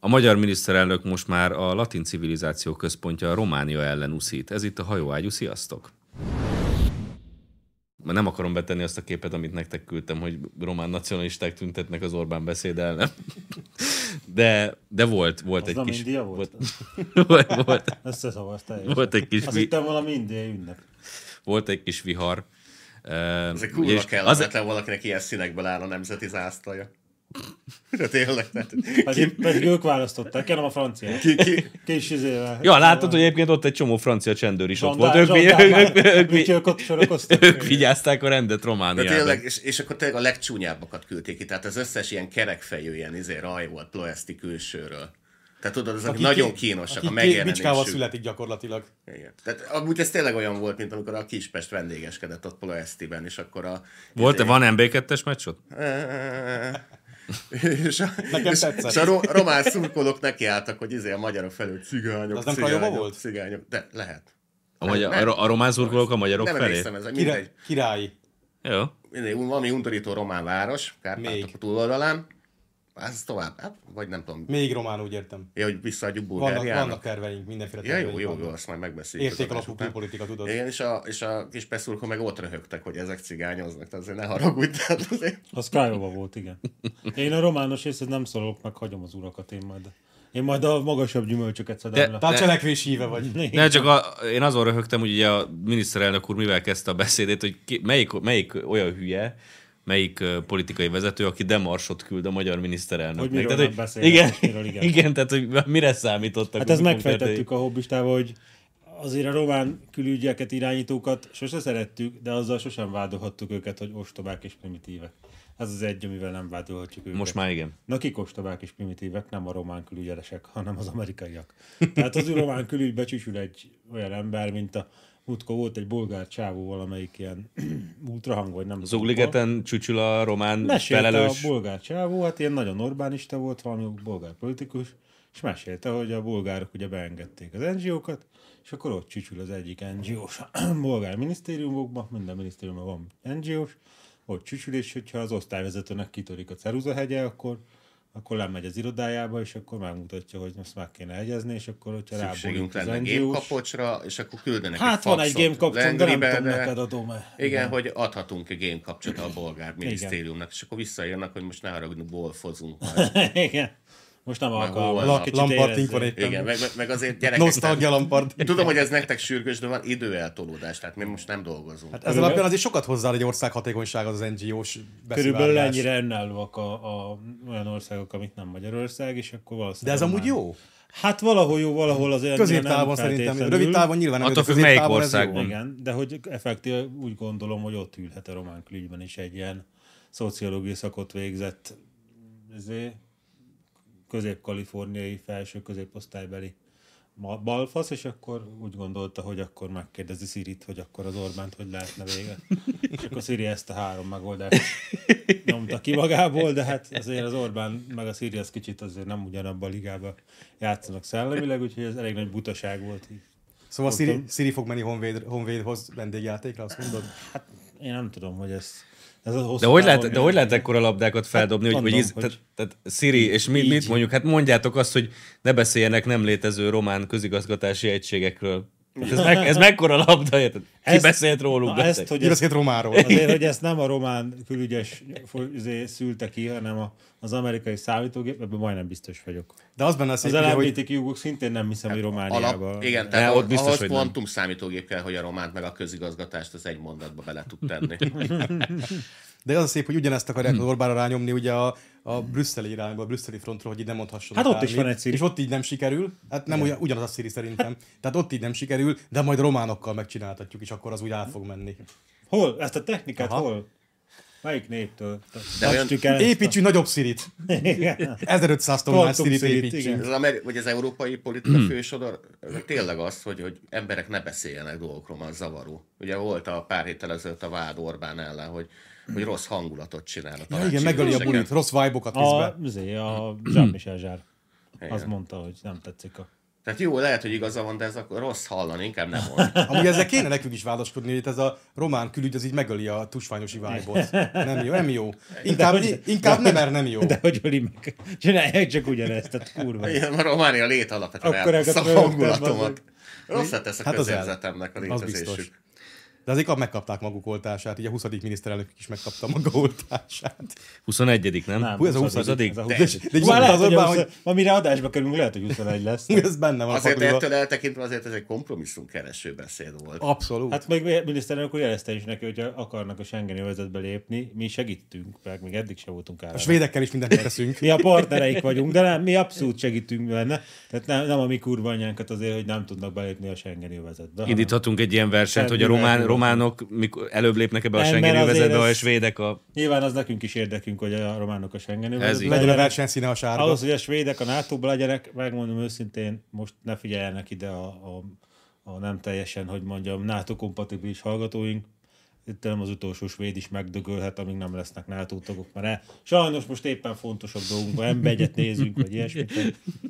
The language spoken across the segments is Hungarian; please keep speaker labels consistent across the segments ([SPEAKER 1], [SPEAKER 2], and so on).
[SPEAKER 1] A magyar miniszterelnök most már a latin civilizáció központja a Románia ellen uszít. Ez itt a hajóágyú, sziasztok! Már nem akarom betenni azt a képet, amit nektek küldtem, hogy román nacionalisták tüntetnek az Orbán beszéd ellen. De, de volt, volt
[SPEAKER 2] Az
[SPEAKER 1] egy
[SPEAKER 2] nem
[SPEAKER 1] kis...
[SPEAKER 2] India volt?
[SPEAKER 1] Volt, volt, volt,
[SPEAKER 2] Összezavarsz teljesen.
[SPEAKER 1] volt egy kis...
[SPEAKER 2] Azt
[SPEAKER 1] vi-
[SPEAKER 2] hittem valami indiai ünnep.
[SPEAKER 1] volt egy kis vihar. Ez
[SPEAKER 3] Ez egy kurva kellemetlen az... valakinek ilyen színekből áll a nemzeti zászlaja. De tényleg. Tehát,
[SPEAKER 2] Pedig, pedig ők választották, én nem a franciák.
[SPEAKER 3] ki, ki,
[SPEAKER 2] Kis izével.
[SPEAKER 1] Ja, látod, hogy egyébként ott egy csomó francia csendőr is ott volt.
[SPEAKER 2] Zsandár-
[SPEAKER 1] Ők, ők,
[SPEAKER 2] zsandármák,
[SPEAKER 1] ők, ők,
[SPEAKER 2] mit
[SPEAKER 1] ők,
[SPEAKER 2] ők ott sorokoztak.
[SPEAKER 1] ők vigyázták a rendet
[SPEAKER 3] de
[SPEAKER 1] Romániában.
[SPEAKER 3] tényleg és, és, akkor tényleg a legcsúnyábbakat küldték ki. Tehát az összes ilyen kerekfejű, ilyen izé raj volt ploeszti külsőről. Tehát tudod, azok
[SPEAKER 4] Aki
[SPEAKER 3] nagyon
[SPEAKER 4] ké-
[SPEAKER 3] kínosak
[SPEAKER 4] aki
[SPEAKER 3] a
[SPEAKER 4] ké- Bicskával
[SPEAKER 3] megjelenésük.
[SPEAKER 4] születik gyakorlatilag.
[SPEAKER 3] Igen. Tehát amúgy ez tényleg olyan volt, mint amikor a Kispest vendégeskedett ott Ploesztiben, és akkor a... izé-
[SPEAKER 1] Volt, van MB2-es meccsot?
[SPEAKER 3] és a,
[SPEAKER 4] Nekem
[SPEAKER 3] és,
[SPEAKER 4] tetszett.
[SPEAKER 3] és a ro- román szurkolók nekiálltak, hogy izé a magyarok felül cigányok,
[SPEAKER 4] Az nem Kajóba
[SPEAKER 3] cigányok,
[SPEAKER 4] volt?
[SPEAKER 3] cigányok. De lehet.
[SPEAKER 1] A, magyar,
[SPEAKER 3] nem.
[SPEAKER 1] a, a román szurkolók a magyarok
[SPEAKER 3] nem
[SPEAKER 1] felé?
[SPEAKER 3] emlékszem, ez
[SPEAKER 4] Király,
[SPEAKER 3] mindegy,
[SPEAKER 4] királyi.
[SPEAKER 1] Jó.
[SPEAKER 3] mindegy, valami undorító román város, Kárpátok
[SPEAKER 4] Még.
[SPEAKER 3] a túloldalán. Ez tovább, hát, vagy nem tudom,
[SPEAKER 4] Még román, úgy értem.
[SPEAKER 3] ja, hogy visszaadjuk
[SPEAKER 4] Vannak, vannak
[SPEAKER 3] Bulgáriának.
[SPEAKER 4] terveink, mindenféle
[SPEAKER 3] Ja,
[SPEAKER 4] terveink
[SPEAKER 3] jó, jó, jó,
[SPEAKER 4] vannak.
[SPEAKER 3] azt majd megbeszéljük. az adás
[SPEAKER 4] Értékalapú
[SPEAKER 3] után.
[SPEAKER 4] külpolitika, tudod.
[SPEAKER 3] Igen, és a, és a kis peszurkó meg ott röhögtek, hogy ezek cigányoznak, tehát azért ne haragudj, tehát azért
[SPEAKER 2] Az Kájóba volt, igen. Én a romános részét nem szólok, meg hagyom az urakat én majd. Én majd a magasabb gyümölcsöket szedem
[SPEAKER 1] De-
[SPEAKER 2] le. Hát
[SPEAKER 4] Tehát cselekvés híve vagy.
[SPEAKER 3] Mhm.
[SPEAKER 2] Igen.
[SPEAKER 1] Ne, csak a, én azon röhögtem, hogy ugye a miniszterelnök úr mivel kezdte a beszédét, hogy ki, melyik, melyik olyan hülye, melyik ö, politikai vezető, aki demarsot küld a magyar miniszterelnöknek.
[SPEAKER 2] Hogy miről nem beszélnek,
[SPEAKER 1] igen,
[SPEAKER 2] és miről igen.
[SPEAKER 1] igen, tehát hogy mire számítottak.
[SPEAKER 2] Hát
[SPEAKER 1] hogy
[SPEAKER 2] ezt
[SPEAKER 1] mikor
[SPEAKER 2] megfejtettük
[SPEAKER 1] történik.
[SPEAKER 2] a hobbistával, hogy azért a román külügyeket, irányítókat sose szerettük, de azzal sosem vádolhattuk őket, hogy ostobák és primitívek. Ez az egy, amivel nem vádolhatjuk őket.
[SPEAKER 1] Most már igen.
[SPEAKER 2] Na kik ostobák és primitívek, nem a román külügyeresek, hanem az amerikaiak. Tehát az román külügybe csücsül egy olyan ember, mint a Mutko volt egy bolgár csávó valamelyik ilyen ultrahang, vagy nem
[SPEAKER 1] Az
[SPEAKER 2] tudom,
[SPEAKER 1] Ugligeten csücsül a román
[SPEAKER 2] Mesélte
[SPEAKER 1] felelős.
[SPEAKER 2] a bolgár csávó, hát ilyen nagyon Orbánista volt, valami bolgár politikus, és mesélte, hogy a bolgárok ugye beengedték az NGO-kat, és akkor ott csücsül az egyik NGO-s bolgár minisztériumokban, minden minisztériumban van NGO-s, ott csücsül, és hogyha az osztályvezetőnek kitörik a ceruza hegye, akkor akkor lemegy az irodájába, és akkor megmutatja, hogy ezt meg kéne egyezni, és akkor, hogyha
[SPEAKER 3] szükségünk
[SPEAKER 2] rábólít az
[SPEAKER 3] lenne
[SPEAKER 2] NGO-s,
[SPEAKER 3] gépkapocsra, és akkor küldenek
[SPEAKER 2] hát van egy
[SPEAKER 3] faxot
[SPEAKER 2] gémkapcsom, de nem
[SPEAKER 3] Lengribe,
[SPEAKER 2] tudom
[SPEAKER 3] de-
[SPEAKER 2] neked adom-e.
[SPEAKER 3] Igen, hogy adhatunk egy gémkapcsot a bolgár minisztériumnak, és akkor visszaírnak, hogy most ne haragudj, bolfozunk. már.
[SPEAKER 2] Igen. Most nem
[SPEAKER 3] volt.
[SPEAKER 2] alkalmas.
[SPEAKER 4] La-
[SPEAKER 2] Kicsit
[SPEAKER 4] Lampartink
[SPEAKER 2] érezzük.
[SPEAKER 4] van éppen.
[SPEAKER 3] Igen, meg, meg, meg azért gyerekek.
[SPEAKER 4] Nosztalgia lampart.
[SPEAKER 3] Tudom, hogy ez nektek sürgős, de van időeltolódás, tehát mi most nem dolgozunk. Hát
[SPEAKER 4] Hát ez alapján azért sokat hozzá egy ország hatékonyság az NGO-s
[SPEAKER 2] Körülbelül ennyire önállóak a, a, olyan országok, amit nem Magyarország, és akkor
[SPEAKER 4] De
[SPEAKER 2] valószínűleg...
[SPEAKER 4] ez amúgy
[SPEAKER 2] román.
[SPEAKER 4] jó.
[SPEAKER 2] Hát valahol jó, valahol az olyan
[SPEAKER 4] Középtávon szerintem, rövid távon nyilván nem,
[SPEAKER 1] Attól
[SPEAKER 4] de
[SPEAKER 1] függ, melyik
[SPEAKER 4] középtávon ez jó.
[SPEAKER 1] országban.
[SPEAKER 2] Igen, de hogy effektíve úgy gondolom, hogy ott ülhet a román külügyben is egy ilyen szociológiai szakot végzett izé, közép-kaliforniai felső középosztálybeli ma- balfasz, és akkor úgy gondolta, hogy akkor megkérdezi Szirit, hogy akkor az Orbánt hogy lehetne vége. És akkor Sziri ezt a három megoldást nyomta ki magából, de hát azért az Orbán meg a Sziri az kicsit azért nem ugyanabban a ligában játszanak szellemileg, úgyhogy ez elég nagy butaság volt így.
[SPEAKER 4] Szóval Siri, Siri fog menni honvéd, honvédhoz vendégjátékra, azt mondod?
[SPEAKER 2] Hát én nem tudom, hogy ez... ez a hosszú
[SPEAKER 1] De hogy,
[SPEAKER 2] távon
[SPEAKER 1] lehet, de
[SPEAKER 2] milyen-
[SPEAKER 1] hogy lehet ekkora labdákat feldobni, hogy, hogy,
[SPEAKER 2] Hát mondom,
[SPEAKER 1] íz,
[SPEAKER 2] hogy-
[SPEAKER 1] tehát, tehát Siri, és mi, mit mondjuk? Hát mondjátok azt, hogy ne beszéljenek nem létező román közigazgatási egységekről. Hát Ez, meg, ez mekkora labda, érted? Ki
[SPEAKER 2] Ezt-
[SPEAKER 1] beszélt róluk?
[SPEAKER 2] Na, ezt,
[SPEAKER 1] hogy...
[SPEAKER 2] hogy
[SPEAKER 4] Ugye
[SPEAKER 2] ezt,
[SPEAKER 4] beszélt Romáról.
[SPEAKER 2] azért, hogy ezt nem a román külügyes fo- izé szülte ki, hanem a, az amerikai számítógép, ebben majdnem biztos vagyok.
[SPEAKER 4] De az benne a szép,
[SPEAKER 2] Az
[SPEAKER 4] ugye, hogy Hát,
[SPEAKER 2] LMBTQ jogok szintén nem hiszem, hogy Romániában.
[SPEAKER 3] Alap, igen,
[SPEAKER 1] Ne,
[SPEAKER 3] tehát
[SPEAKER 1] ott
[SPEAKER 3] ott
[SPEAKER 1] biztos,
[SPEAKER 3] ahhoz
[SPEAKER 1] hogy nem.
[SPEAKER 3] pontum számítógép kell, hogy a románt meg a közigazgatást az egy mondatba bele tud tenni.
[SPEAKER 4] de az a szép, hogy ugyanezt akarják az Orbánra rányomni ugye a, a brüsszeli irányba, a brüsszeli frontról, hogy így nem mondhasson
[SPEAKER 2] Hát ott is
[SPEAKER 4] akármit.
[SPEAKER 2] van egy Siri.
[SPEAKER 4] És ott így nem sikerül, hát nem ugyan, ugyanaz a Siri szerintem. Tehát ott így nem sikerül, de majd románokkal megcsináltatjuk, és akkor az úgy el fog menni.
[SPEAKER 2] Hol? Ezt a technikát
[SPEAKER 4] Aha.
[SPEAKER 2] hol? Melyik néptől?
[SPEAKER 3] De olyan-
[SPEAKER 2] Tartsuk el ezt a-
[SPEAKER 4] Építsünk nagyobb Sirit! 1500 tonnás
[SPEAKER 2] Tartunk
[SPEAKER 4] Sirit
[SPEAKER 2] Sirit,
[SPEAKER 4] építsünk.
[SPEAKER 3] Ez az, ameri- vagy az európai politika
[SPEAKER 4] Hmm.
[SPEAKER 3] fősodor tényleg az, hogy, hogy emberek ne beszéljenek dolgokról, az zavaró. Ugye volt a pár héttel ezelőtt a vád Orbán ellen, hogy, hogy rossz hangulatot csinál a
[SPEAKER 4] Ja, igen, megöli a
[SPEAKER 3] tanácsüléseken.
[SPEAKER 4] bulit, rossz vibe-okat visz
[SPEAKER 2] A,
[SPEAKER 4] be.
[SPEAKER 2] izé, a Jean-Michel Zsár.
[SPEAKER 3] Igen.
[SPEAKER 2] Azt mondta, hogy nem tetszik a
[SPEAKER 3] Tehát jó, lehet, hogy igaza van, de ez akkor rossz hallani, inkább nem mond.
[SPEAKER 4] Amúgy ezzel kéne nekünk is vádaskodni, hogy itt ez a román külügy az így megöli a tusványosi vibe Nem jó, nem jó. Inkább,
[SPEAKER 2] hogy-
[SPEAKER 4] inkább nem, mert nem jó.
[SPEAKER 2] De hogy Oli meg csinálják csak ugyanezt, tehát kurva.
[SPEAKER 3] Igen, a Románia lét alapvetően
[SPEAKER 2] Akkor
[SPEAKER 3] elvesz a
[SPEAKER 2] elkezdtem
[SPEAKER 3] hangulatomat.
[SPEAKER 2] rögtön,
[SPEAKER 3] Rosszat tesz a
[SPEAKER 4] Hát
[SPEAKER 3] hát
[SPEAKER 4] az el.
[SPEAKER 3] közérzetemnek a
[SPEAKER 4] Az biztos.
[SPEAKER 3] létezésük.
[SPEAKER 4] De azért kap- megkapták maguk oltását, így a 20. miniszterelnök is megkapta maga oltását.
[SPEAKER 1] 21 nem?
[SPEAKER 2] Nem,
[SPEAKER 4] Hú, ez a
[SPEAKER 2] 20.
[SPEAKER 1] 20.
[SPEAKER 2] Ez a
[SPEAKER 4] De,
[SPEAKER 2] 20.
[SPEAKER 4] de, de
[SPEAKER 2] Már
[SPEAKER 4] az
[SPEAKER 2] lehet, hogy,
[SPEAKER 4] Orbán,
[SPEAKER 2] hogy...
[SPEAKER 4] hogy
[SPEAKER 2] amire adásba kerülünk, lehet, hogy 21 lesz.
[SPEAKER 4] ez benne van. a
[SPEAKER 3] Azért
[SPEAKER 4] pakliba.
[SPEAKER 3] ettől eltekintve azért ez egy kompromisszum kereső beszéd volt.
[SPEAKER 4] Abszolút. Hát,
[SPEAKER 2] Hát még miniszterelnök úr jelezte is neki, hogy akarnak a Schengeni övezetbe lépni, mi segítünk, meg még eddig sem voltunk
[SPEAKER 4] a
[SPEAKER 2] ára.
[SPEAKER 4] svédekkel is mindent megteszünk.
[SPEAKER 2] Mi a partnereik vagyunk, de nem, mi abszolút segítünk benne. Tehát nem, nem a mi kurva anyánkat azért, hogy nem tudnak belépni a Schengeni övezetbe. hanem-
[SPEAKER 1] Indíthatunk egy ilyen versenyt, hogy a
[SPEAKER 2] Semmivel
[SPEAKER 1] román,
[SPEAKER 2] nem.
[SPEAKER 1] románok mikor előbb lépnek ebbe a
[SPEAKER 2] Nem, mert
[SPEAKER 1] Schengeni
[SPEAKER 2] azért
[SPEAKER 1] övezetbe,
[SPEAKER 2] ez-
[SPEAKER 1] a svédek a...
[SPEAKER 2] Nyilván az nekünk is érdekünk, hogy a románok a Schengen övezetbe
[SPEAKER 1] így.
[SPEAKER 4] Legyen a
[SPEAKER 2] legyenek.
[SPEAKER 4] versenyszíne a sárga.
[SPEAKER 2] Ahhoz, hogy a svédek a NATO-ba legyenek, megmondom őszintén, most ne figyeljenek ide a, a, a nem teljesen, hogy mondjam, NATO-kompatibilis hallgatóink. Itt nem az utolsó svéd is megdögölhet, amíg nem lesznek NATO tagok már el. Sajnos most éppen fontosabb dolgunk van, ember egyet nézünk, vagy ilyesmi.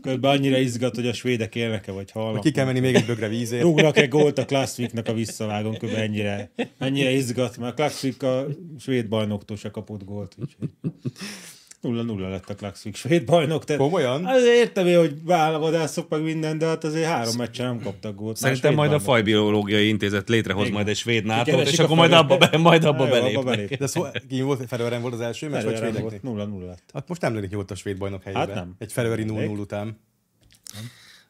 [SPEAKER 2] Körbe annyira izgat, hogy a svédek élnek-e, vagy halnak.
[SPEAKER 4] Ki kell menni még egy bögre vízért.
[SPEAKER 2] Rúgnak-e gólt a Klasszviknak a visszavágon, kb. ennyire, ennyire izgat, mert a Klasszvik a svéd bajnoktól se kapott gólt, úgyhogy nulla nulla lett a Klakszvik svéd bajnok. Tehát
[SPEAKER 4] Komolyan?
[SPEAKER 2] Hát értem én, hogy vállavadászok meg minden, de hát azért három meccsen nem kaptak gólt. Már
[SPEAKER 1] Szerintem
[SPEAKER 2] svéd
[SPEAKER 1] majd a
[SPEAKER 2] bajnok.
[SPEAKER 1] fajbiológiai intézet létrehoz majd egy svéd nato
[SPEAKER 2] Keresik
[SPEAKER 1] és
[SPEAKER 2] a
[SPEAKER 1] akkor majd abba,
[SPEAKER 2] felépet.
[SPEAKER 1] be, majd abba
[SPEAKER 2] Na jó,
[SPEAKER 1] belépnek.
[SPEAKER 4] De szó, ki volt, Ferőren volt az első meccs, vagy
[SPEAKER 2] belépnek.
[SPEAKER 4] svédeknek?
[SPEAKER 2] volt, nulla nulla lett.
[SPEAKER 4] Hát most nem lőnek nyugodt a svéd bajnok helyébe.
[SPEAKER 2] Hát nem.
[SPEAKER 4] Egy Ferőri 0-0
[SPEAKER 2] Elég.
[SPEAKER 4] után.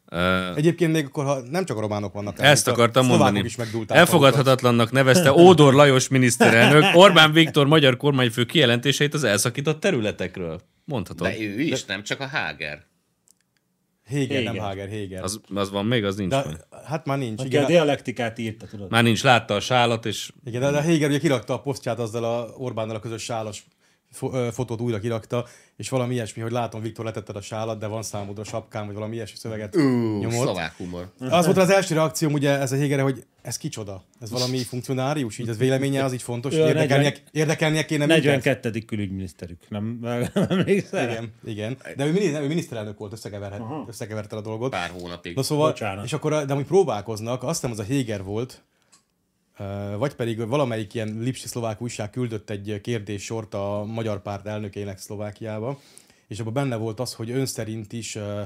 [SPEAKER 1] Ö,
[SPEAKER 4] Egyébként még akkor, ha nem csak a románok vannak. hanem
[SPEAKER 1] Ezt
[SPEAKER 4] itt a
[SPEAKER 1] akartam
[SPEAKER 4] szlovákok
[SPEAKER 1] mondani.
[SPEAKER 4] Is megdúlták magukat.
[SPEAKER 1] Elfogadhatatlannak nevezte Ódor Lajos miniszterelnök Orbán Viktor magyar kormányfő kijelentéseit az elszakított területekről. Mondhatod.
[SPEAKER 3] De ő is, nem csak a Háger.
[SPEAKER 4] Héger, nem
[SPEAKER 2] Héger.
[SPEAKER 4] Háger, Héger.
[SPEAKER 1] Az, az van még, az nincs. meg.
[SPEAKER 4] De, hát már nincs.
[SPEAKER 2] Aki a
[SPEAKER 4] Igen, de,
[SPEAKER 2] dialektikát írta, tudod.
[SPEAKER 1] Már nincs, látta a sálat, és
[SPEAKER 4] igen, de, de Héger ugye kirakta a posztját azzal a Orbánnal a közös sálas fo- ö, fotót újra kirakta, és valami ilyesmi, hogy látom, Viktor letetted a sálat, de van számodra sapkám, vagy valami ilyesmi szöveget
[SPEAKER 3] Ú,
[SPEAKER 4] nyomott.
[SPEAKER 3] Szlovák humor.
[SPEAKER 4] Az volt az első reakcióm, ugye ez a Hégerre, hogy ez kicsoda? Ez valami funkcionárius? Így az véleménye az így fontos?
[SPEAKER 2] Ő a
[SPEAKER 4] Érdekelnie,
[SPEAKER 2] 40
[SPEAKER 4] érdekelnie kéne minket?
[SPEAKER 2] 42. külügyminiszterük, nem, nem emlékszel?
[SPEAKER 4] Igen, igen. De ő, mini- ő miniszterelnök volt, összekeverhet, összekeverte a dolgot.
[SPEAKER 3] Pár hónapig.
[SPEAKER 4] Na szóval,
[SPEAKER 2] Bocsánat.
[SPEAKER 4] és akkor, de amúgy próbálkoznak, azt hiszem az a Héger volt, ö, vagy pedig valamelyik ilyen lipsi szlovák újság küldött egy kérdéssort a magyar párt elnökének Szlovákiába, és abban benne volt az, hogy ön szerint is, ö,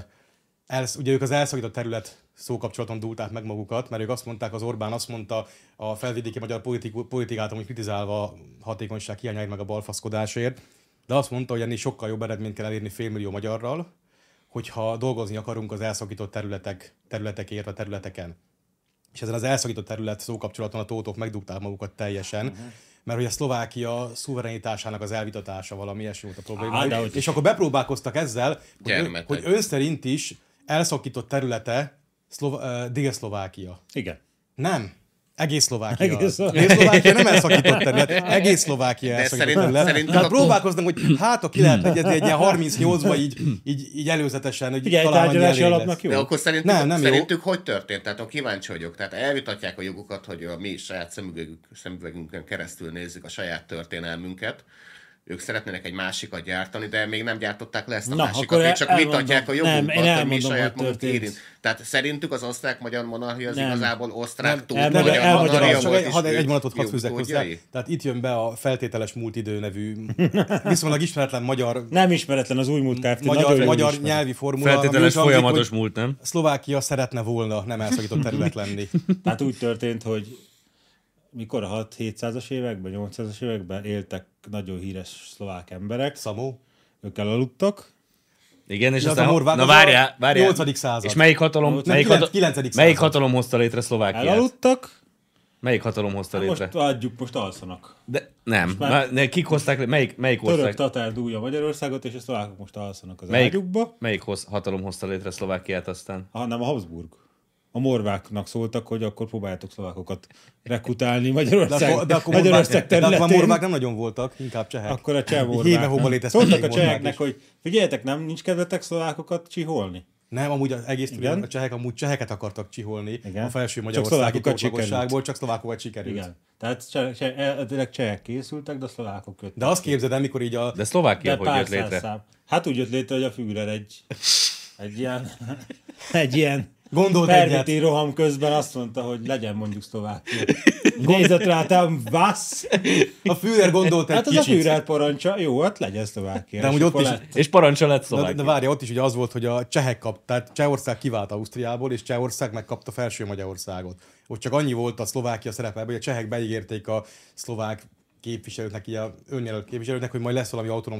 [SPEAKER 4] elsz, ugye ők az elszakított terület szókapcsolaton dúlták meg magukat, mert ők azt mondták, az Orbán azt mondta a felvidéki magyar politiku- politikát, amúgy kritizálva a hatékonyság hiányáért meg a balfaszkodásért, de azt mondta, hogy ennél sokkal jobb eredményt kell elérni félmillió magyarral, hogyha dolgozni akarunk az elszakított területek, területekért, a területeken. És ezen az elszakított terület szókapcsolaton a tótok megdugták magukat teljesen,
[SPEAKER 2] Mhm.
[SPEAKER 4] mert hogy a Szlovákia szuverenitásának az elvitatása valami ilyesmi volt a probléma.
[SPEAKER 2] Á, de
[SPEAKER 4] Ah,
[SPEAKER 2] hogy-
[SPEAKER 4] és akkor bepróbálkoztak ezzel, hogy, ő,
[SPEAKER 3] Gyermetek.
[SPEAKER 4] hogy ön szerint is elszakított területe Szlova- uh, Dél-Szlovákia.
[SPEAKER 2] Igen.
[SPEAKER 4] Nem. Egész Szlovákia.
[SPEAKER 2] Egész
[SPEAKER 4] Egész
[SPEAKER 2] Szlovákia.
[SPEAKER 4] Szlovákia nem elszakított terület. Egész Szlovákia elszakított
[SPEAKER 3] szerint-
[SPEAKER 4] terület.
[SPEAKER 3] szerint-
[SPEAKER 4] Tehát próbálkoznak, hogy hát, ha ki lehet
[SPEAKER 2] Hmm.
[SPEAKER 4] egyezni egy ilyen 38-ba így, így, így előzetesen, hogy
[SPEAKER 2] Ugye,
[SPEAKER 4] talán annyi
[SPEAKER 2] tárgyalási
[SPEAKER 4] elég lesz.
[SPEAKER 2] alapnak jó.
[SPEAKER 3] De akkor szerintük,
[SPEAKER 4] Nem, nem jó.
[SPEAKER 3] szerintük hogy történt? Tehát a kíváncsi vagyok. Tehát elvitatják a jogukat, hogy a mi saját szemüvegünk, szemüvegünkön keresztül nézzük a saját történelmünket. Ők szeretnének egy másikat gyártani, de még nem gyártották le ezt a
[SPEAKER 2] Na,
[SPEAKER 3] Na,
[SPEAKER 2] akkor
[SPEAKER 3] másikat, még csak
[SPEAKER 2] el- elmondom.
[SPEAKER 3] vitatják a
[SPEAKER 2] Nem, én
[SPEAKER 3] jogunkat, hogy mi
[SPEAKER 2] elmondom,
[SPEAKER 3] saját
[SPEAKER 2] hogy
[SPEAKER 3] magunk
[SPEAKER 2] történt.
[SPEAKER 3] érint. Tehát szerintük az osztrák-magyar monarchia az
[SPEAKER 2] Nem.
[SPEAKER 3] igazából osztrák túl
[SPEAKER 2] elmondom,
[SPEAKER 3] magyar
[SPEAKER 2] elmondom.
[SPEAKER 3] monarchia
[SPEAKER 2] Magyarország
[SPEAKER 4] Hát Csak
[SPEAKER 3] volt,
[SPEAKER 4] egy,
[SPEAKER 3] és
[SPEAKER 4] hadd
[SPEAKER 3] ők
[SPEAKER 4] egy mondatot hadd
[SPEAKER 3] jó
[SPEAKER 4] fűzzek hozzá.
[SPEAKER 3] utódjai.
[SPEAKER 4] Tehát itt jön be a feltételes múlt idő nevű, viszonylag ismeretlen magyar,
[SPEAKER 2] Nem ismeretlen az új múlt Kft. nagyon
[SPEAKER 4] magyar,
[SPEAKER 2] jól
[SPEAKER 4] magyar
[SPEAKER 2] ismerem.
[SPEAKER 4] nyelvi formula. ami úgy
[SPEAKER 1] feltételes
[SPEAKER 4] hangzik,
[SPEAKER 1] folyamatos
[SPEAKER 4] hogy
[SPEAKER 1] múlt, nem?
[SPEAKER 4] Szlovákia szeretne volna nem elszakított terület lenni.
[SPEAKER 2] Hát úgy történt, hogy mikor a 6-700-as években, 800-as években éltek nagyon híres szlovák emberek,
[SPEAKER 4] Szamó?
[SPEAKER 2] ők elaludtak,
[SPEAKER 1] Igen, és
[SPEAKER 4] De az
[SPEAKER 1] aztán...
[SPEAKER 4] a morvák,
[SPEAKER 1] na
[SPEAKER 4] az a
[SPEAKER 1] várjál, várjál.
[SPEAKER 4] 8. század.
[SPEAKER 1] És melyik hatalom, melyik,
[SPEAKER 4] kilenc-
[SPEAKER 1] hatalom,
[SPEAKER 4] 9.
[SPEAKER 1] melyik
[SPEAKER 4] század.
[SPEAKER 1] hatalom hozta létre Szlovákiát?
[SPEAKER 2] elaludtak,
[SPEAKER 1] Melyik hatalom hozta
[SPEAKER 4] Hát
[SPEAKER 2] most
[SPEAKER 1] létre?
[SPEAKER 2] adjuk, most alszanak.
[SPEAKER 1] De, nem,
[SPEAKER 2] már-
[SPEAKER 1] Már- ne, kik hozták, lé- melyik, melyik
[SPEAKER 2] Török
[SPEAKER 1] ország?
[SPEAKER 2] tatár dúlja Magyarországot, és a szlovákok most alszanak az
[SPEAKER 1] Melyik,
[SPEAKER 2] ágyukba,
[SPEAKER 1] melyik hoz, hatalom hozta létre Szlovákiát aztán?
[SPEAKER 2] hanem a Habsburg. A morváknak szóltak, hogy akkor próbáljátok szlovákokat rekrutálni Magyarország,
[SPEAKER 4] De akkor, de akkor,
[SPEAKER 2] Magyarország
[SPEAKER 4] morvák, de akkor már
[SPEAKER 2] területén.
[SPEAKER 4] morvák nem nagyon voltak, inkább csehek.
[SPEAKER 2] Akkor a cseh
[SPEAKER 4] Így
[SPEAKER 2] morvák.
[SPEAKER 4] Héve hóba léteztek
[SPEAKER 2] Szóltak a
[SPEAKER 4] még morvák
[SPEAKER 2] cseheknek,
[SPEAKER 4] is.
[SPEAKER 2] hogy figyeljetek, nem, nincs kedvetek szlovákokat csiholni.
[SPEAKER 4] Nem, amúgy az egész
[SPEAKER 2] Igen.
[SPEAKER 4] Igen. a csehek amúgy cseheket akartak csiholni
[SPEAKER 2] Igen.
[SPEAKER 4] Igen. a felső
[SPEAKER 2] Csak
[SPEAKER 4] magyarországi
[SPEAKER 2] szlovákokat sikerült.
[SPEAKER 4] tagságból, csak szlovákokat sikerült. Igen.
[SPEAKER 2] Igen. Tehát cseh, cseh, eredetileg csehek készültek, de a szlovákok köttek.
[SPEAKER 4] De azt képzeld el, mikor így a...
[SPEAKER 1] De Szlovákia hogy jött
[SPEAKER 2] száz
[SPEAKER 1] létre?
[SPEAKER 2] Szám. Hát úgy jött létre, hogy a Führer egy, egy ilyen, egy ilyen
[SPEAKER 4] Gondolt egyet.
[SPEAKER 2] Perviti roham közben azt mondta, hogy legyen mondjuk Szlovákia. Nézett rá, te vász!
[SPEAKER 4] A Führer gondolt egy
[SPEAKER 2] Hát az a
[SPEAKER 4] kicsit.
[SPEAKER 2] Führer parancsa, jó, hát legyen Szlovákia.
[SPEAKER 4] De
[SPEAKER 2] És
[SPEAKER 4] amúgy ott
[SPEAKER 2] akkor
[SPEAKER 4] is-
[SPEAKER 2] lett.
[SPEAKER 5] És parancsa
[SPEAKER 1] hát
[SPEAKER 5] lett
[SPEAKER 4] De,
[SPEAKER 5] szlovák.
[SPEAKER 4] de várja, ott is ugye az volt, hogy a csehek kap, tehát Csehország kivált Ausztriából, és Csehország megkapta felső Magyarországot. Ott csak annyi volt a Szlovákia szerepe, hogy a csehek beígérték a szlovák képviselőknek, ilyen önjelölt képviselőknek, hogy majd lesz valami autonóm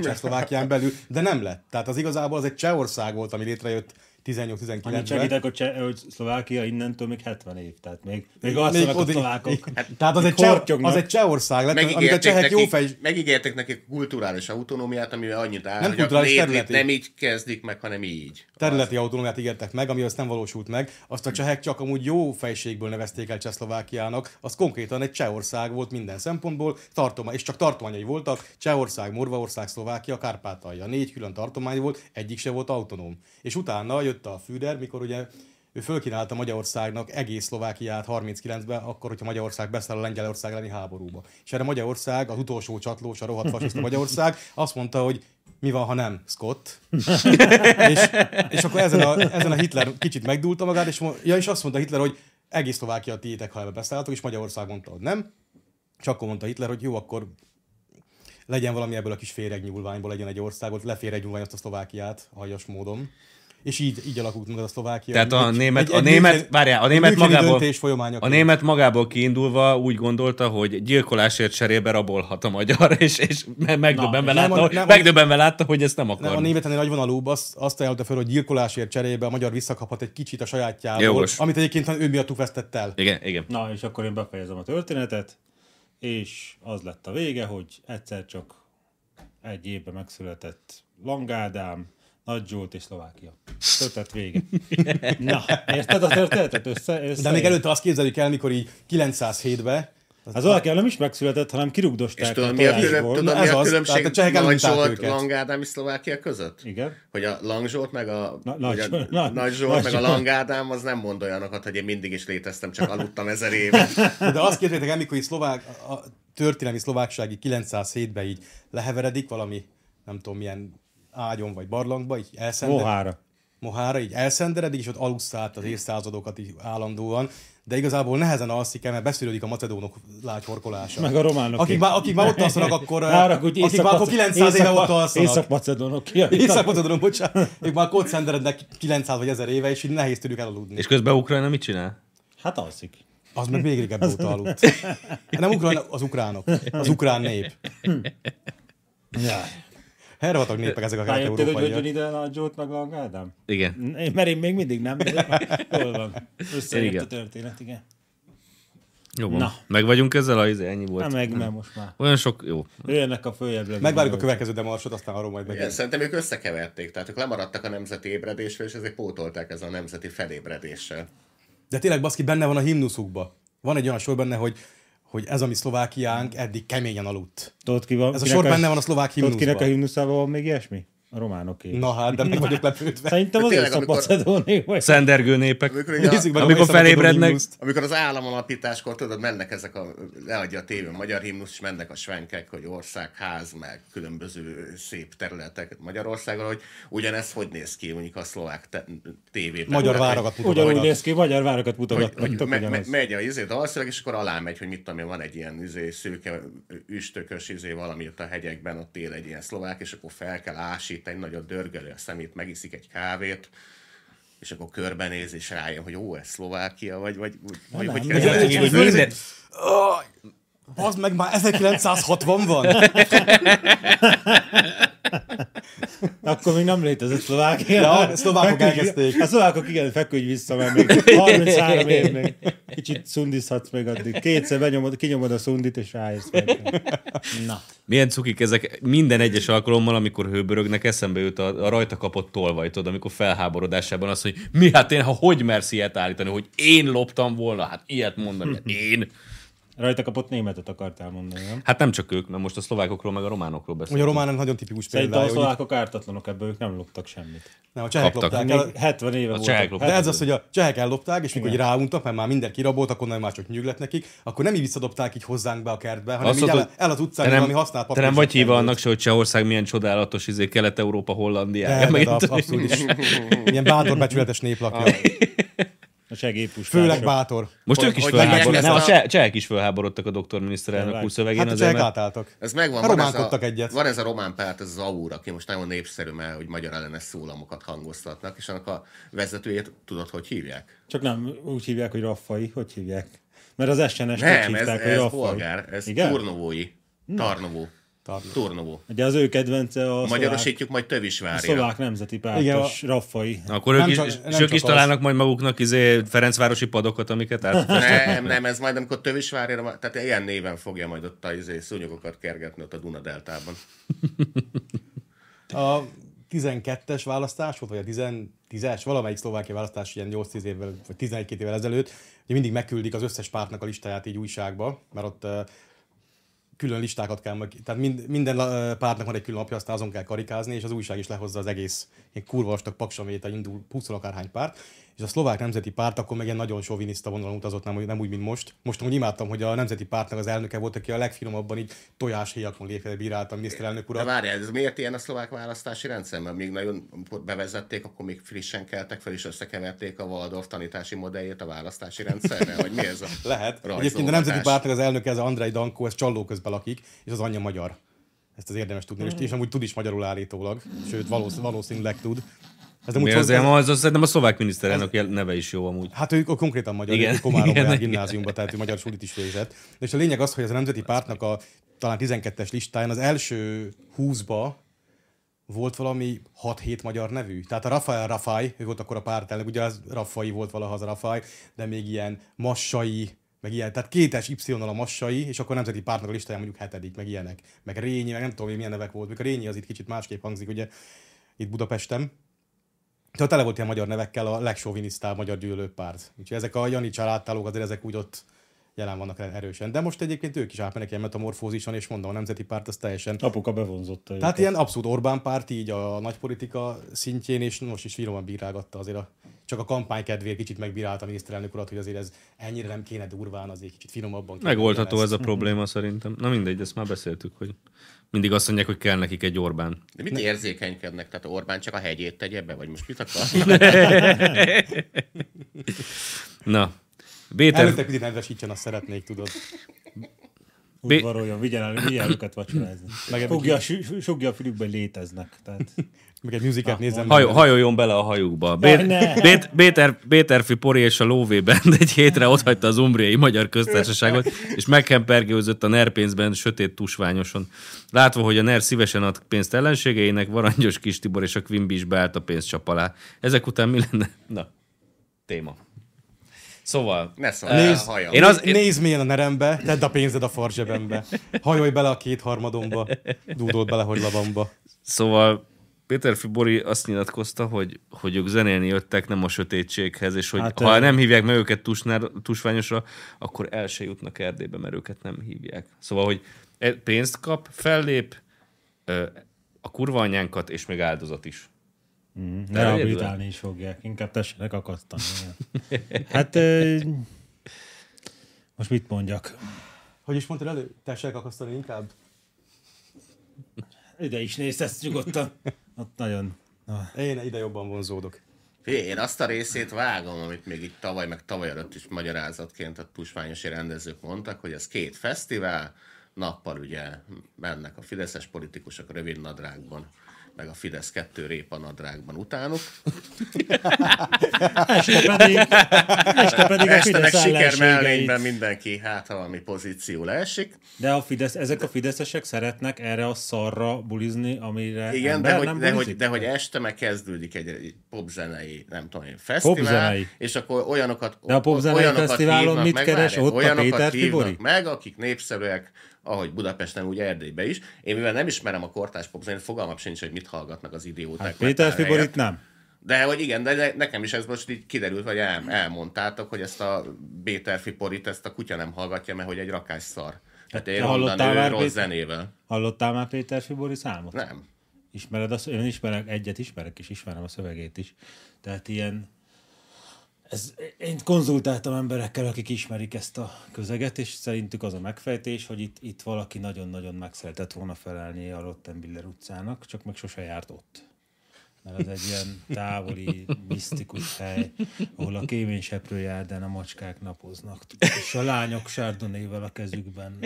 [SPEAKER 4] Csehszlovákián belül, de nem lett. Tehát az igazából az egy Csehország volt, ami létrejött 18-19-ben.
[SPEAKER 2] Annyit segítek, hogy, Cseh- hogy Szlovákia innentől még 70 év, tehát még, még alszanak a
[SPEAKER 4] oda- Hát
[SPEAKER 2] szlovákok.
[SPEAKER 4] Tehát az
[SPEAKER 2] Még
[SPEAKER 4] egy, cseh,
[SPEAKER 2] kortyognak.
[SPEAKER 4] az egy Csehország lett, amit a
[SPEAKER 3] Megígérték,
[SPEAKER 4] csehek
[SPEAKER 3] nekik,
[SPEAKER 4] jó fej...
[SPEAKER 3] megígérték nekik kulturális autonómiát, amivel annyit áll,
[SPEAKER 4] Nem
[SPEAKER 3] hogy a
[SPEAKER 4] kulturális,
[SPEAKER 3] létrét
[SPEAKER 4] területi.
[SPEAKER 3] nem így kezdik meg, hanem így.
[SPEAKER 4] területi autonómiát ígértek meg, ami azt nem valósult meg. Azt a csehek csak amúgy jó fejségből nevezték el Csehszlovákiának, az konkrétan egy Csehország volt minden szempontból, tartoma, és csak tartományai voltak, Csehország, Morvaország, Szlovákia, Kárpátalja. Négy külön tartomány volt, egyik se volt autonóm. És utána jött a Führer, mikor ugye ő fölkínálta Magyarországnak egész Szlovákiát 39-ben, akkor, hogyha Magyarország beszáll a Lengyelország elleni háborúba. És erre Magyarország, az utolsó csatlós, a rohadt fasiszta Magyarország azt mondta, hogy mi van, ha nem Scott? és, és akkor ezen a, ezen a Hitler kicsit megdúlta magát, és, mo- ja, és azt mondta Hitler, hogy egész Szlovákia tiétek, ha ebbe beszálltok, és Magyarország mondta, hogy nem. És akkor mondta Hitler, hogy jó, akkor legyen valami ebből a kis féregnyúlványból, legyen egy országot, leféregnyúlvány azt a Szlovákiát, aljas módon. És így, így alakult meg az a Szlovákia.
[SPEAKER 1] Tehát a
[SPEAKER 4] Egy-
[SPEAKER 1] német,
[SPEAKER 4] egy-
[SPEAKER 1] a
[SPEAKER 4] egy
[SPEAKER 1] német,
[SPEAKER 4] müncheni-
[SPEAKER 1] várjál, a
[SPEAKER 4] egy
[SPEAKER 1] német
[SPEAKER 4] müncheni
[SPEAKER 1] magából,
[SPEAKER 4] döntés folyamányaként.
[SPEAKER 1] a német magából kiindulva úgy gondolta, hogy gyilkolásért cserébe rabolhat a magyar, és, és me- megdöbbenve,
[SPEAKER 4] nem,
[SPEAKER 1] látta,
[SPEAKER 4] nem,
[SPEAKER 1] hogy, megdöbbenve látta, hogy ezt nem akar.
[SPEAKER 4] Nem, a németenél nagyvonalúbb azt, azt ajánlotta fel, hogy gyilkolásért cserébe a magyar visszakaphat egy kicsit a sajátjából,
[SPEAKER 1] Jogos.
[SPEAKER 4] amit egyébként ő miattuk vesztett el.
[SPEAKER 1] Igen, igen.
[SPEAKER 2] Na, és akkor én befejezem a történetet, és az lett a vége, hogy egyszer csak egy évben megszületett Langádám, Nagy Zsolt és Szlovákia. Történet vége. Na, érted a történetet? Össze, össze
[SPEAKER 4] De még előtte azt képzeljük el, mikor így 907-ben
[SPEAKER 2] Az Szlovákia nem is megszületett, hanem
[SPEAKER 3] És
[SPEAKER 2] kirugdosták a
[SPEAKER 3] tudod, mi a, külön,
[SPEAKER 2] tojásból.
[SPEAKER 3] tudod,
[SPEAKER 4] Na,
[SPEAKER 3] mi
[SPEAKER 4] ez
[SPEAKER 3] a
[SPEAKER 4] az.
[SPEAKER 3] különbség
[SPEAKER 4] Tehát a csehek
[SPEAKER 3] Nagy
[SPEAKER 4] elunták
[SPEAKER 3] Zsolt,
[SPEAKER 4] őket.
[SPEAKER 3] Langádám és Szlovákia között?
[SPEAKER 2] Igen.
[SPEAKER 3] Hogy a Lang Zsolt meg a,
[SPEAKER 2] Na- Nagy
[SPEAKER 3] Nagy, a
[SPEAKER 2] Zsolt, Nagy-
[SPEAKER 3] Nagy, Nagy Zsolt,
[SPEAKER 2] Nagy
[SPEAKER 3] meg a
[SPEAKER 2] Zsolt.
[SPEAKER 3] Lang Ádám, az nem mond olyanokat, hogy én mindig is léteztem, csak aludtam ezer évet.
[SPEAKER 4] De azt képzeljétek el, mikor így szlovák, a a történelmi szlováksági 907-ben így leheveredik valami, nem tudom milyen ágyon vagy barlangba, így elszenderedik.
[SPEAKER 2] Mohára.
[SPEAKER 4] Mohára, így elszenderedik, és ott alussza át az évszázadokat így állandóan, de igazából nehezen alszik el, mert beszűrődik a macedónok lágyhorkolása.
[SPEAKER 2] Meg a románok.
[SPEAKER 4] Akik már, akik már ott alszanak, akkor,
[SPEAKER 2] Árak, úgy
[SPEAKER 4] akik már akkor 900 éve ott alszanak.
[SPEAKER 2] Észak-Macedonok. Észak
[SPEAKER 4] Észak-Macedónok, bocsánat. Ők már kódszenderednek 900 vagy 1000 éve, és így nehéz tőlük elaludni.
[SPEAKER 1] És közben Ukrajna mit csinál?
[SPEAKER 2] hát alszik.
[SPEAKER 4] Az meg még régebb óta aludt. Hát Nem ukrán, az ukránok. Az ukrán nép.
[SPEAKER 2] Ja.
[SPEAKER 4] Hervatag népek ezek a
[SPEAKER 2] Rájöttél, hogy hogy jön
[SPEAKER 4] kelet-európaiak.
[SPEAKER 2] ide Nagy Zsolt meg Langádám?
[SPEAKER 1] Igen.
[SPEAKER 2] Én, mert én még mindig nem, de jól van. Összejött
[SPEAKER 1] Igen.
[SPEAKER 2] a történet, igen.
[SPEAKER 1] Jó van.
[SPEAKER 2] Na.
[SPEAKER 1] Meg vagyunk ezzel, a izé, ennyi
[SPEAKER 2] Hát
[SPEAKER 1] volt.
[SPEAKER 2] meg nem most már.
[SPEAKER 1] Olyan sok, jó.
[SPEAKER 2] Jöjjenek a följebb levegő.
[SPEAKER 4] Megvárjuk a következő demarsot, aztán arról majd
[SPEAKER 3] Igen,
[SPEAKER 4] meg.
[SPEAKER 3] Szerintem ők összekeverték, tehát ők lemaradtak a nemzeti ébredésről, és ezért pótolták ezzel a nemzeti felébredéssel.
[SPEAKER 4] De tényleg baszki benne van a himnuszukba. Van egy olyan sor benne, hogy hogy ez a mi Szlovákiánk eddig keményen aludt.
[SPEAKER 2] Tudod, ki van,
[SPEAKER 4] Ez a
[SPEAKER 2] kinek
[SPEAKER 4] sor benne van a szlovák
[SPEAKER 2] Tudod, kinek a
[SPEAKER 4] himnuszban.
[SPEAKER 2] himnuszában van még ilyesmi? A románoké.
[SPEAKER 4] Na hát, de meg vagyok lepődve.
[SPEAKER 2] Szerintem az
[SPEAKER 3] Tényleg,
[SPEAKER 2] észak macedóné vagy.
[SPEAKER 1] Szendergő népek.
[SPEAKER 3] Amikor, ugye,
[SPEAKER 4] Nézzük meg a
[SPEAKER 1] Amikor
[SPEAKER 4] Szabadon
[SPEAKER 1] felébrednek.
[SPEAKER 4] himnuszt.
[SPEAKER 3] amikor az államalapításkor, tudod, mennek ezek a, leadja a tévé, a magyar himnusz, és mennek a svenkek, hogy országház, meg különböző szép területek Magyarországon, hogy ugyanez hogy néz ki mondjuk a szlovák te- tévében.
[SPEAKER 4] Magyar
[SPEAKER 3] Tehát,
[SPEAKER 4] váragat
[SPEAKER 2] Ugyanúgy
[SPEAKER 4] mutogatnak.
[SPEAKER 2] néz ki, magyar várokat
[SPEAKER 3] hogy, hogy
[SPEAKER 2] mutogatnak.
[SPEAKER 3] me, me,
[SPEAKER 2] ugyanaz.
[SPEAKER 3] megy a izé dalszöveg, és akkor alá megy, hogy mit tudom én, van egy ilyen izé, szőke, üstökös izé valami ott a hegyekben, ott él egy ilyen szlovák, és akkor fel kell ásít egy nagyot dörgölő a szemét, megiszik egy kávét, és akkor körbenéz, és rájön, hogy ó, ez Szlovákia, vagy, vagy, vagy, vagy
[SPEAKER 4] Ez
[SPEAKER 3] kell-
[SPEAKER 4] egy-
[SPEAKER 1] Hogy
[SPEAKER 4] ez egy-
[SPEAKER 1] minden-
[SPEAKER 4] Aj, Az meg már 1960 van.
[SPEAKER 2] Akkor még nem létezett Szlovákia.
[SPEAKER 4] Ja, a szlovákok
[SPEAKER 2] Feküdj-
[SPEAKER 4] elkezdték.
[SPEAKER 2] A szlovákok igen, feküdj vissza, mert még 33 év még. Kicsit szundizhatsz még addig. Kétszer benyomod, kinyomod a szundit, és rájössz meg. Na.
[SPEAKER 1] Milyen cukik ezek minden egyes alkalommal, amikor hőbörögnek, eszembe jut a, a rajta kapott tolvaj, tudod, amikor felháborodásában az, hogy mi hát én, ha hogy mersz ilyet állítani, hogy én loptam volna, hát ilyet mondani, hát én.
[SPEAKER 2] Rajta kapott németet akartál mondani, nem?
[SPEAKER 1] Hát nem csak ők, mert most a szlovákokról meg a románokról
[SPEAKER 4] Ugye a
[SPEAKER 1] beszélünk.
[SPEAKER 4] román nagyon tipikus
[SPEAKER 2] Szerintem a
[SPEAKER 4] példája, hogy
[SPEAKER 2] szlovákok ártatlanok ebből, ők nem loptak semmit.
[SPEAKER 4] nem, a csehek
[SPEAKER 1] kaptak.
[SPEAKER 4] lopták
[SPEAKER 2] Még
[SPEAKER 4] el,
[SPEAKER 2] 70 éve
[SPEAKER 1] csehek
[SPEAKER 2] voltak.
[SPEAKER 1] lopták.
[SPEAKER 4] De
[SPEAKER 2] Hát,
[SPEAKER 4] ez az, hogy a csehek ellopták, és mikor így ráuntak, mert már minden kirabolt, akkor nem már csak nyűg lett nekik, akkor nem így visszadobták így hozzánk be a kertbe, hanem
[SPEAKER 1] Azt
[SPEAKER 4] így el,
[SPEAKER 1] mondod,
[SPEAKER 4] el, az
[SPEAKER 1] Te
[SPEAKER 4] utcán,
[SPEAKER 1] nem,
[SPEAKER 4] valami használt
[SPEAKER 1] te
[SPEAKER 4] papír.
[SPEAKER 1] nem vagy
[SPEAKER 4] zsebben
[SPEAKER 1] híve
[SPEAKER 4] volt.
[SPEAKER 1] annak se, hogy Csehország milyen csodálatos izé, Kelet-Európa, Hollandiája.
[SPEAKER 4] De, de,
[SPEAKER 1] meg
[SPEAKER 4] de, absz- abszolút is. Ilyen bátor, becsületes nép
[SPEAKER 1] Ah,
[SPEAKER 4] lakja.
[SPEAKER 2] A segélypuskások.
[SPEAKER 4] Főleg bátor.
[SPEAKER 1] Most
[SPEAKER 3] Hogy-
[SPEAKER 1] ők is
[SPEAKER 3] hogy hívják
[SPEAKER 1] fölháborodtak.
[SPEAKER 3] ezt
[SPEAKER 1] Nem, a
[SPEAKER 3] a-
[SPEAKER 1] cseh- csehek is fölháborodtak a doktor miniszterelnök
[SPEAKER 2] Tényleg.
[SPEAKER 1] úr szövegén.
[SPEAKER 4] Hát a
[SPEAKER 1] azért,
[SPEAKER 4] csehek
[SPEAKER 1] mert-
[SPEAKER 4] átálltak.
[SPEAKER 3] Ez megvan,
[SPEAKER 4] A
[SPEAKER 3] van ez,
[SPEAKER 4] román
[SPEAKER 3] a,
[SPEAKER 4] kaptak egyet.
[SPEAKER 3] van ez a román párt, ez az AUR, aki most nagyon népszerű, mert hogy magyar ellenes szólamokat hangoztatnak, és annak a vezetőjét tudod, hogy hívják?
[SPEAKER 2] Csak nem úgy hívják, hogy raffai. Hogy hívják? Mert az SNS-t
[SPEAKER 3] Nem, ez,
[SPEAKER 2] hívták,
[SPEAKER 3] ez
[SPEAKER 2] hogy
[SPEAKER 3] bolgár, ez
[SPEAKER 2] Igen?
[SPEAKER 3] turnovói. Tarnovó. Turnovó.
[SPEAKER 2] Ugye az ő kedvence a szlovák,
[SPEAKER 3] Magyarosítjuk majd
[SPEAKER 2] a
[SPEAKER 3] Tövisvárja.
[SPEAKER 2] szlovák nemzeti
[SPEAKER 4] Igen,
[SPEAKER 2] pártos
[SPEAKER 4] a-
[SPEAKER 2] raffai.
[SPEAKER 1] Akkor
[SPEAKER 4] Nem
[SPEAKER 1] ők is,
[SPEAKER 4] csak-
[SPEAKER 1] és
[SPEAKER 4] nem
[SPEAKER 1] ők
[SPEAKER 4] csak
[SPEAKER 1] is
[SPEAKER 4] az.
[SPEAKER 1] találnak majd maguknak izé Ferencvárosi padokat, amiket át...
[SPEAKER 3] Nem, nem, ez majd amikor Tövisvárjára, tehát ilyen néven fogja majd ott a izé, szúnyogokat kergetni ott a Dunadeltában.
[SPEAKER 4] A 12-es választás volt, vagy a 10 10-es, valamelyik szlovákia választás ilyen 8-10 évvel, vagy 11 évvel ezelőtt, hogy mindig megküldik az összes pártnak a listáját így újságba, mert ott ö, külön listákat kell meg, tehát mind, minden ö, pártnak van egy külön lapja, aztán azon kell karikázni, és az újság is lehozza az egész ilyen kurva vastag paksaméta, indul 20 akárhány párt, és a szlovák nemzeti párt akkor meg ilyen nagyon soviniszta vonalon utazott, nem, úgy- nem úgy, mint most. Most úgy imádtam, hogy a nemzeti pártnak az elnöke volt, aki a legfinomabban így tojáshéjakon lépve bírálta a miniszterelnök
[SPEAKER 3] De
[SPEAKER 4] urat.
[SPEAKER 3] várjál, ez miért ilyen a szlovák választási rendszer? Mert még nagyon amikor bevezették, akkor még frissen keltek fel, és összekeverték a Waldorf tanítási modelljét a választási rendszerrel, vagy mi ez a
[SPEAKER 4] Lehet.
[SPEAKER 3] rajzolgatás?
[SPEAKER 4] Egyébként a Nemzeti Pártnak az elnöke, ez a Andrei Danko, ez csalló közben lakik, és az anyja magyar. Ezt az érdemes tudni, és, és amúgy tud is magyarul állítólag, sőt valósz, valószínűleg tud. Ez nem
[SPEAKER 1] Mi
[SPEAKER 4] úgy
[SPEAKER 1] az,
[SPEAKER 4] hozzá-
[SPEAKER 1] az, az, szerintem a szlovák miniszterelnök jel- neve is jó amúgy.
[SPEAKER 4] Hát ő konkrétan magyar,
[SPEAKER 1] Igen,
[SPEAKER 4] igen, Komárom
[SPEAKER 1] igen,
[SPEAKER 4] igen,
[SPEAKER 1] igen.
[SPEAKER 4] gimnáziumba, tehát ő magyar sulit is végzett. És a lényeg az, hogy ez a Nemzeti Pártnak a talán 12-es listáján az első 20-ba volt valami 6-7 magyar nevű. Tehát a Rafael Rafai, ő volt akkor a pártelnök, ugye az Rafai volt valaha az a Rafai, de még ilyen Massai, meg ilyen, tehát kétes y a Massai, és akkor a Nemzeti Pártnak a listáján mondjuk hetedik, meg ilyenek. Meg Rényi, meg nem tudom, hogy milyen nevek volt. Még a Rényi az itt kicsit másképp hangzik, ugye itt Budapesten. Tehát tele volt ilyen magyar nevekkel a legsovinisztább magyar gyűlölőpárt. Úgyhogy ezek a Jani családtálók azért ezek úgy ott jelen vannak erősen. De most egyébként ők is átmennek ilyen metamorfózison, és mondom, a Nemzeti Párt az teljesen
[SPEAKER 2] Apuka bevonzotta
[SPEAKER 4] tehát
[SPEAKER 2] őket.
[SPEAKER 4] ilyen abszolút Orbán párt így a nagypolitika szintjén, és most is finoman bírálgatta azért a, csak a kampány kedvéért kicsit megbírálta a miniszterelnök urat, hogy azért ez ennyire nem kéne durván, azért kicsit finomabban kéne
[SPEAKER 1] Megoldható ez
[SPEAKER 4] legyen
[SPEAKER 1] a probléma szerintem. Na mindegy, ezt már beszéltük, hogy mindig azt mondják, hogy kell nekik egy Orbán.
[SPEAKER 3] De mit érzékenykednek? Tehát Orbán csak a hegyét tegye be, vagy most mit akarnak?
[SPEAKER 1] Na, Béter,
[SPEAKER 4] Előtte picit nedvesítsen, azt szeretnék, tudod.
[SPEAKER 1] Bé-
[SPEAKER 2] udvaroljon, vigyen el, vigyen őket vacsorázni.
[SPEAKER 4] Meg-
[SPEAKER 2] Fogja, su- su- sugja a fülükbe, léteznek. Tehát
[SPEAKER 4] Meg egy műziket nézem.
[SPEAKER 1] hajó, hajoljon bele a hajukba.
[SPEAKER 2] Jaj,
[SPEAKER 1] Bét,
[SPEAKER 2] ne!
[SPEAKER 1] Bét, Béter, Béterfi Pori és a Lóvé Band egy hétre otthagyta az Umbriai Magyar Köztársaságot, és megkempergőzött a NER pénzben sötét tusványoson. Látva, hogy a NER szívesen ad pénzt ellenségeinek, Varangyos Kis Tibor és a Quimby is beállt a pénzcsap alá. Ezek után mi lenne? Na, téma. Szóval,
[SPEAKER 3] Ne szólj,
[SPEAKER 4] Nézd,
[SPEAKER 3] a haja.
[SPEAKER 1] Én
[SPEAKER 4] Én
[SPEAKER 1] az-
[SPEAKER 4] az... Nézd milyen a nerembe, tedd a pénzed a farzsebembe. Hajolj bele a kétharmadomba, dúdold bele, hogy labamba.
[SPEAKER 1] Szóval Péter Fibori azt nyilatkozta, hogy, hogy ők zenélni jöttek, nem a sötétséghez, és hogy hát,
[SPEAKER 2] Hát,
[SPEAKER 1] ha
[SPEAKER 2] ö-
[SPEAKER 1] nem hívják meg őket tusnár, tusványosra, akkor el se jutnak Erdélybe, mert őket nem hívják. Szóval, hogy e- pénzt kap, fellép, ö, a kurva anyánkat, és még áldozat is.
[SPEAKER 2] ne rehabilitálni is fogják. Inkább tessenek akasztani. igen. Hát ö, most mit mondjak?
[SPEAKER 4] Hogy is mondtad elő? Tessék akasztani inkább?
[SPEAKER 2] Ide is nézd, ezt nyugodtan. Ott nagyon. Na,
[SPEAKER 4] Én ide jobban vonzódok.
[SPEAKER 3] Figyelj, Én azt a részét vágom, amit még itt tavaly, meg tavaly előtt is magyarázatként a tusványosi rendezők mondtak, hogy ez két fesztivál, nappal ugye mennek a fideszes politikusok rövid nadrágban, meg a Fidesz kettő répa nadrágban utánuk.
[SPEAKER 2] Este pedig, este pedig a
[SPEAKER 3] Hát Este meg
[SPEAKER 2] Fidesz
[SPEAKER 3] siker
[SPEAKER 2] ellenségei.
[SPEAKER 3] mellényben mindenki, hát ha valami pozíció leesik.
[SPEAKER 2] De a Fidesz, ezek a fideszesek szeretnek erre a szarra bulizni, amire
[SPEAKER 3] Igen,
[SPEAKER 2] ember
[SPEAKER 3] de hogy,
[SPEAKER 2] nem
[SPEAKER 3] de, hogy,
[SPEAKER 2] bulizik?
[SPEAKER 3] de hogy este meg kezdődik egy, egy popzenei, nem tudom én, fesztivál,
[SPEAKER 2] Popzenei.
[SPEAKER 3] és akkor olyanokat
[SPEAKER 2] De a popzenei
[SPEAKER 3] olyanokat
[SPEAKER 2] fesztiválon
[SPEAKER 3] hívnak
[SPEAKER 2] mit
[SPEAKER 3] meg,
[SPEAKER 2] keres
[SPEAKER 3] várjál,
[SPEAKER 2] ott a
[SPEAKER 3] olyanokat
[SPEAKER 2] Péter
[SPEAKER 3] hívnak
[SPEAKER 2] Tibori?
[SPEAKER 3] meg, akik népszerűek, ahogy Budapesten, úgy Erdélyben is. Én mivel nem ismerem a kortás popzenét, fogalmam sincs, hogy mit hallgatnak az idióták.
[SPEAKER 2] Hát Péter
[SPEAKER 3] metal helyett.
[SPEAKER 2] Fiborit nem.
[SPEAKER 3] De hogy igen, de ne- nekem is ez most így kiderült, vagy el, elmondtátok, hogy ezt a B-terfi porit, ezt a kutya nem hallgatja, mert hogy egy rakás szar. Hát egy
[SPEAKER 2] te hallottál
[SPEAKER 3] ronda nő
[SPEAKER 2] már
[SPEAKER 3] rossz
[SPEAKER 2] Péter?
[SPEAKER 3] zenével.
[SPEAKER 2] Hallottál már Péter Fibori számot?
[SPEAKER 3] Nem.
[SPEAKER 2] Ismered azt? Én ismerek, egyet ismerek, és ismerem a szövegét is. Tehát ilyen... Ez, én konzultáltam emberekkel, akik ismerik ezt a közeget, és szerintük az a megfejtés, hogy itt, itt valaki nagyon-nagyon meg szeretett volna felelni a Rottenbiller utcának, csak meg sose járt ott. Mert ez egy ilyen távoli, misztikus hely, ahol a kéményseprő járdán a macskák napoznak. És a lányok sárdonével a kezükben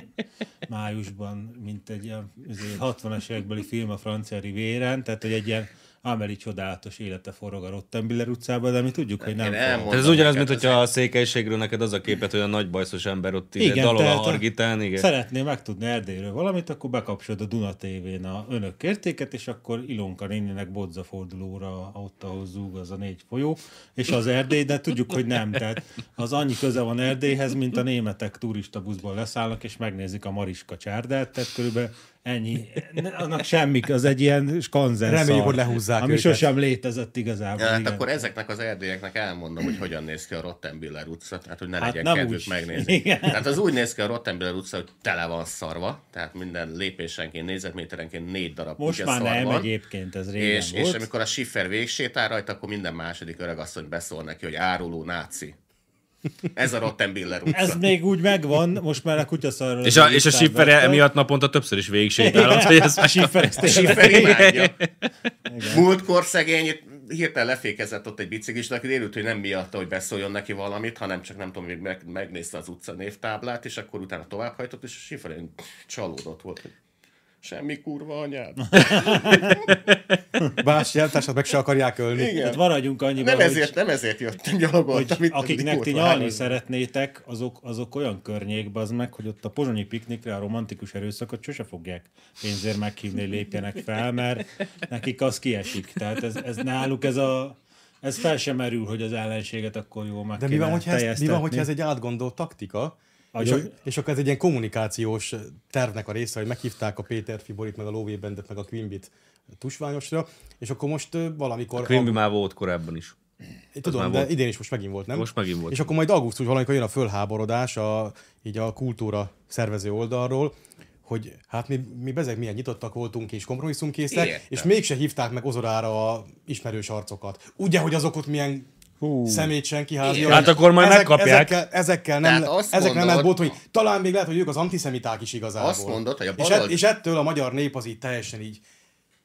[SPEAKER 2] májusban, mint egy ilyen izé, 60-as évekbeli film a francia rivéren, tehát hogy egy ilyen Ameli csodálatos élete forog a Rottenbiller utcában, de mi tudjuk, hogy nem
[SPEAKER 3] Én
[SPEAKER 2] forog.
[SPEAKER 3] elmondom
[SPEAKER 1] Tehát ez ugyanaz,
[SPEAKER 3] neked,
[SPEAKER 1] mint hogyha a székelységről neked az a képet, hogy a nagy bajszos ember ott ide
[SPEAKER 2] Igen,
[SPEAKER 1] dalol a
[SPEAKER 2] tehát a-
[SPEAKER 1] hargitán, igen.
[SPEAKER 2] Szeretné megtudni Erdélyről valamit, akkor bekapcsolod a Duna tévén a önök értéket, és akkor Ilonka néninek bodza fordulóra ott, ahol zúg az a négy folyó, és az Erdély, de tudjuk, hogy nem. Tehát az annyi köze van Erdélyhez, mint a németek turista buszból leszállnak, és megnézik a Mariska csárdát, tehát körülbelül ennyi. Ne- Annak semmi, az egy ilyen skanzen
[SPEAKER 4] Reméljük,
[SPEAKER 2] szar,
[SPEAKER 4] hogy lehúzzák
[SPEAKER 2] Ami
[SPEAKER 4] őket.
[SPEAKER 2] sosem létezett igazából.
[SPEAKER 3] Ja, hát
[SPEAKER 2] igen.
[SPEAKER 3] akkor ezeknek az erdélyeknek elmondom, hogy hogyan néz ki a Rottenbiller utca, tehát hogy ne
[SPEAKER 2] Hát
[SPEAKER 3] legyen
[SPEAKER 2] nem
[SPEAKER 3] kedvük
[SPEAKER 2] úgy.
[SPEAKER 3] megnézni.
[SPEAKER 2] Igen.
[SPEAKER 3] Tehát az úgy néz ki a Rottenbiller utca, hogy tele van szarva, tehát minden lépésenként, négyzetméterenként négy darab
[SPEAKER 2] Most
[SPEAKER 3] kutya
[SPEAKER 2] már
[SPEAKER 3] szar
[SPEAKER 2] nem
[SPEAKER 3] szóval van.
[SPEAKER 2] egyébként, ez régen
[SPEAKER 3] És,
[SPEAKER 2] volt.
[SPEAKER 3] és amikor a Schiffer végsétál rajta, akkor minden második öregasszony beszól neki, hogy áruló náci. Ez a Rottenbiller utca.
[SPEAKER 2] Ez még úgy megvan, most már a kutyaszarról.
[SPEAKER 1] És a, és a siffer miatt naponta többször is végig sétálod, hogy ez
[SPEAKER 2] A siffer, ezt tényleg-
[SPEAKER 3] Schiffer imádja. Múltkor szegény itt hirtelen lefékezett ott egy biciklista, aki délült, hogy nem miatta, hogy beszóljon neki valamit, hanem csak nem tudom, még meg, megnézte az utca névtáblát, és akkor utána továbbhajtott, és a Schifferén csalódott volt, hogy semmi kurva anyád.
[SPEAKER 4] Más jeltársat meg se akarják ölni.
[SPEAKER 3] Igen.
[SPEAKER 2] Tehát maradjunk annyiban,
[SPEAKER 3] Nem ezért,
[SPEAKER 2] hogy,
[SPEAKER 3] nem ezért jöttem gyalogoltam.
[SPEAKER 2] hogy
[SPEAKER 3] itt,
[SPEAKER 2] akiknek
[SPEAKER 3] kurva
[SPEAKER 2] ti nyalni
[SPEAKER 3] hányos.
[SPEAKER 2] szeretnétek, azok, azok olyan környékbe az meg, hogy ott a pozsonyi piknikre a romantikus erőszakot sose fogják pénzért meghívni, hogy lépjenek fel, mert nekik az kiesik. Tehát ez, ez náluk ez a ez fel sem merül, hogy az ellenséget akkor jól meg
[SPEAKER 4] De mi
[SPEAKER 2] kéne
[SPEAKER 4] van, hogyha ez, mi van, hogyha
[SPEAKER 2] teljesztetni.
[SPEAKER 4] ez egy átgondolt taktika? És,
[SPEAKER 2] Agyon-
[SPEAKER 4] ak- és akkor ez egy ilyen kommunikációs tervnek a része, hogy meghívták a Péter Fiborit, meg a Lóvé Bendet, meg a Quimbit tusványosra, és akkor most ö, valamikor...
[SPEAKER 1] Quimby már volt korábban is.
[SPEAKER 4] Én Tudom,
[SPEAKER 1] már
[SPEAKER 4] de
[SPEAKER 1] volt.
[SPEAKER 4] idén is most megint volt, nem?
[SPEAKER 1] Most megint volt.
[SPEAKER 4] És akkor majd augusztus valamikor jön a fölháborodás a, így a kultúra szervező oldalról, hogy hát mi, mi bezeg milyen nyitottak voltunk és kompromisszumkészek,
[SPEAKER 3] Értem.
[SPEAKER 4] és mégse hívták meg ozorára a ismerős arcokat. Ugye, hogy azok ott milyen Hú. szemét senki házja.
[SPEAKER 3] Igen.
[SPEAKER 1] Hát akkor majd megkapják.
[SPEAKER 4] Ezekkel, ezekkel nem,
[SPEAKER 3] Tehát
[SPEAKER 4] le-
[SPEAKER 3] azt
[SPEAKER 4] ezekkel nem lehet
[SPEAKER 3] mondod-
[SPEAKER 4] volt, hogy talán még lehet, hogy ők az antiszemiták is igazából.
[SPEAKER 3] Azt mondod, hogy a
[SPEAKER 4] és,
[SPEAKER 3] balold-
[SPEAKER 4] ett, és ettől a magyar nép az így teljesen így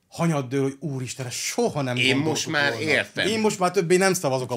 [SPEAKER 4] hanyaddől, hogy úristen, ezt soha nem
[SPEAKER 3] Én
[SPEAKER 4] gondoltuk
[SPEAKER 3] most már
[SPEAKER 4] volna.
[SPEAKER 3] értem.
[SPEAKER 4] Én most már többé nem szavazok a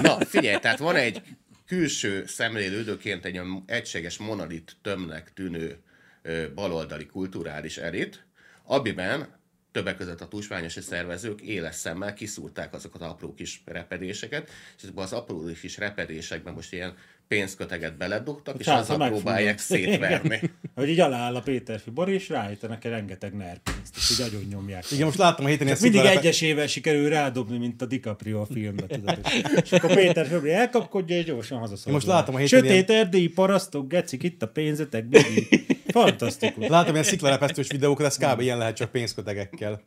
[SPEAKER 3] Na, figyelj, tehát van egy külső szemlélődőként egy olyan egységes monolit tömnek tűnő ö, baloldali kulturális elit, amiben többek között a tusványosi szervezők éles szemmel kiszúrták azokat az apró kis repedéseket, és ezekben az apró kis repedésekben most ilyen pénzköteget beledugtak, és
[SPEAKER 2] Csász,
[SPEAKER 3] azzal
[SPEAKER 2] Hát, megfújnak.
[SPEAKER 3] próbálják szétverni.
[SPEAKER 2] Hogy így alááll a Péter Fibor, és rájtenek rengeteg nerpénzt, és így agyon nyomják.
[SPEAKER 4] Igen, most láttam a héten ilyen
[SPEAKER 2] Mindig
[SPEAKER 4] sziklarepe-
[SPEAKER 2] egyesével sikerül rádobni, mint a DiCaprio a filmbe, tudod. És akkor Péter Föbri elkapkodja, és gyorsan hazaszol.
[SPEAKER 4] Én most látom a héten
[SPEAKER 2] Sötét erdélyi parasztok, gecik, itt a pénzetek, bugi. Fantasztikus.
[SPEAKER 4] Látom ilyen sziklarepesztős videókat, ez kb. ilyen lehet csak pénzkötegekkel.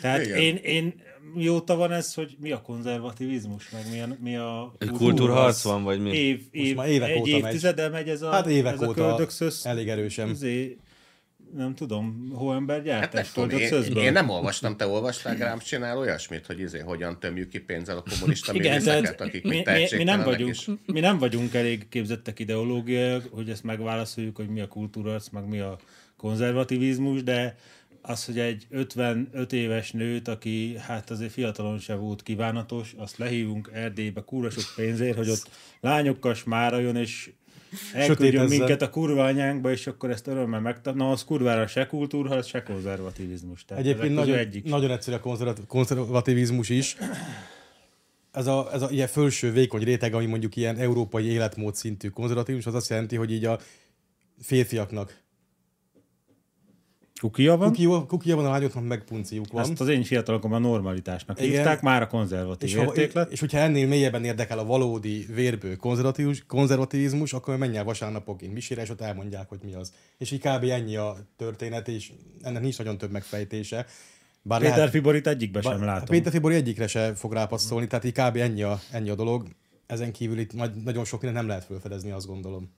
[SPEAKER 2] Tehát
[SPEAKER 3] Igen.
[SPEAKER 2] én, én, mióta van ez, hogy mi a konzervativizmus, meg mi a, mi a
[SPEAKER 1] Egy kultúrharc van, vagy mi?
[SPEAKER 2] Év, év,
[SPEAKER 4] már évek
[SPEAKER 2] egy
[SPEAKER 4] óta megy.
[SPEAKER 2] évtizede megy ez a,
[SPEAKER 4] Hát évek
[SPEAKER 2] ez a
[SPEAKER 4] óta
[SPEAKER 2] köldökszösz.
[SPEAKER 4] elég erősen.
[SPEAKER 2] Izé, nem tudom,
[SPEAKER 3] Hát nem
[SPEAKER 2] hóembergyártás,
[SPEAKER 3] tudom, én,
[SPEAKER 2] köldökszöszből.
[SPEAKER 3] én, nem olvastam, te olvastál Grám csinál olyasmit, hogy izé, hogyan tömjük ki pénzzel a kommunista
[SPEAKER 2] Igen,
[SPEAKER 3] művészeket,
[SPEAKER 2] tehát
[SPEAKER 3] akik
[SPEAKER 2] mi, mi,
[SPEAKER 3] még
[SPEAKER 2] mi, nem
[SPEAKER 3] tehetségtelenek
[SPEAKER 2] vagyunk,
[SPEAKER 3] is.
[SPEAKER 2] mi nem vagyunk elég képzettek ideológiai, hogy ezt megválaszoljuk, hogy mi a kultúrarc, meg mi a konzervativizmus, de az, hogy egy 55 éves nőt, aki hát azért fiatalon se volt kívánatos, azt lehívunk Erdélybe kúra sok pénzért, hogy ott lányokkal smároljon, és elküldjön
[SPEAKER 4] Sötétezzen.
[SPEAKER 2] minket a kurványánkba, és akkor ezt örömmel megtap. Na, az kurvára se kultúra, se konzervativizmus. Tehát
[SPEAKER 4] Egyébként
[SPEAKER 2] ezek közül
[SPEAKER 4] nagyon,
[SPEAKER 2] egyik.
[SPEAKER 4] nagyon egyszerű a konzervat- konzervativizmus is. Ez a, ez a ilyen fölső vékony réteg, ami mondjuk ilyen európai életmód szintű konzervativizmus, az azt jelenti, hogy így a férfiaknak
[SPEAKER 2] Kukia van?
[SPEAKER 4] kukia, kukia van, a lányoknak meg punciuk van.
[SPEAKER 2] Ezt az én fiatalokomban normalitásnak
[SPEAKER 4] Igen.
[SPEAKER 2] hívták, már a konzervatív
[SPEAKER 4] És,
[SPEAKER 2] és
[SPEAKER 4] ha,
[SPEAKER 2] értéklet.
[SPEAKER 4] és hogyha ennél mélyebben érdekel a valódi vérbő konzervativizmus, konzervativizmus akkor menj el vasárnapokként misére, és ott elmondják, hogy mi az. És így kb. ennyi a történet, és ennek nincs nagyon több megfejtése. Bár
[SPEAKER 2] Péter Fiborit egyikbe sem
[SPEAKER 4] Ba-
[SPEAKER 2] látom.
[SPEAKER 4] A Péter Fibori egyikre se fog rápasszolni, tehát így kb. ennyi a, ennyi a dolog. Ezen kívül itt nagy, nagyon sok mindent nem lehet felfedezni, azt gondolom.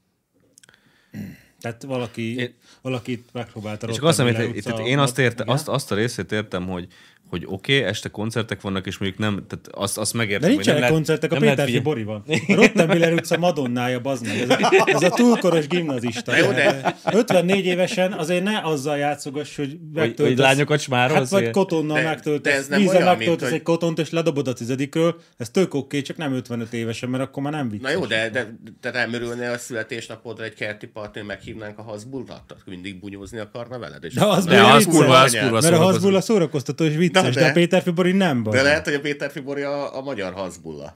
[SPEAKER 2] Tehát valaki, én... valakit megpróbálta
[SPEAKER 1] És akkor azt
[SPEAKER 2] Rottenmüller
[SPEAKER 1] mondom,
[SPEAKER 2] utca-
[SPEAKER 1] tehát én azt, érte,
[SPEAKER 2] Igen.
[SPEAKER 1] azt, azt a részét értem, hogy hogy oké, okay, este koncertek vannak, és mondjuk nem, tehát azt, azt megértem,
[SPEAKER 2] De
[SPEAKER 1] hogy
[SPEAKER 2] nincsenek
[SPEAKER 1] nem
[SPEAKER 2] lehet,
[SPEAKER 1] lehet-
[SPEAKER 2] koncertek, a
[SPEAKER 1] nem lehet
[SPEAKER 2] Péter
[SPEAKER 1] figyelni.
[SPEAKER 2] Fibori van. A Rottenmiller utca Madonnája, bazd meg. Ez a, ez a túlkoros gimnazista.
[SPEAKER 3] Jó, de-
[SPEAKER 2] 54 évesen azért ne azzal játszogass, hogy megtöltesz.
[SPEAKER 1] hogy lányokat smároz,
[SPEAKER 2] Hát vagy
[SPEAKER 1] ilyen?
[SPEAKER 2] kotonnal
[SPEAKER 3] De-
[SPEAKER 2] megtöltesz,
[SPEAKER 3] de ez nem
[SPEAKER 2] vízzel
[SPEAKER 3] olyan, mint
[SPEAKER 2] megtöltesz
[SPEAKER 3] hogy-
[SPEAKER 2] egy kotont, és ledobod a tizedikről. Ez tök oké, csak nem 55 évesen, mert akkor már nem vicces.
[SPEAKER 3] Na jó, de, de te nem örülnél a születésnapodra egy kerti partnőn meghívnánk a Hasburrat? Tehát Mindig bunyózni akarna veled? És
[SPEAKER 2] De az,
[SPEAKER 1] De
[SPEAKER 2] Ugye
[SPEAKER 1] az
[SPEAKER 2] vicces.
[SPEAKER 1] kurva, az
[SPEAKER 3] Anyád.
[SPEAKER 1] kurva
[SPEAKER 2] Mert a
[SPEAKER 1] szórakozó.
[SPEAKER 2] Hasbulla szórakoztató és vicces, de,
[SPEAKER 3] de-
[SPEAKER 2] a Péter Fibori nem
[SPEAKER 3] De
[SPEAKER 2] baj.
[SPEAKER 3] lehet, hogy a Péter Fibori a, a magyar Hasbulla.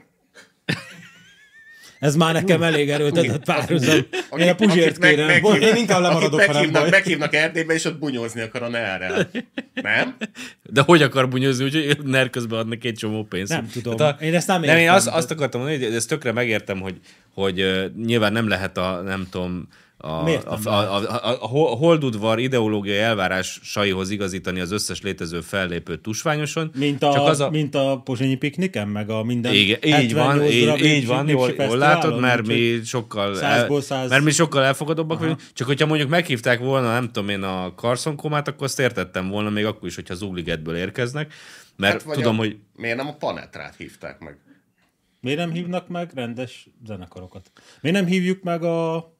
[SPEAKER 2] Ez már nekem elég erőltetett párhuzam. Én a
[SPEAKER 3] Akit-
[SPEAKER 2] Puzsért
[SPEAKER 3] akit meg-
[SPEAKER 2] kérem.
[SPEAKER 3] meghív-
[SPEAKER 4] Én inkább lemaradok,
[SPEAKER 3] akit
[SPEAKER 4] ha nem
[SPEAKER 3] meghívnak,
[SPEAKER 4] baj.
[SPEAKER 3] meghívnak Erdélybe, és ott bunyózni akar a nerre. Nem?
[SPEAKER 1] De hogy akar bunyózni, úgyhogy NER közben adnak egy csomó pénzt.
[SPEAKER 2] Nem tudom.
[SPEAKER 1] Tehát
[SPEAKER 2] Én ezt nem
[SPEAKER 1] nem én
[SPEAKER 2] értem.
[SPEAKER 1] azt, azt akartam mondani, hogy ezt tökre megértem, hogy, hogy ö, nyilván nem lehet a, nem tudom, a,
[SPEAKER 2] Miért
[SPEAKER 1] a,
[SPEAKER 2] nem
[SPEAKER 1] a, a, a, a ho- holdudvar ideológiai elvárásaihoz igazítani az összes létező fellépőt tusványosan.
[SPEAKER 2] Mint a,
[SPEAKER 1] Csak az
[SPEAKER 2] a...
[SPEAKER 1] a,
[SPEAKER 2] mint a pozsonyi pikniken, meg a minden
[SPEAKER 1] igen, így van,
[SPEAKER 2] 78
[SPEAKER 1] így,
[SPEAKER 2] darab
[SPEAKER 1] így van,
[SPEAKER 2] népsi-
[SPEAKER 1] jól,
[SPEAKER 2] népsi
[SPEAKER 1] jól
[SPEAKER 2] fesztiválon,
[SPEAKER 1] látod, mert
[SPEAKER 2] úgyhogy-
[SPEAKER 1] mi sokkal,
[SPEAKER 2] százból száz-
[SPEAKER 1] mert mi sokkal elfogadóbbak vagyunk. Csak hogyha mondjuk meghívták volna, nem tudom én, a Carson Komát, akkor azt értettem volna, még akkor is, hogyha Zugligetből érkeznek, mert
[SPEAKER 3] Hát vagy
[SPEAKER 1] tudom,
[SPEAKER 3] a,
[SPEAKER 1] hogy
[SPEAKER 3] Miért nem a Panetrát hívták meg?
[SPEAKER 2] Miért nem hívnak meg rendes zenekarokat? Miért nem hívjuk meg a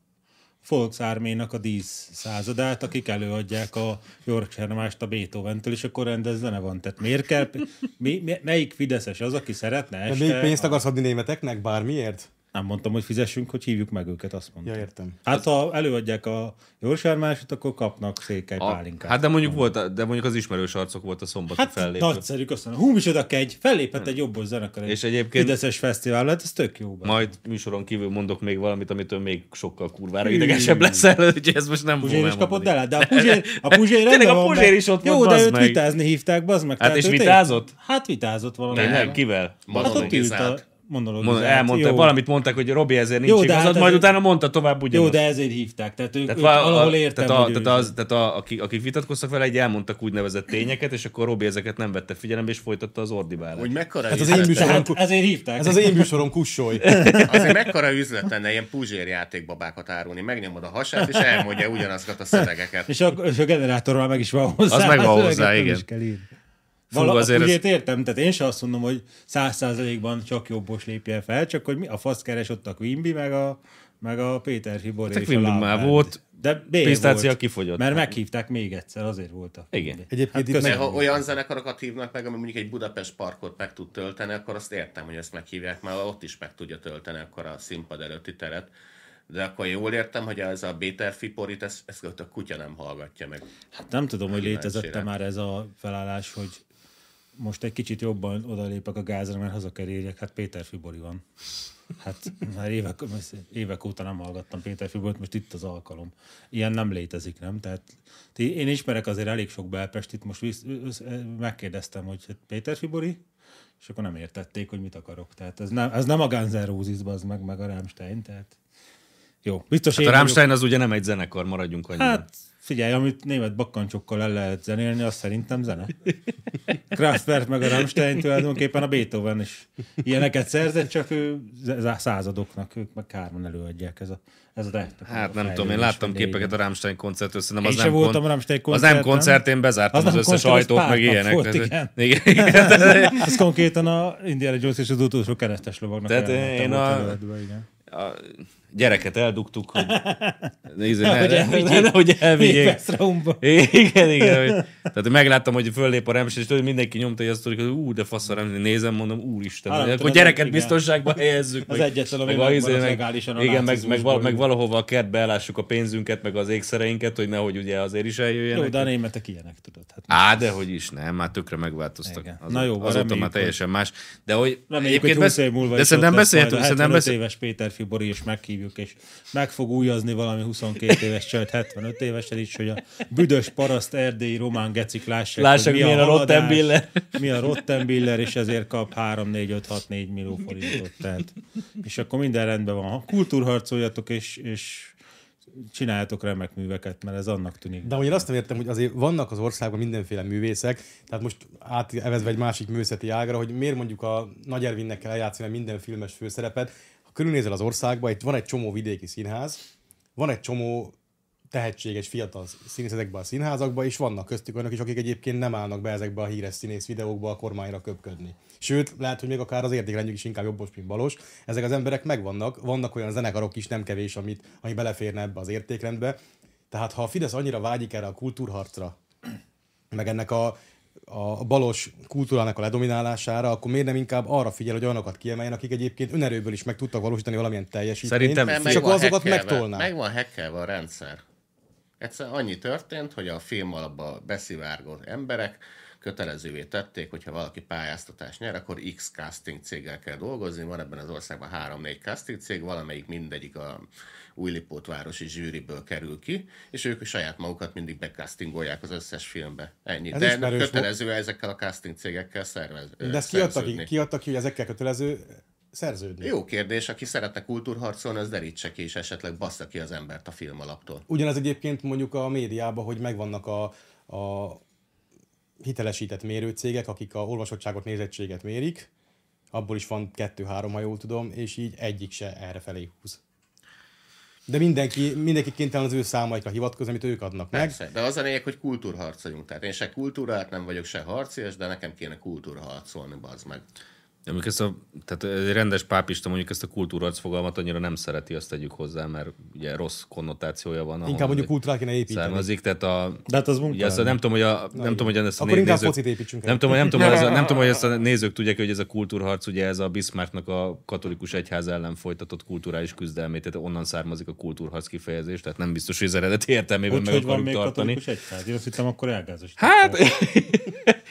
[SPEAKER 2] Volksarménak a 10 századát, akik előadják a Yorkshire mást a Beethoven-től, és akkor rendes zene van. Tehát miért kell, mi, mi, melyik fideszes az, aki szeretne
[SPEAKER 4] De
[SPEAKER 2] este?
[SPEAKER 4] még pénzt akarsz adni németeknek bármiért?
[SPEAKER 2] Nem mondtam, hogy fizessünk, hogy hívjuk meg őket, azt mondtam.
[SPEAKER 4] Ja, értem.
[SPEAKER 2] Hát ha előadják a Yorkshire másot, akkor kapnak székely pálinkát.
[SPEAKER 1] Hát de mondjuk, volt, de mondjuk az ismerős arcok volt a szombati hát,
[SPEAKER 2] Hát
[SPEAKER 1] fellépő. Hm.
[SPEAKER 2] nagyszerű, köszönöm. Hú, micsoda kegy, fellépett egy jobbos zenekar.
[SPEAKER 1] És egyébként-
[SPEAKER 2] Fideszes fesztivál lett, ez tök jó. bár.
[SPEAKER 1] Majd műsoron kívül mondok még valamit, amitől még sokkal kurvára idegesebb leszel, úgyhogy ez most nem
[SPEAKER 2] Puzsér
[SPEAKER 1] fogom
[SPEAKER 2] is kapott
[SPEAKER 1] elmondani.
[SPEAKER 2] el, de a Puzsér, a Puzsér
[SPEAKER 1] Tényleg
[SPEAKER 2] rendben
[SPEAKER 1] a
[SPEAKER 2] van,
[SPEAKER 1] Puzsér
[SPEAKER 2] meg-
[SPEAKER 1] is ott
[SPEAKER 2] Jó,
[SPEAKER 1] volt,
[SPEAKER 2] de
[SPEAKER 1] bazd
[SPEAKER 2] őt
[SPEAKER 1] meg.
[SPEAKER 2] vitázni hívták, bazd meg. tehát
[SPEAKER 1] és
[SPEAKER 2] ő tényleg-
[SPEAKER 1] vitázott?
[SPEAKER 2] Hát vitázott valami.
[SPEAKER 1] Nem, kivel?
[SPEAKER 2] Hát ott ült a
[SPEAKER 3] Monologizált.
[SPEAKER 1] Mond,
[SPEAKER 2] monologizált.
[SPEAKER 1] elmondta,
[SPEAKER 2] hát Jó.
[SPEAKER 1] valamit mondták, hogy Robi ezért nincs
[SPEAKER 2] Jó,
[SPEAKER 1] jó,
[SPEAKER 2] de
[SPEAKER 1] igazad,
[SPEAKER 2] hát
[SPEAKER 1] majd
[SPEAKER 2] ez-
[SPEAKER 1] utána mondta tovább ugyanazt.
[SPEAKER 2] Jó, de ezért hívták, tehát ők, ők
[SPEAKER 1] va-
[SPEAKER 2] valahol értem,
[SPEAKER 1] tehát, a,
[SPEAKER 2] hogy ő
[SPEAKER 1] tehát,
[SPEAKER 2] is.
[SPEAKER 1] az, tehát a, akik, akik vitatkoztak vele, egy elmondtak úgynevezett tényeket, és akkor Robi ezeket nem vette figyelembe, és folytatta az ordibálat.
[SPEAKER 3] Úgy mekkora
[SPEAKER 2] Hát
[SPEAKER 4] Ez az
[SPEAKER 3] üzlet
[SPEAKER 4] én
[SPEAKER 3] lenne-
[SPEAKER 4] műsorom,
[SPEAKER 2] Tehát
[SPEAKER 4] ku-
[SPEAKER 2] ezért hívták.
[SPEAKER 4] ez az én műsorom kussolj.
[SPEAKER 3] Azért mekkora üzlet lenne ilyen Puzsér játékbabákat árulni. Megnyomod a hasát, és elmondja ugyanazokat a szövegeket.
[SPEAKER 2] És a, és a generátorral meg is van hozzá.
[SPEAKER 1] Az meg van
[SPEAKER 2] a szöveget
[SPEAKER 1] hozzá,
[SPEAKER 2] nem
[SPEAKER 1] igen.
[SPEAKER 2] is kell írni.
[SPEAKER 1] Fú,
[SPEAKER 2] Vala,
[SPEAKER 1] azért
[SPEAKER 2] azért ez... értem, tehát én sem azt mondom, hogy száz százalékban csak jobbos lépjen fel, csak hogy mi a fasz keres ott a Quimby, meg a, meg a Péter Hibor
[SPEAKER 1] Hát a
[SPEAKER 2] és
[SPEAKER 1] Quimby
[SPEAKER 2] a
[SPEAKER 1] már
[SPEAKER 2] Lámpárd.
[SPEAKER 1] volt,
[SPEAKER 2] de B
[SPEAKER 1] pisztácia
[SPEAKER 2] volt,
[SPEAKER 1] kifogyott.
[SPEAKER 2] Mert meghívták még egyszer, azért Hát voltak.
[SPEAKER 1] Igen. Hát
[SPEAKER 4] Egyébként itt
[SPEAKER 3] De
[SPEAKER 4] meg,
[SPEAKER 3] ha olyan zenekarokat hívnak meg, ami mondjuk egy Budapest parkot meg tud tölteni, akkor azt értem, hogy ezt meghívják, mert ott is meg tudja tölteni akkor a színpad előtti teret. De akkor jól értem, hogy ez a Béter Fiporit, ezt, ezt a kutya nem hallgatja meg.
[SPEAKER 2] Hát nem tudom, hogy létezette
[SPEAKER 3] Kíváncsi rá.
[SPEAKER 2] már ez a felállás, hogy most egy kicsit jobban odalépek a gázra, mert haza kell érjek. Hát Péter Fibori van. Hát már évek, évek óta nem hallgattam Péter Fiborit, most itt az alkalom. Ilyen nem létezik, nem? Tehát ti- én ismerek azért elég sok belpestit, most visz, össz, megkérdeztem, hogy hát Péter Fibori, és akkor nem értették, hogy mit akarok. Tehát ez nem, ez nem a Guns N' Roses, bazd meg, meg a Rammstein, tehát jó. Biztos
[SPEAKER 1] Hát a
[SPEAKER 2] én vagyok-
[SPEAKER 1] Rammstein az ugye nem egy zenekar, maradjunk annyiban.
[SPEAKER 2] Hát figyelj, amit német bakkancsokkal el lehet zenélni, az szerintem zene. Kraftwerk meg a Rammstein tulajdonképpen a Beethoven is ilyeneket szerzett, csak ő z- századoknak, ők meg hárman előadják ez a, ez a technika.
[SPEAKER 1] Hát nem tudom, én láttam képeket a Rammstein koncertről, szerintem az
[SPEAKER 2] Én
[SPEAKER 1] nem,
[SPEAKER 2] se voltam a Rammstein
[SPEAKER 1] az nem
[SPEAKER 2] koncerten.
[SPEAKER 1] koncert, én bezártam
[SPEAKER 2] Az
[SPEAKER 1] az,
[SPEAKER 2] nem
[SPEAKER 1] az összes
[SPEAKER 2] koncert,
[SPEAKER 1] ajtót,
[SPEAKER 2] az
[SPEAKER 1] meg
[SPEAKER 2] párknap
[SPEAKER 1] ilyenek.
[SPEAKER 2] volt,
[SPEAKER 1] Tehát- igen.
[SPEAKER 2] igen. Ez konkrétan a Indiana Jones és az utolsó keresztes lovagnak
[SPEAKER 1] Tehát
[SPEAKER 2] jelenete
[SPEAKER 1] én
[SPEAKER 2] volt
[SPEAKER 1] a-
[SPEAKER 2] előadva, igen.
[SPEAKER 1] a gyereket eldugtuk, hogy nézzük,
[SPEAKER 2] Nehogy
[SPEAKER 1] ne, ne,
[SPEAKER 2] elvigyék.
[SPEAKER 1] ne, hogy elvigyék.
[SPEAKER 2] Ébresztraumba.
[SPEAKER 1] Igen, igen. Hogy, tehát megláttam, hogy föllép a remsés, és tudod, mindenki nyomta, hogy azt tudjuk, hogy ú, de fasz a remsés. Nézem, mondom, úristen.
[SPEAKER 2] Hát,
[SPEAKER 1] akkor
[SPEAKER 2] tudod,
[SPEAKER 1] gyereket
[SPEAKER 2] igen.
[SPEAKER 1] biztonságba helyezzük.
[SPEAKER 2] Az egyetlen, ami
[SPEAKER 1] meg,
[SPEAKER 2] megvan,
[SPEAKER 1] izé,
[SPEAKER 2] az legálisan a
[SPEAKER 1] Igen, meg,
[SPEAKER 2] nácizmusból
[SPEAKER 1] meg, val, meg
[SPEAKER 2] jön.
[SPEAKER 1] valahova a kertbe elássuk a pénzünket, meg az ékszereinket, hogy nehogy ugye azért is
[SPEAKER 2] Jó, de a
[SPEAKER 1] eljöjjenek.
[SPEAKER 2] németek ilyenek, tudod. Hát
[SPEAKER 1] Á, de hogy is, nem, már tökre megváltoztak.
[SPEAKER 2] Igen.
[SPEAKER 1] Azóta,
[SPEAKER 2] Na jó, van,
[SPEAKER 1] azóta
[SPEAKER 2] reméljük,
[SPEAKER 1] már
[SPEAKER 2] hogy-
[SPEAKER 1] teljesen más. De hogy
[SPEAKER 2] Reméljük, hogy
[SPEAKER 1] egyébként
[SPEAKER 2] 20
[SPEAKER 1] besz-
[SPEAKER 2] év múlva
[SPEAKER 1] de
[SPEAKER 2] is
[SPEAKER 1] szerintem
[SPEAKER 2] ott lesz majd
[SPEAKER 1] beszéltünk,
[SPEAKER 2] a
[SPEAKER 1] szerintem
[SPEAKER 2] 75
[SPEAKER 1] beszéltünk.
[SPEAKER 2] éves Péter Fibori, és meghívjuk, és meg fog újazni valami 22 éves csajt, 75 évesen is, hogy a büdös paraszt erdélyi román gecik lássák,
[SPEAKER 1] Lássák,
[SPEAKER 2] hogy
[SPEAKER 1] milyen a
[SPEAKER 2] haladás,
[SPEAKER 1] Rottenbiller.
[SPEAKER 2] Mi a Rottenbiller, és ezért kap 3, 4, 5, 6, 4 millió forintot. Tehát. És akkor minden rendben van. Ha Kultúrharcoljatok, és, és csináljátok remek műveket, mert ez annak tűnik.
[SPEAKER 4] De hogy én azt nem értem, hogy azért vannak az országban mindenféle művészek, tehát most átevezve egy másik művészeti ágra, hogy miért mondjuk a Nagy Ervinnek kell eljátszani minden filmes főszerepet. Ha körülnézel az országba, itt van egy csomó vidéki színház, van egy csomó tehetséges fiatal színészekben a színházakban, és vannak köztük olyanok is, akik egyébként nem állnak be ezekbe a híres színész videókba a kormányra köpködni. Sőt, lehet, hogy még akár az értékrendjük is inkább jobbos, mint balos. Ezek az emberek megvannak, vannak olyan zenekarok is, nem kevés, amit, ami beleférne ebbe az értékrendbe. Tehát ha a Fidesz annyira vágyik erre a kultúrharcra, meg ennek a a balos kultúrának a ledominálására, akkor miért nem inkább arra figyel, hogy olyanokat kiemeljen, akik egyébként önerőből is meg tudtak valósítani valamilyen teljesítményt.
[SPEAKER 1] Szerintem
[SPEAKER 3] Mert
[SPEAKER 1] Csak
[SPEAKER 3] meg van
[SPEAKER 4] azokat
[SPEAKER 3] hackelve-
[SPEAKER 4] megtolnák.
[SPEAKER 3] Meg van hackelve a rendszer. Egyszerűen annyi történt, hogy a film alapba beszivárgó emberek kötelezővé tették, hogyha valaki pályáztatást nyer, akkor X casting céggel kell dolgozni. Van ebben az országban 3-4 casting cég, valamelyik mindegyik a újlipótvárosi zsűriből kerül ki, és ők saját magukat mindig becastingolják az összes filmbe. Ennyi.
[SPEAKER 4] Ez
[SPEAKER 3] De
[SPEAKER 4] ismerős
[SPEAKER 3] kötelező ezekkel a casting cégekkel szervez.
[SPEAKER 4] De ezt kiadta ki, kiadta ki, hogy ezekkel kötelező szerződni.
[SPEAKER 3] Jó kérdés, aki szeretne kultúrharcolni, az derítse ki, és esetleg bassza ki az embert a film alaptól.
[SPEAKER 4] Ugyanez egyébként mondjuk a médiában, hogy megvannak a, a hitelesített mérőcégek, akik a olvasottságot, nézettséget mérik, abból is van kettő-három, ha jól tudom, és így egyik se erre felé húz. De mindenki, mindenki kénytelen az ő számaikra hivatkozni, amit ők adnak meg.
[SPEAKER 3] Persze, de az a lényeg, hogy kultúrharcoljunk. Tehát én se kultúrát nem vagyok, se harcias, de nekem kéne kultúrharcolni, bazd meg.
[SPEAKER 1] Mondjuk ezt a, tehát egy rendes pápista mondjuk ezt a kultúrarc fogalmat annyira nem szereti, azt tegyük hozzá, mert ugye rossz konnotációja van. ahonnan
[SPEAKER 4] Inkább mondjuk
[SPEAKER 1] ez
[SPEAKER 4] kultúrá kéne építeni.
[SPEAKER 1] Származik, tehát a...
[SPEAKER 2] De hát az munka.
[SPEAKER 1] Ugye ezt a, nem tudom, hogy a, nem tudom, hogy ezt a
[SPEAKER 4] Akkor inkább
[SPEAKER 1] nézők-
[SPEAKER 4] focit építsünk el.
[SPEAKER 1] nem tudom, nem, tudom, hogy ez a, nem tudom, hogy ezt a nézők tudják, hogy ez a kultúrharc, ugye ez a Bismarcknak a katolikus egyház ellen folytatott kulturális küzdelmét, tehát onnan származik a kultúrharc kifejezés, tehát nem biztos, hogy az eredeti értelmében
[SPEAKER 2] Hogy,
[SPEAKER 1] meg
[SPEAKER 2] hogy van
[SPEAKER 1] akarjuk
[SPEAKER 2] még
[SPEAKER 1] tartani.
[SPEAKER 2] katolikus egyház? Én azt hittem, akkor elgázos.
[SPEAKER 1] Hát,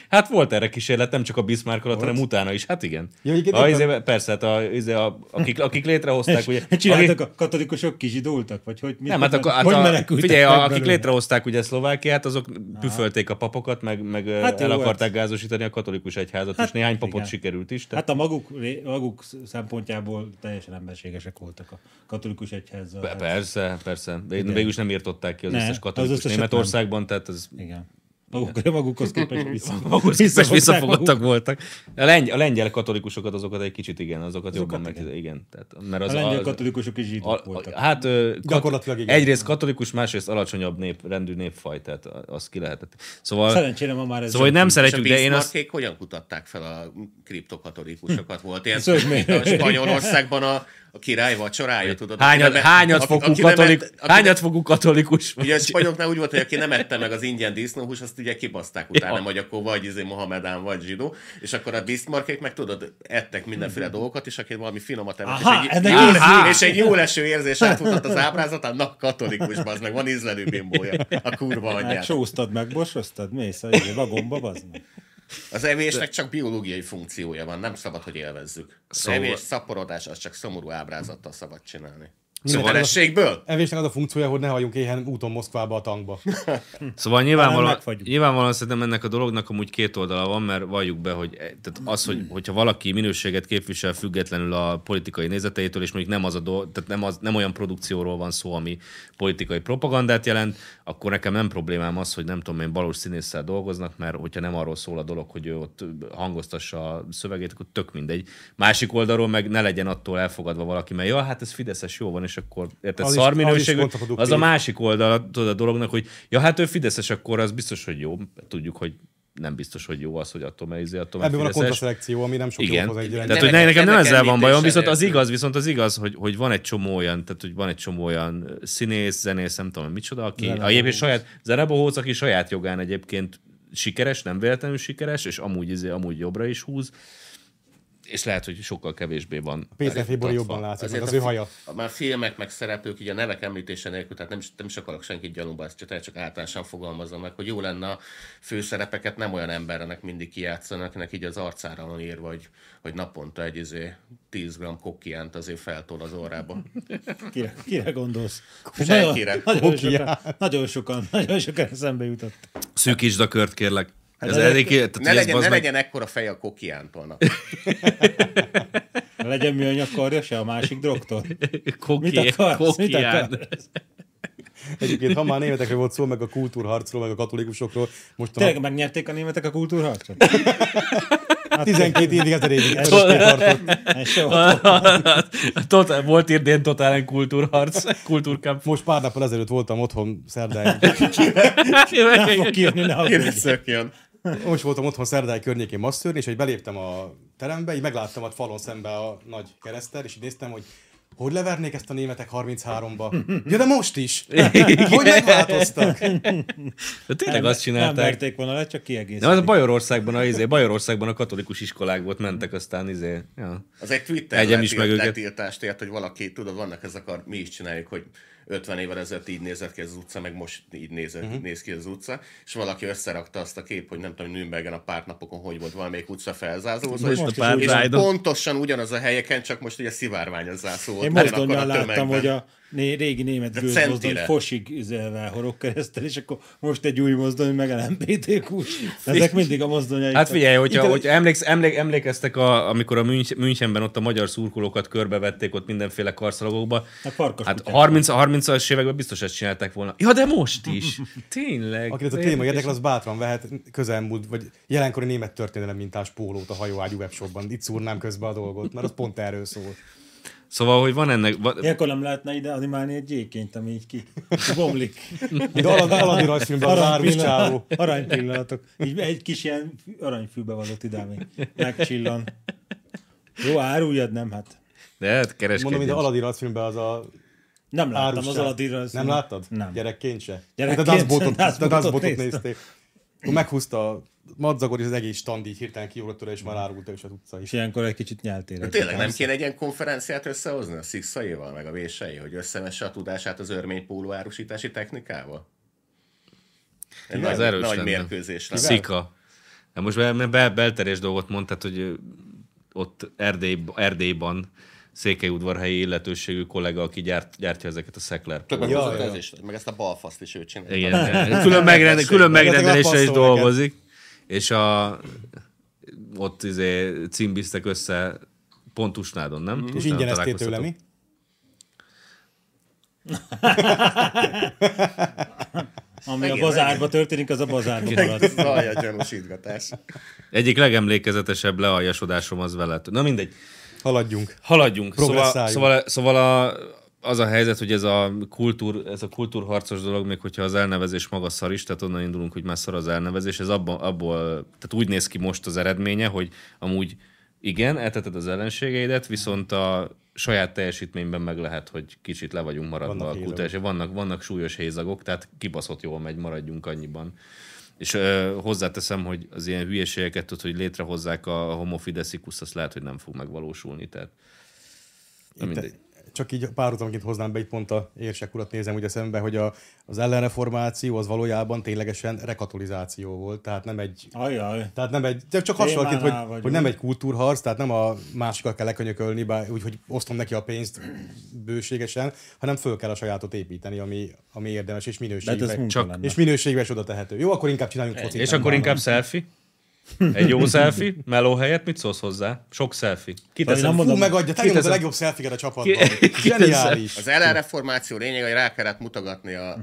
[SPEAKER 1] hát volt erre kísérlet, nem csak a Bismarck alatt, hanem utána is. Hát igen.
[SPEAKER 4] Ja, egyébként
[SPEAKER 1] a,
[SPEAKER 4] éppen-
[SPEAKER 1] izé, persze, hát a, izé, a, akik, akik létrehozták, ugye...
[SPEAKER 2] Csináltak
[SPEAKER 1] akik-
[SPEAKER 2] a katolikusok kizsidultak? Vagy hogy, mit,
[SPEAKER 1] nem, hát,
[SPEAKER 2] hogy,
[SPEAKER 1] akkor, hát
[SPEAKER 2] hogy
[SPEAKER 1] a,
[SPEAKER 2] menekültek
[SPEAKER 1] figyelj,
[SPEAKER 2] meg
[SPEAKER 1] a, akik
[SPEAKER 2] belőle?
[SPEAKER 1] létrehozták ugye Szlovákiát, azok püfölték a papokat, meg, meg hát
[SPEAKER 2] Hát jó,
[SPEAKER 1] el
[SPEAKER 2] hát.
[SPEAKER 1] akarták gázosítani a katolikus egyházat, és néhány papot
[SPEAKER 2] igen.
[SPEAKER 1] sikerült is. Tehát
[SPEAKER 2] Hát a maguk, ré- maguk szempontjából teljesen emberségesek voltak a katolikus egyházzal.
[SPEAKER 1] Pe-
[SPEAKER 2] Hát,
[SPEAKER 1] Persze, persze. De Végülis nem írtották ki az
[SPEAKER 2] Ne,
[SPEAKER 1] összes
[SPEAKER 2] az
[SPEAKER 1] katolikus
[SPEAKER 2] összeset
[SPEAKER 1] Németországban, tehát az
[SPEAKER 2] Igen. Maguk, magukhoz képest vissza.
[SPEAKER 1] magukhoz képest
[SPEAKER 2] visszafogták
[SPEAKER 1] visszafogottak
[SPEAKER 2] magukat.
[SPEAKER 1] voltak. A, lengy, a lengyel katolikusokat azokat egy kicsit igen, azokat, jobban meg... Igen.
[SPEAKER 2] igen.
[SPEAKER 1] tehát, mert az,
[SPEAKER 2] A lengyel
[SPEAKER 1] az-
[SPEAKER 2] katolikusok is zsidók
[SPEAKER 1] a, a,
[SPEAKER 2] voltak.
[SPEAKER 1] hát ö, kat,
[SPEAKER 4] Gyakorlatilag igen.
[SPEAKER 1] egyrészt katolikus, másrészt alacsonyabb nép, rendű népfaj, tehát az ki lehetett. Szóval,
[SPEAKER 2] Szerencsére ma már ez
[SPEAKER 1] szóval hogy nem szeretjük,
[SPEAKER 3] és a
[SPEAKER 1] de én azt...
[SPEAKER 3] Bismarckék hogyan kutatták fel a kriptokatolikusokat? Volt
[SPEAKER 1] Hm.
[SPEAKER 3] ilyen,
[SPEAKER 2] Szóval
[SPEAKER 3] mint a Spanyolországban a, a király vacsorája, tudod? aki
[SPEAKER 1] Hányad,
[SPEAKER 3] nem-
[SPEAKER 1] hányad
[SPEAKER 3] aki-
[SPEAKER 1] fogú
[SPEAKER 3] aki nem
[SPEAKER 1] katolikus,
[SPEAKER 3] ett- aki-
[SPEAKER 1] hányad fogú katolikus
[SPEAKER 3] Ugye a spanyoloknál úgy volt, hogy aki nem ette meg az ingyen disznóhús, azt ugye kibaszták utána,
[SPEAKER 1] Ja.
[SPEAKER 3] ja. hogy akkor vagy izé Mohamedán, vagy zsidó, és akkor a Bismarckék meg tudod, ettek mindenféle dolgokat, és aki valami finomat emelt,
[SPEAKER 2] Aha,
[SPEAKER 3] és, egy,
[SPEAKER 2] ennek
[SPEAKER 3] jó,
[SPEAKER 1] ízlés.
[SPEAKER 3] és egy jó leső érzés átfutott az ábrázatán, na katolikus, az meg van ízlelő bimbója, a kurva
[SPEAKER 2] Hát
[SPEAKER 3] anyját.
[SPEAKER 2] sóztad meg, borsoztad, mész a izé, vagomba, bazd meg.
[SPEAKER 3] Az evésnek csak biológiai funkciója van, nem szabad, hogy élvezzük. Az
[SPEAKER 1] Szóval-
[SPEAKER 3] evés, szaporodás, az csak szomorú ábrázattal szabad csinálni.
[SPEAKER 4] Mindenki-
[SPEAKER 3] Szóval essékből?
[SPEAKER 4] Evésnek az a funkciója, hogy ne halljunk éhen úton Moszkvába a tankba.
[SPEAKER 1] Szóval nyilvánvalóan,
[SPEAKER 2] megfagyunk.
[SPEAKER 1] nyilvánvalóan szerintem ennek a dolognak amúgy két oldala van, mert valljuk be, hogy eh, tehát az,
[SPEAKER 4] Hmm.
[SPEAKER 1] hogy, hogyha valaki minőséget képvisel függetlenül a politikai nézeteitől, és mondjuk nem, az a do, tehát nem, az, nem olyan produkcióról van szó, ami politikai propagandát jelent, akkor nekem nem problémám az, hogy nem tudom én, valós színésszel dolgoznak, mert hogyha nem arról szól a dolog, hogy ő ott hangoztassa a szövegét, akkor tök mindegy. Másik oldalról meg ne legyen attól elfogadva valaki, mert ja, hát ez Fideszes jó van, és akkor érted,
[SPEAKER 4] Az is-
[SPEAKER 1] szar
[SPEAKER 4] az is
[SPEAKER 1] minőségű, az a
[SPEAKER 4] kontraproduktív.
[SPEAKER 1] másik oldal tudod, a dolognak, hogy ja, hát ő Fideszes, akkor az biztos, hogy jó. Tudjuk, hogy nem biztos, hogy jó az, hogy attól mert izé, attól mert
[SPEAKER 4] Ebben van a
[SPEAKER 1] Fideszes.
[SPEAKER 4] kontraszelekció, ami nem sok jót
[SPEAKER 1] Igen,
[SPEAKER 4] hoz egy
[SPEAKER 1] tehát
[SPEAKER 4] rendszernek.
[SPEAKER 1] hogy ne,
[SPEAKER 3] Ennek-
[SPEAKER 1] nekem nem
[SPEAKER 3] ennek
[SPEAKER 1] ezzel van bajom,
[SPEAKER 3] említése
[SPEAKER 1] viszont az
[SPEAKER 3] nélkül.
[SPEAKER 1] igaz, viszont az igaz, hogy, hogy van egy csomó olyan, tehát hogy van egy csomó olyan színész, zenész, nem tudom, micsoda, aki a egyébként saját, Zenebohóc, aki saját jogán egyébként sikeres, nem véletlenül sikeres, és amúgy, izé, amúgy jobbra is húz, és lehet, hogy sokkal kevésbé van.
[SPEAKER 4] Péter Fébori
[SPEAKER 1] tartva.
[SPEAKER 4] jobban látszik, meg
[SPEAKER 3] Azért
[SPEAKER 4] az
[SPEAKER 3] a
[SPEAKER 4] ő
[SPEAKER 3] fi-
[SPEAKER 4] haja.
[SPEAKER 3] A, már filmek, meg szereplők, így a nevek említése nélkül, tehát nem, is- nem is akarok senkit gyanúba, ezt csak, csak általánosan fogalmazom meg, hogy jó lenne a főszerepeket nem olyan embernek mindig kijátszanak, akinek így az arcára van írva, hogy, hogy naponta egy izé, 10 g kokkiánt azért feltol az órába.
[SPEAKER 2] Kire, kire gondolsz?
[SPEAKER 3] Senkire.
[SPEAKER 2] Nagyon, nagyon, sokan, nagyon sokan, nagyon sokan eszembe jutott.
[SPEAKER 1] Szűkítsd a kört, kérlek. Ez
[SPEAKER 4] Hát
[SPEAKER 2] ne-
[SPEAKER 1] elég, tehát,
[SPEAKER 3] Ne,
[SPEAKER 1] hogy ez
[SPEAKER 3] legyen,
[SPEAKER 1] bazd
[SPEAKER 3] ne
[SPEAKER 1] meg-
[SPEAKER 3] legyen ekkora feje a kokkiántól.
[SPEAKER 2] Legyen műanyag karja se a másik drogtól.
[SPEAKER 1] Koki,
[SPEAKER 2] Mit akarsz? Mit
[SPEAKER 1] kokián.
[SPEAKER 2] akarsz?
[SPEAKER 4] Egyébként, ha már németekről volt szó, meg a kultúrharcról, meg a katolikusokról, most a
[SPEAKER 2] Tényleg megnyerték a németek a kultúrharcot?
[SPEAKER 4] 12 évig ezer évig örökké tartott.
[SPEAKER 2] Hát, soha.
[SPEAKER 1] Totál, volt idén totál kultúrharc, kultúrkamp.
[SPEAKER 4] Most pár nappal ezelőtt voltam otthon szerdán,
[SPEAKER 2] Nem fog kijönni, ne
[SPEAKER 3] Kire
[SPEAKER 2] aggódj.
[SPEAKER 3] szökjön.
[SPEAKER 4] most voltam otthon szerdály környékén masszörni, és hogy beléptem a terembe, így megláttam a falon szembe a nagy keresztel, és így néztem, hogy hogy levernék ezt a németek 33-ba? Ja, de most is! Hogy megváltoztak?
[SPEAKER 1] De tényleg
[SPEAKER 2] Nem-
[SPEAKER 1] azt
[SPEAKER 2] Nem
[SPEAKER 1] csinálták.
[SPEAKER 2] verték volna le, csak
[SPEAKER 1] Nem, az a
[SPEAKER 2] kiegészítették.
[SPEAKER 1] Bajorországban, a, izé, Bajorországban a katolikus iskolákból mentek, aztán izé. Ja.
[SPEAKER 3] Az egy Twitter
[SPEAKER 1] Egyem is meg őket.
[SPEAKER 3] letiltást ért, hogy valaki, tudod, vannak ezek a, mi is csináljuk, hogy 50 évvel ezelőtt így nézett ki az utca, meg most így nézett,
[SPEAKER 1] Mhm.
[SPEAKER 3] uh-huh. néz ki az utca, és valaki összerakta azt a kép, hogy nem tudom, Nürnbergen a pártnapokon hogy volt valamelyik utca felzázózva,
[SPEAKER 1] Most
[SPEAKER 3] és,
[SPEAKER 1] a
[SPEAKER 2] is
[SPEAKER 1] pár
[SPEAKER 2] úgy-
[SPEAKER 3] és
[SPEAKER 1] Pride-on.
[SPEAKER 3] pontosan ugyanaz a helyeken, csak most ugye szivárvány az zászló. volt
[SPEAKER 2] Én
[SPEAKER 3] ugyanakkor
[SPEAKER 2] mozdonnyal
[SPEAKER 3] a
[SPEAKER 2] láttam,
[SPEAKER 3] tömegben.
[SPEAKER 2] hogy a né- régi német
[SPEAKER 3] De
[SPEAKER 2] gőzmozdony
[SPEAKER 3] centire.
[SPEAKER 2] fosig üzelve horog keresztel, és akkor most egy új mozdony, meg LMBTQ-s. Ezek mindig a mozdonyai.
[SPEAKER 1] Hát figyelj, hogyha,
[SPEAKER 4] Inter-
[SPEAKER 1] hogyha emléksz, emlék, emlékeztek, a, amikor a Münch- Münchenben ott a magyar szurkolókat körbevették ott mindenféle karszalagokba.
[SPEAKER 2] A farkas
[SPEAKER 1] Hát
[SPEAKER 2] kutyák.
[SPEAKER 1] 30, 30-as években biztos ezt csinálták volna. Ja, de most is. Tényleg.
[SPEAKER 4] Akit ez a téma érdekel, az bátran vehet közelmúlt, vagy jelenkori német történelem mintás pólót a hajóágyú webshopban. Itt szúrnám közbe a dolgot, mert az pont erről szól.
[SPEAKER 1] Szóval, hogy van ennek... Van,
[SPEAKER 2] Ilyenkor nem lehetne ide animálni egy gyéként, ami így ki bomlik.
[SPEAKER 4] De Aladi, Aladi rajzfilmben az árus csávó.
[SPEAKER 2] Aranypillanatok. Aranypillanatok. Így egy kis ilyen fü- aranyfűbe való idámi. Megcsillan. Jó, áruljad, nem hát.
[SPEAKER 1] de hát
[SPEAKER 4] Mondom,
[SPEAKER 1] kereskedjen.
[SPEAKER 4] mint az Aladi rajzfilmben az a
[SPEAKER 2] Nem láttam
[SPEAKER 4] árus
[SPEAKER 2] az
[SPEAKER 4] csávó.
[SPEAKER 2] Aladdinra. az-
[SPEAKER 4] Nem láttad?
[SPEAKER 2] Nem.
[SPEAKER 4] Gyerekként se. Hát,
[SPEAKER 2] Gyerekként
[SPEAKER 4] de Dazbotot,
[SPEAKER 2] se, Dazbotot
[SPEAKER 4] de Dazbotot
[SPEAKER 2] néztem.
[SPEAKER 4] nézték. Akkor meghúzta a madzagot, és az egész stand így hirtelen kiugrott tőle, és már árulta is az utca
[SPEAKER 2] És
[SPEAKER 4] is.
[SPEAKER 2] ilyenkor egy kicsit nyeltél.
[SPEAKER 3] Tényleg nem kéne egy ilyen konferenciát összehozni a szikszaival, meg a vései, hogy összevesse a tudását az örmény póló árusítási technikával? Egy
[SPEAKER 1] Az
[SPEAKER 3] nagy,
[SPEAKER 1] erős
[SPEAKER 3] nagy
[SPEAKER 1] lenne.
[SPEAKER 3] mérkőzés lenne.
[SPEAKER 1] Szika. De most be, mert be, belterés dolgot mondtad, hogy ö, ott Erdély, Erdélyban székelyudvarhelyi illetőségű kollega, aki gyárt, gyártja ezeket a szekler.
[SPEAKER 3] Többek
[SPEAKER 4] Ja,
[SPEAKER 3] között
[SPEAKER 4] ja.
[SPEAKER 3] ez is, meg ezt a balfaszt is ő csinálja.
[SPEAKER 1] Igen, igen. külön, megrende, külön megrendeléssel is
[SPEAKER 4] Gyakorlatilag passzol
[SPEAKER 1] dolgozik, és a, ott izé címbiztek össze pont Tusnádon, nem? Mm.
[SPEAKER 4] És ingyen eztél tőle, mi?
[SPEAKER 2] Ami a
[SPEAKER 3] Igen,
[SPEAKER 2] bazárba történik, az a bazárba marad.
[SPEAKER 3] Zaj, a gyanúsítgatás.
[SPEAKER 1] Egyik legemlékezetesebb lealjasodásom az veled. Na mindegy.
[SPEAKER 4] Haladjunk.
[SPEAKER 1] Haladjunk. Szóval,
[SPEAKER 4] Progresszáljunk.
[SPEAKER 1] szóval, szóval a, az a helyzet, hogy ez a, kultúr, ez a kultúrharcos dolog, még hogyha az elnevezés maga szar is, tehát onnan indulunk, hogy már szar az elnevezés, ez abban, abból, tehát úgy néz ki most az eredménye, hogy amúgy igen, elteted az ellenségeidet, viszont a saját teljesítményben meg lehet, hogy kicsit le vagyunk maradva
[SPEAKER 4] Vannak
[SPEAKER 1] vannak a
[SPEAKER 4] hézagok.
[SPEAKER 1] kultúrás, vannak, vannak súlyos hézagok, tehát kibaszott jól megy, maradjunk annyiban. És ö, hozzáteszem, hogy az ilyen hülyeségeket, tudod, hogy létrehozzák a homofideszikusz, azt lehet, hogy nem fog megvalósulni. Tehát Na mindegy.
[SPEAKER 4] Csak így párhuzamként hoznám be, itt pont a érsek urat nézem ugye szembe, hogy a, az ellenreformáció az valójában ténylegesen rekatolizáció volt, tehát nem egy
[SPEAKER 2] Ajaj.
[SPEAKER 4] Tehát nem egy, de csak
[SPEAKER 2] Témánál
[SPEAKER 4] hasonlóként, hogy,
[SPEAKER 2] vagyunk.
[SPEAKER 4] hogy, nem egy kultúrharc, tehát nem a másikkal kell lekönyökölni, bár, úgy, hogy osztom neki a pénzt bőségesen, hanem föl kell a sajátot építeni, ami, ami érdemes és
[SPEAKER 2] Hát ez
[SPEAKER 4] minőségben.
[SPEAKER 2] munka
[SPEAKER 1] Csak-
[SPEAKER 2] lenne.
[SPEAKER 4] És minőségben is oda tehető. Jó, akkor inkább csináljunk focit.
[SPEAKER 1] És
[SPEAKER 4] nem
[SPEAKER 1] akkor
[SPEAKER 4] bánom.
[SPEAKER 1] inkább selfie? Egy jó selfie? Meló helyett mit szólsz hozzá? Sok selfie.
[SPEAKER 2] Vagy
[SPEAKER 1] Kiteszem.
[SPEAKER 2] nem
[SPEAKER 4] Hú,
[SPEAKER 2] mondom,
[SPEAKER 4] megadja, te nyomod a
[SPEAKER 1] Kiteszem.
[SPEAKER 4] legjobb szelfiket a csapatban.
[SPEAKER 1] Ki-
[SPEAKER 4] Zseniális.
[SPEAKER 3] Az ellenreformáció lényeg, hogy rá kellett mutogatni a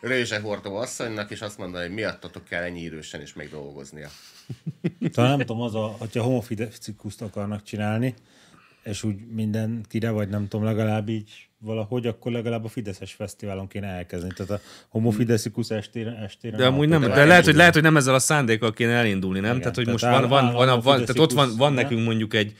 [SPEAKER 3] rőzsehordó asszonynak, és azt mondani, hogy miattatok kell ennyi idősen is még dolgoznia.
[SPEAKER 2] Talán nem tudom, az a, hogyha homofidecikuszt akarnak csinálni, és úgy mindenkire, vagy nem tudom, legalább így valahogy, akkor legalább a Fideszes fesztiválon kéne elkezdeni. Tehát a homofidecikus estére, estére
[SPEAKER 1] De amúgy nem, de lehet, hogy, lehet, hogy nem ezzel a szándékkal kéne elindulni, nem? tehát, hogy
[SPEAKER 2] tehát
[SPEAKER 1] most van, van, van,
[SPEAKER 2] állandó
[SPEAKER 1] van, van tehát ott van,
[SPEAKER 2] fideszikus,
[SPEAKER 1] van
[SPEAKER 2] ne?
[SPEAKER 1] nekünk mondjuk egy,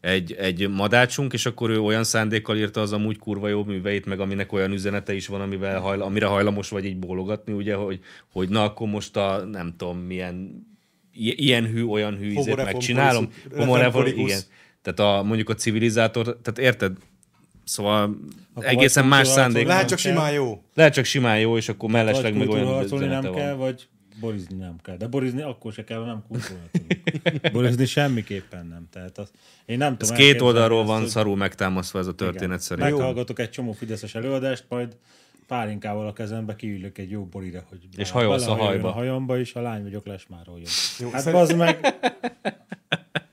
[SPEAKER 1] egy, egy madácsunk, és akkor ő olyan szándékkal írta az amúgy kurva jó műveit, meg aminek olyan üzenete is van, amivel hajla, amire hajlamos vagy így bólogatni, ugye, hogy, hogy na akkor most a nem tudom milyen i- ilyen hű, olyan hű ízét
[SPEAKER 4] Homoreform
[SPEAKER 1] megcsinálom.
[SPEAKER 4] policy-
[SPEAKER 1] Homoreform,
[SPEAKER 4] reform
[SPEAKER 1] igen. Tehát a, mondjuk a civilizátor, tehát érted? Szóval egészen
[SPEAKER 2] vagy
[SPEAKER 1] más
[SPEAKER 2] kultúrharcon
[SPEAKER 1] szándék.
[SPEAKER 4] Lehet
[SPEAKER 1] Lehet,
[SPEAKER 4] csak simán jó.
[SPEAKER 1] lehet csak simán jó, és akkor
[SPEAKER 2] Vagy
[SPEAKER 1] mellesleg meg olyan
[SPEAKER 2] kultúrharcolni
[SPEAKER 1] üzenete
[SPEAKER 2] nem
[SPEAKER 1] van.
[SPEAKER 2] kell, vagy borizni nem kell. De borizni akkor se kell, ha nem kultúrharcolunk. borizni semmiképpen nem. Tehát az, én nem
[SPEAKER 1] Ez
[SPEAKER 2] tudom
[SPEAKER 1] két
[SPEAKER 2] elképzelni
[SPEAKER 1] oldalról
[SPEAKER 2] ezt,
[SPEAKER 1] van
[SPEAKER 2] hogy-
[SPEAKER 1] szarul megtámasztva ez a történet szerint.
[SPEAKER 2] Meghallgatok egy csomó fideszes előadást, majd pálinkával a kezembe kiülök egy jó borira, hogy
[SPEAKER 1] És
[SPEAKER 2] bele-
[SPEAKER 1] hajolsz a
[SPEAKER 2] belehajoljon
[SPEAKER 1] hajba.
[SPEAKER 2] A hajamba is, a lány vagyok, lesmároljon. Jó, hát
[SPEAKER 4] szerint-
[SPEAKER 2] bazd meg,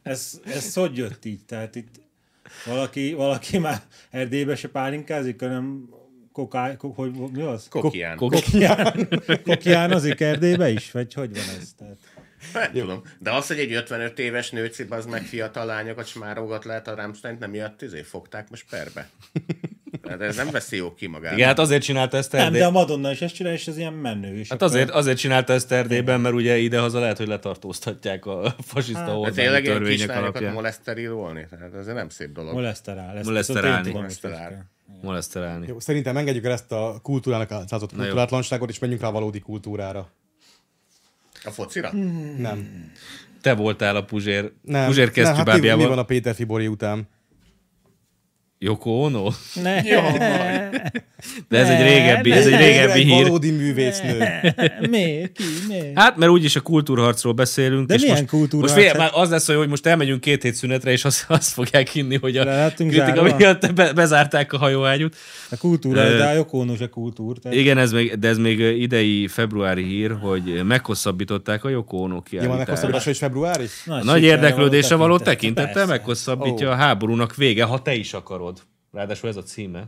[SPEAKER 2] ez, ez hogy jött így? Tehát itt valaki, valaki már Erdélybe se pálinkázik, hanem kokály, kok, hogy, mi az?
[SPEAKER 3] Kokián.
[SPEAKER 1] Koki.
[SPEAKER 2] Kokján. Kokján azért Erdélybe is? Vagy hogy van ez? Tehát,
[SPEAKER 3] Nem tudom. De az, hogy egy 55 éves nőcip, az meg fiatal lányokat smárogat lehet a Rammstein, nem miatt izé fogták most perbe. De ez nem veszi jó ki magát.
[SPEAKER 1] Igen, hát azért csinálta ezt
[SPEAKER 2] nem, de
[SPEAKER 1] Erdély.
[SPEAKER 2] a Madonna is ezt csinál, és ez ilyen menő. És
[SPEAKER 1] Hát
[SPEAKER 2] akkor-
[SPEAKER 1] azért, azért csinálta ezt Erdélyben, mert ugye idehaza lehet, hogy letartóztatják a fasiszta
[SPEAKER 3] De
[SPEAKER 1] hát,
[SPEAKER 3] tényleg ilyen
[SPEAKER 1] törvények
[SPEAKER 3] kislányokat
[SPEAKER 1] alapján.
[SPEAKER 3] moleszterilolni? Tehát ez nem szép dolog.
[SPEAKER 2] Moleszterál. ezt
[SPEAKER 1] Moleszterálni.
[SPEAKER 2] viszont én tudom, hogy
[SPEAKER 3] Moleszterál.
[SPEAKER 2] hogy kell.
[SPEAKER 1] Moleszterálni.
[SPEAKER 4] Jó, szerintem engedjük el ezt a kultúrának átszázott
[SPEAKER 1] jó.
[SPEAKER 4] kultúrátlanságot, és menjünk rá a valódi kultúrára.
[SPEAKER 3] A focira?
[SPEAKER 4] Nem.
[SPEAKER 1] Te voltál a Puzsér,
[SPEAKER 4] Nem.
[SPEAKER 1] Puzsér
[SPEAKER 4] nem, hát mi, mi van
[SPEAKER 1] kesztyűbábjával.
[SPEAKER 4] a Péter Fibori után?
[SPEAKER 1] Joko Ono?
[SPEAKER 2] Ne.
[SPEAKER 1] De ez egy régebbi, ez egy régebbi
[SPEAKER 4] Egy
[SPEAKER 1] hír.
[SPEAKER 4] valódi művésznő.
[SPEAKER 2] Miért? Ki? Miért?
[SPEAKER 1] Hát, mert úgyis a kultúrharcról beszélünk.
[SPEAKER 2] De
[SPEAKER 1] és
[SPEAKER 2] milyen
[SPEAKER 1] most,
[SPEAKER 2] kultúrharc?
[SPEAKER 1] Most figyelj, már az lesz, hogy most elmegyünk két hét szünetre, és azt, azt fogják hinni, hogy a
[SPEAKER 2] Le lettünk
[SPEAKER 1] kritika
[SPEAKER 2] zárva?
[SPEAKER 1] miatt be, bezárták a hajóágyút.
[SPEAKER 2] A kultúra, de a jokónus a kultúr. Tehát
[SPEAKER 1] Igen, ez még, de ez még idei februári hír, hogy meghosszabbították a Joko Ono
[SPEAKER 4] Jó, már
[SPEAKER 1] kiállítást.
[SPEAKER 4] meghosszabbítása is februári?
[SPEAKER 1] A nagy
[SPEAKER 2] sikerre
[SPEAKER 1] érdeklődésre való tekintettel
[SPEAKER 2] Persze.
[SPEAKER 1] meghosszabbítja
[SPEAKER 4] Ó.
[SPEAKER 1] a háborúnak vége, ha te is akarod. Ráadásul ez a címe.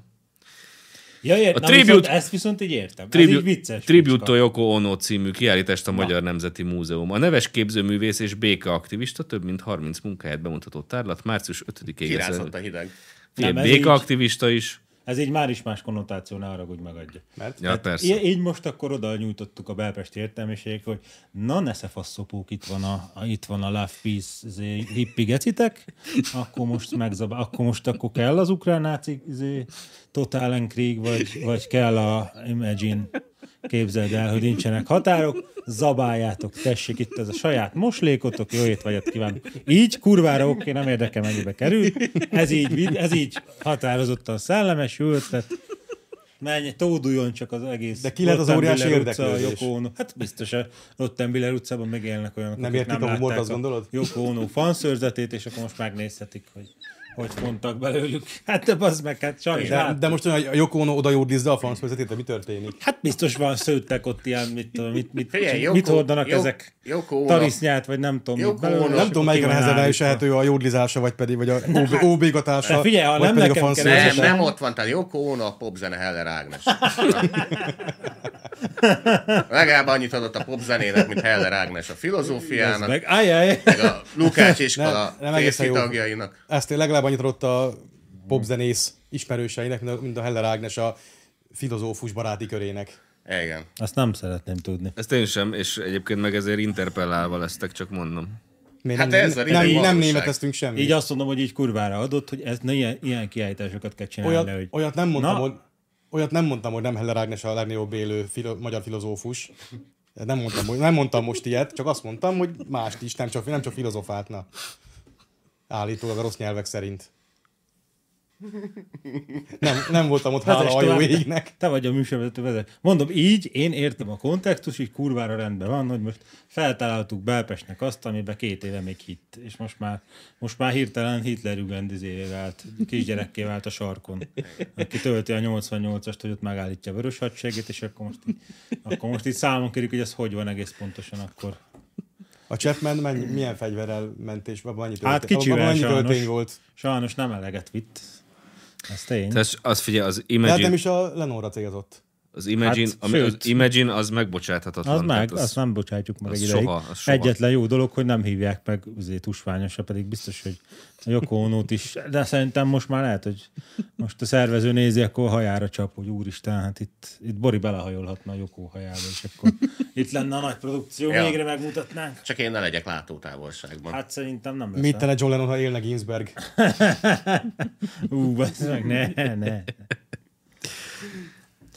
[SPEAKER 2] Ja, ért,
[SPEAKER 1] A
[SPEAKER 2] na,
[SPEAKER 1] tribute-
[SPEAKER 2] viszont, ezt viszont így értem. Tribute, ez így vicces.
[SPEAKER 1] Tribute to
[SPEAKER 2] micska.
[SPEAKER 1] Yoko Ono című kiállítást a Magyar Nemzeti Múzeum. A neves képzőművész és békeaktivista több mint 30 munkáját bemutatott tárlat március 5-ig.
[SPEAKER 3] Kirázott a hideg.
[SPEAKER 1] Ilyen
[SPEAKER 2] Nem, ez
[SPEAKER 1] békeaktivista is.
[SPEAKER 2] Ez így már is más konnotáció, ne arra úgy megadja.
[SPEAKER 4] Mert?
[SPEAKER 1] Ja, persze.
[SPEAKER 2] Így, így most akkor oda nyújtottuk a belpesti értelmiségek, hogy na nesze faszopók, itt van a, a, itt van a Love Peace izé, hippi gecitek, akkor most megzabál, akkor most akkor kell az ukrán náci izé, Total and Krieg, vagy, vagy kell a Imagine, képzeld el, hogy nincsenek határok, zabáljátok, tessék itt ez a saját moslékotok, jó ét vagyok kívánok. Így kurvára oké, nem érdekel mennyibe kerül, ez így, vid- ez így határozottan szellemes, jó ötlet, Menj, tóduljon csak az egész.
[SPEAKER 4] De ki lehet az óriási
[SPEAKER 2] Rottenbiller utca,
[SPEAKER 4] érdeklődés?
[SPEAKER 2] Joko Ono. Hát biztos a Rottenbiller utcában megélnek olyanok,
[SPEAKER 4] Nem
[SPEAKER 2] akik
[SPEAKER 4] értik a humort,
[SPEAKER 2] látták
[SPEAKER 4] azt gondolod?
[SPEAKER 2] Joko Ono fanszőrzetét, és akkor most megnézhetik, hogy hogy fontak belőlük. Hát de az meg, hát sajnos
[SPEAKER 4] De,
[SPEAKER 2] de,
[SPEAKER 4] de most olyan, hogy a Joko Ono oda jordizza a franc mi történik?
[SPEAKER 2] Hát biztos van szőttek ott ilyen, mit, tudom, mit, mit,
[SPEAKER 3] Figyelj,
[SPEAKER 2] mit
[SPEAKER 3] Joko-
[SPEAKER 2] hordanak
[SPEAKER 3] Jok-
[SPEAKER 2] ezek?
[SPEAKER 3] Joko Ono.
[SPEAKER 2] Tarisznyát, vagy nem tudom.
[SPEAKER 3] Joko
[SPEAKER 2] mit belőle,
[SPEAKER 3] Ono.
[SPEAKER 2] és
[SPEAKER 3] Nem
[SPEAKER 4] Nem
[SPEAKER 2] akkor
[SPEAKER 4] tudom, melyik a
[SPEAKER 2] ki van
[SPEAKER 4] nehezen
[SPEAKER 2] állítva.
[SPEAKER 4] elviselhető, a jordlizása, vagy pedig vagy a OB, OB-gatása,
[SPEAKER 2] Hát figyelj, ha
[SPEAKER 4] vagy
[SPEAKER 2] nem
[SPEAKER 4] pedig a
[SPEAKER 2] nekem
[SPEAKER 4] franc
[SPEAKER 2] kell-
[SPEAKER 3] Nem,
[SPEAKER 2] Szerintem.
[SPEAKER 3] nem ott van, tehát Joko Ono a popzene Heller Ágnes. Legalább annyit adott a popzenének, mint Heller Ágnes a
[SPEAKER 2] Ez
[SPEAKER 3] filozófiának,
[SPEAKER 2] Meg, ajaj,
[SPEAKER 3] meg a Lukács iskola
[SPEAKER 4] Nem, nem
[SPEAKER 3] nem,
[SPEAKER 4] egészen jó.
[SPEAKER 3] tagjainak.
[SPEAKER 4] Ezt legalább annyit adott a popzenész ismerőseinek, mint a- mint a Heller Ágnes a filozófus baráti körének.
[SPEAKER 3] Igen.
[SPEAKER 2] azt nem szeretném tudni.
[SPEAKER 1] Ezt én sem, és egyébként meg ezért interpellálva lesztek, csak mondom.
[SPEAKER 4] Még
[SPEAKER 3] Hát
[SPEAKER 4] nem,
[SPEAKER 3] ez a
[SPEAKER 4] nem,
[SPEAKER 3] régi
[SPEAKER 4] nem
[SPEAKER 3] valóság.
[SPEAKER 4] németeztünk semmit.
[SPEAKER 2] Így azt mondom, hogy így kurvára adott, hogy ez, ne ilyen, ilyen kiállításokat kell csinálni.
[SPEAKER 4] olyat,
[SPEAKER 2] hogy...
[SPEAKER 4] olyat, nem mondtam,
[SPEAKER 2] Na.
[SPEAKER 4] hogy, olyat nem mondtam, hogy nem Heller Ágnes a legnagyobb élő filo, magyar filozófus. Nem mondtam, hogy- nem mondtam most ilyet, csak azt mondtam, hogy mást is, nem csak, nem csak filozofát, na. Állítólag a rossz nyelvek szerint. Nem, nem voltam ott, hála
[SPEAKER 2] Vezess
[SPEAKER 4] a jó
[SPEAKER 2] tovább.
[SPEAKER 4] égnek.
[SPEAKER 2] Te vagy a műsorvezető vezet. Mondom, így én értem a kontextus, így kurvára rendben van, hogy most feltaláltuk Belpestnek azt, amiben két éve még hitt. És most már, most már hirtelen Hitler ügendizévé vált, kisgyerekké vált a sarkon. Aki tölti a 88-ast, hogy ott megállítja a vörös hadsereget, és akkor most, így, akkor most így számon kérjük, hogy ez hogy van egész pontosan akkor.
[SPEAKER 4] A Chapman mennyi, milyen fegyverrel ment, és abban annyi
[SPEAKER 2] Hát
[SPEAKER 4] töltény-
[SPEAKER 2] kicsivel
[SPEAKER 4] abban annyi
[SPEAKER 2] sajnos.
[SPEAKER 4] töltény volt.
[SPEAKER 2] Sajnos nem eleget vitt. Ez tény.
[SPEAKER 1] Tehát az figyelj, az
[SPEAKER 4] De hát
[SPEAKER 1] Imagine,
[SPEAKER 4] nem is a Lenonra célzott.
[SPEAKER 1] az, Imagine,
[SPEAKER 2] Hát,
[SPEAKER 1] ami, az
[SPEAKER 2] sőt.
[SPEAKER 1] Imagine az megbocsáthatatlan.
[SPEAKER 2] Az meg,
[SPEAKER 1] tehát
[SPEAKER 2] azt nem bocsátjuk meg
[SPEAKER 1] az
[SPEAKER 2] egy ideig.
[SPEAKER 1] soha, az soha.
[SPEAKER 2] Egyetlen jó dolog, hogy nem hívják meg azért tusványosra, pedig biztos, hogy a Joko Onót is, de szerintem most már lehet, hogy most a szervező nézi, akkor hajára csap, hogy úristen, hát itt, itt Bori belehajolhatna a Jokó hajába, és akkor itt lenne a nagy produkció,
[SPEAKER 3] Ja.
[SPEAKER 2] végre megmutatnánk.
[SPEAKER 3] Csak én ne legyek látótávolságban. Hát,
[SPEAKER 2] Hát szerintem nem lesz.
[SPEAKER 4] Mit tenne John Lennon, ha élne Ginsberg?
[SPEAKER 2] Ú, bassz meg, ne, ne.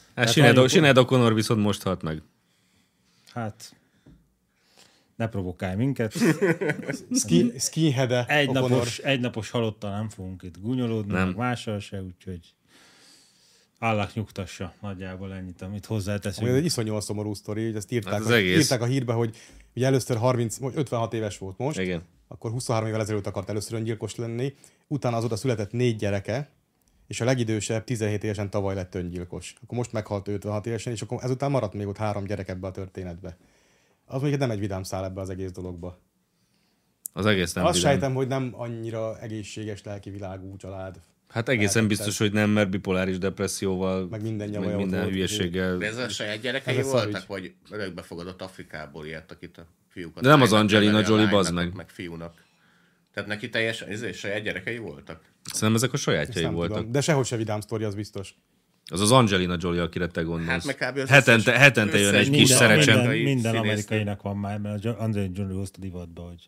[SPEAKER 1] Hát
[SPEAKER 2] Tehát a
[SPEAKER 1] Sinead,
[SPEAKER 2] Joko-
[SPEAKER 1] Sinead O'Connor viszont most halt meg.
[SPEAKER 2] Hát, ne provokálj minket.
[SPEAKER 4] Skin, skinhead-e
[SPEAKER 2] Egy
[SPEAKER 4] O'Connor?
[SPEAKER 2] napos, egy napos halottal nem fogunk itt gúnyolódni, nem. meg mással se, úgyhogy állak nyugtassa nagyjából ennyit, amit hozzáteszünk.
[SPEAKER 4] Ami egy iszonyúan szomorú sztori, hogy ezt írták,
[SPEAKER 1] Hát
[SPEAKER 4] hát
[SPEAKER 1] az egész.
[SPEAKER 4] írták a hírbe, hogy ugye először 30, vagy 56 éves volt most,
[SPEAKER 1] Igen.
[SPEAKER 4] akkor 23 évvel ezelőtt akart először öngyilkos lenni, utána azóta született négy gyereke, és a legidősebb 17 évesen tavaly lett öngyilkos. Akkor most meghalt ő 56 évesen, és akkor ezután maradt még ott három gyerek ebbe a történetbe. Az mondjuk nem egy vidám szál ebbe az egész dologba.
[SPEAKER 1] Az egész nem
[SPEAKER 4] Azt
[SPEAKER 1] vidám.
[SPEAKER 4] sejtem, hogy nem annyira egészséges lelki világú család.
[SPEAKER 1] Hát egészen biztos, hogy nem, mert bipoláris depresszióval,
[SPEAKER 4] Meg minden
[SPEAKER 1] meg
[SPEAKER 4] nyavaja ott
[SPEAKER 1] minden
[SPEAKER 4] volt,
[SPEAKER 1] hülyeséggel.
[SPEAKER 3] De ez a saját gyerekei
[SPEAKER 4] Ez a szar
[SPEAKER 3] voltak, vagy örökbefogadott Afrikából ilyet, akit a fiúkat...
[SPEAKER 1] De nem az
[SPEAKER 3] lánynak
[SPEAKER 1] Angelina
[SPEAKER 3] neveli, a
[SPEAKER 1] Jolie, bazd
[SPEAKER 3] lánynak,
[SPEAKER 1] meg.
[SPEAKER 3] Meg fiúnak. Tehát neki teljesen, ezért saját gyerekei voltak.
[SPEAKER 1] Szerintem ezek a sajátjai
[SPEAKER 4] Nem
[SPEAKER 1] voltak.
[SPEAKER 4] tudom. De sehogy se vidám sztori, az biztos.
[SPEAKER 1] Az az Angelina Jolie, akire te
[SPEAKER 3] Hát
[SPEAKER 1] gondolsz.
[SPEAKER 3] meg kb. az
[SPEAKER 1] hetente,
[SPEAKER 3] összes-
[SPEAKER 1] hetente jön
[SPEAKER 3] összes
[SPEAKER 1] egy kis
[SPEAKER 3] minden-
[SPEAKER 1] szerecsen,
[SPEAKER 2] Minden, minden
[SPEAKER 3] színésznő.
[SPEAKER 2] amerikainak van már, mert a André Johnny hozta divatba, hogy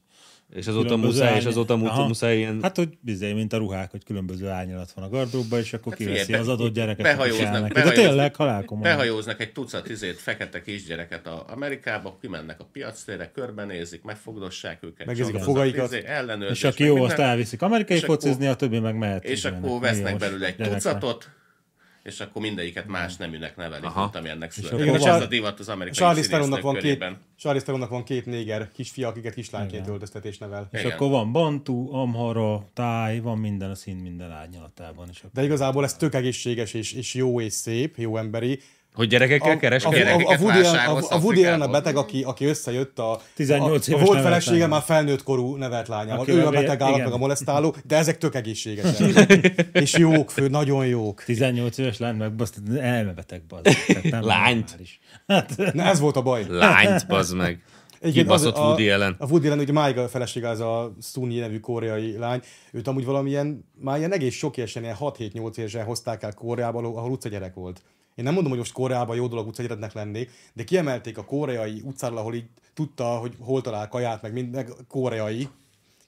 [SPEAKER 1] és azóta
[SPEAKER 2] különböző
[SPEAKER 1] muszáj, és
[SPEAKER 2] árny-
[SPEAKER 1] azóta mu-
[SPEAKER 2] Aha.
[SPEAKER 1] muszáj ilyen...
[SPEAKER 2] Hát, hogy bizony, mint a ruhák, hogy különböző árnyalat van a gardróbban, és akkor
[SPEAKER 3] Hát
[SPEAKER 2] kiveszi
[SPEAKER 3] figyelj,
[SPEAKER 2] az
[SPEAKER 3] be-
[SPEAKER 2] adott gyereket.
[SPEAKER 3] behajóznak,
[SPEAKER 2] aki kell neki. De
[SPEAKER 3] behajóznak.
[SPEAKER 2] tényleg, halálkomolyan.
[SPEAKER 3] Behajóznak egy tucat izét, fekete kisgyereket a Amerikába, kimennek a piactérre, körbenézik, megfogdossák őket.
[SPEAKER 4] Megnézik
[SPEAKER 3] csak
[SPEAKER 4] a
[SPEAKER 3] az
[SPEAKER 4] fogaikat.
[SPEAKER 3] izé, ellenőrzés,
[SPEAKER 2] És aki
[SPEAKER 3] meg
[SPEAKER 2] jó,
[SPEAKER 3] minden.
[SPEAKER 2] azt elviszik amerikai
[SPEAKER 3] És akkor-
[SPEAKER 2] focizni, a többi meg mehet.
[SPEAKER 3] És
[SPEAKER 2] izének,
[SPEAKER 3] akkor vesznek
[SPEAKER 2] milliós
[SPEAKER 3] belőle egy
[SPEAKER 2] gyereknek.
[SPEAKER 3] tucatot, és akkor mindegyiket más neműnek nevelik,
[SPEAKER 1] Aha.
[SPEAKER 3] mint amilyennek
[SPEAKER 2] akkor
[SPEAKER 3] született. És ez
[SPEAKER 4] van-
[SPEAKER 3] a divat az amerikai
[SPEAKER 4] Charlize Theronnak
[SPEAKER 3] színésznők
[SPEAKER 4] van, két,
[SPEAKER 3] körében.
[SPEAKER 4] Charlize Theronnak van két néger kisfia, akiket kislányként öltöztetés nevel.
[SPEAKER 2] És
[SPEAKER 3] Igen.
[SPEAKER 2] akkor van Bantu, Amhara, Táj, van minden a szín minden árnyalatában. És akkor
[SPEAKER 4] De igazából ez tök egészséges és, és jó és szép, jó emberi.
[SPEAKER 1] Hogy gyerekekkel kereskednek?
[SPEAKER 4] a, a,
[SPEAKER 3] Gyerekeket
[SPEAKER 4] Woody Allen,
[SPEAKER 3] vásárolsz
[SPEAKER 4] a, a Woody Allen a
[SPEAKER 3] Afrikából.
[SPEAKER 4] beteg, aki, aki összejött a,
[SPEAKER 2] 18
[SPEAKER 4] a, a
[SPEAKER 2] éves
[SPEAKER 4] volt
[SPEAKER 2] nevelt
[SPEAKER 4] felesége
[SPEAKER 2] lánya.
[SPEAKER 4] már felnőtt korú nevelt lányával.
[SPEAKER 2] Aki
[SPEAKER 4] Ő a
[SPEAKER 2] meg-
[SPEAKER 4] beteg állat,
[SPEAKER 2] igen.
[SPEAKER 4] meg a molesztáló, de ezek tök egészségesek. és jók, fő, nagyon jók.
[SPEAKER 2] 18 éves lány, meg baszt, elmebeteg bazd. Tehát nem
[SPEAKER 1] Lányt.
[SPEAKER 2] normális. Hát,
[SPEAKER 4] Na ez volt a baj.
[SPEAKER 1] Lányt, bazd meg.
[SPEAKER 4] Igen, az-
[SPEAKER 1] Kibaszott
[SPEAKER 4] a-
[SPEAKER 1] Woody Allen.
[SPEAKER 4] A Woody Allen, ugye máig a felesége, az a Suni nevű koreai lány, őt amúgy valamilyen, már ilyen egész sok évesen, ilyen 6-7-8 évesen hozták el Koreába, ahol ahol utcagyerek volt. Én nem mondom, hogy most Koreában jó dolog utcagyereknek lenni, de kiemelték a koreai utcáról, ahol így tudta, hogy hol talál kaját, meg minden koreai,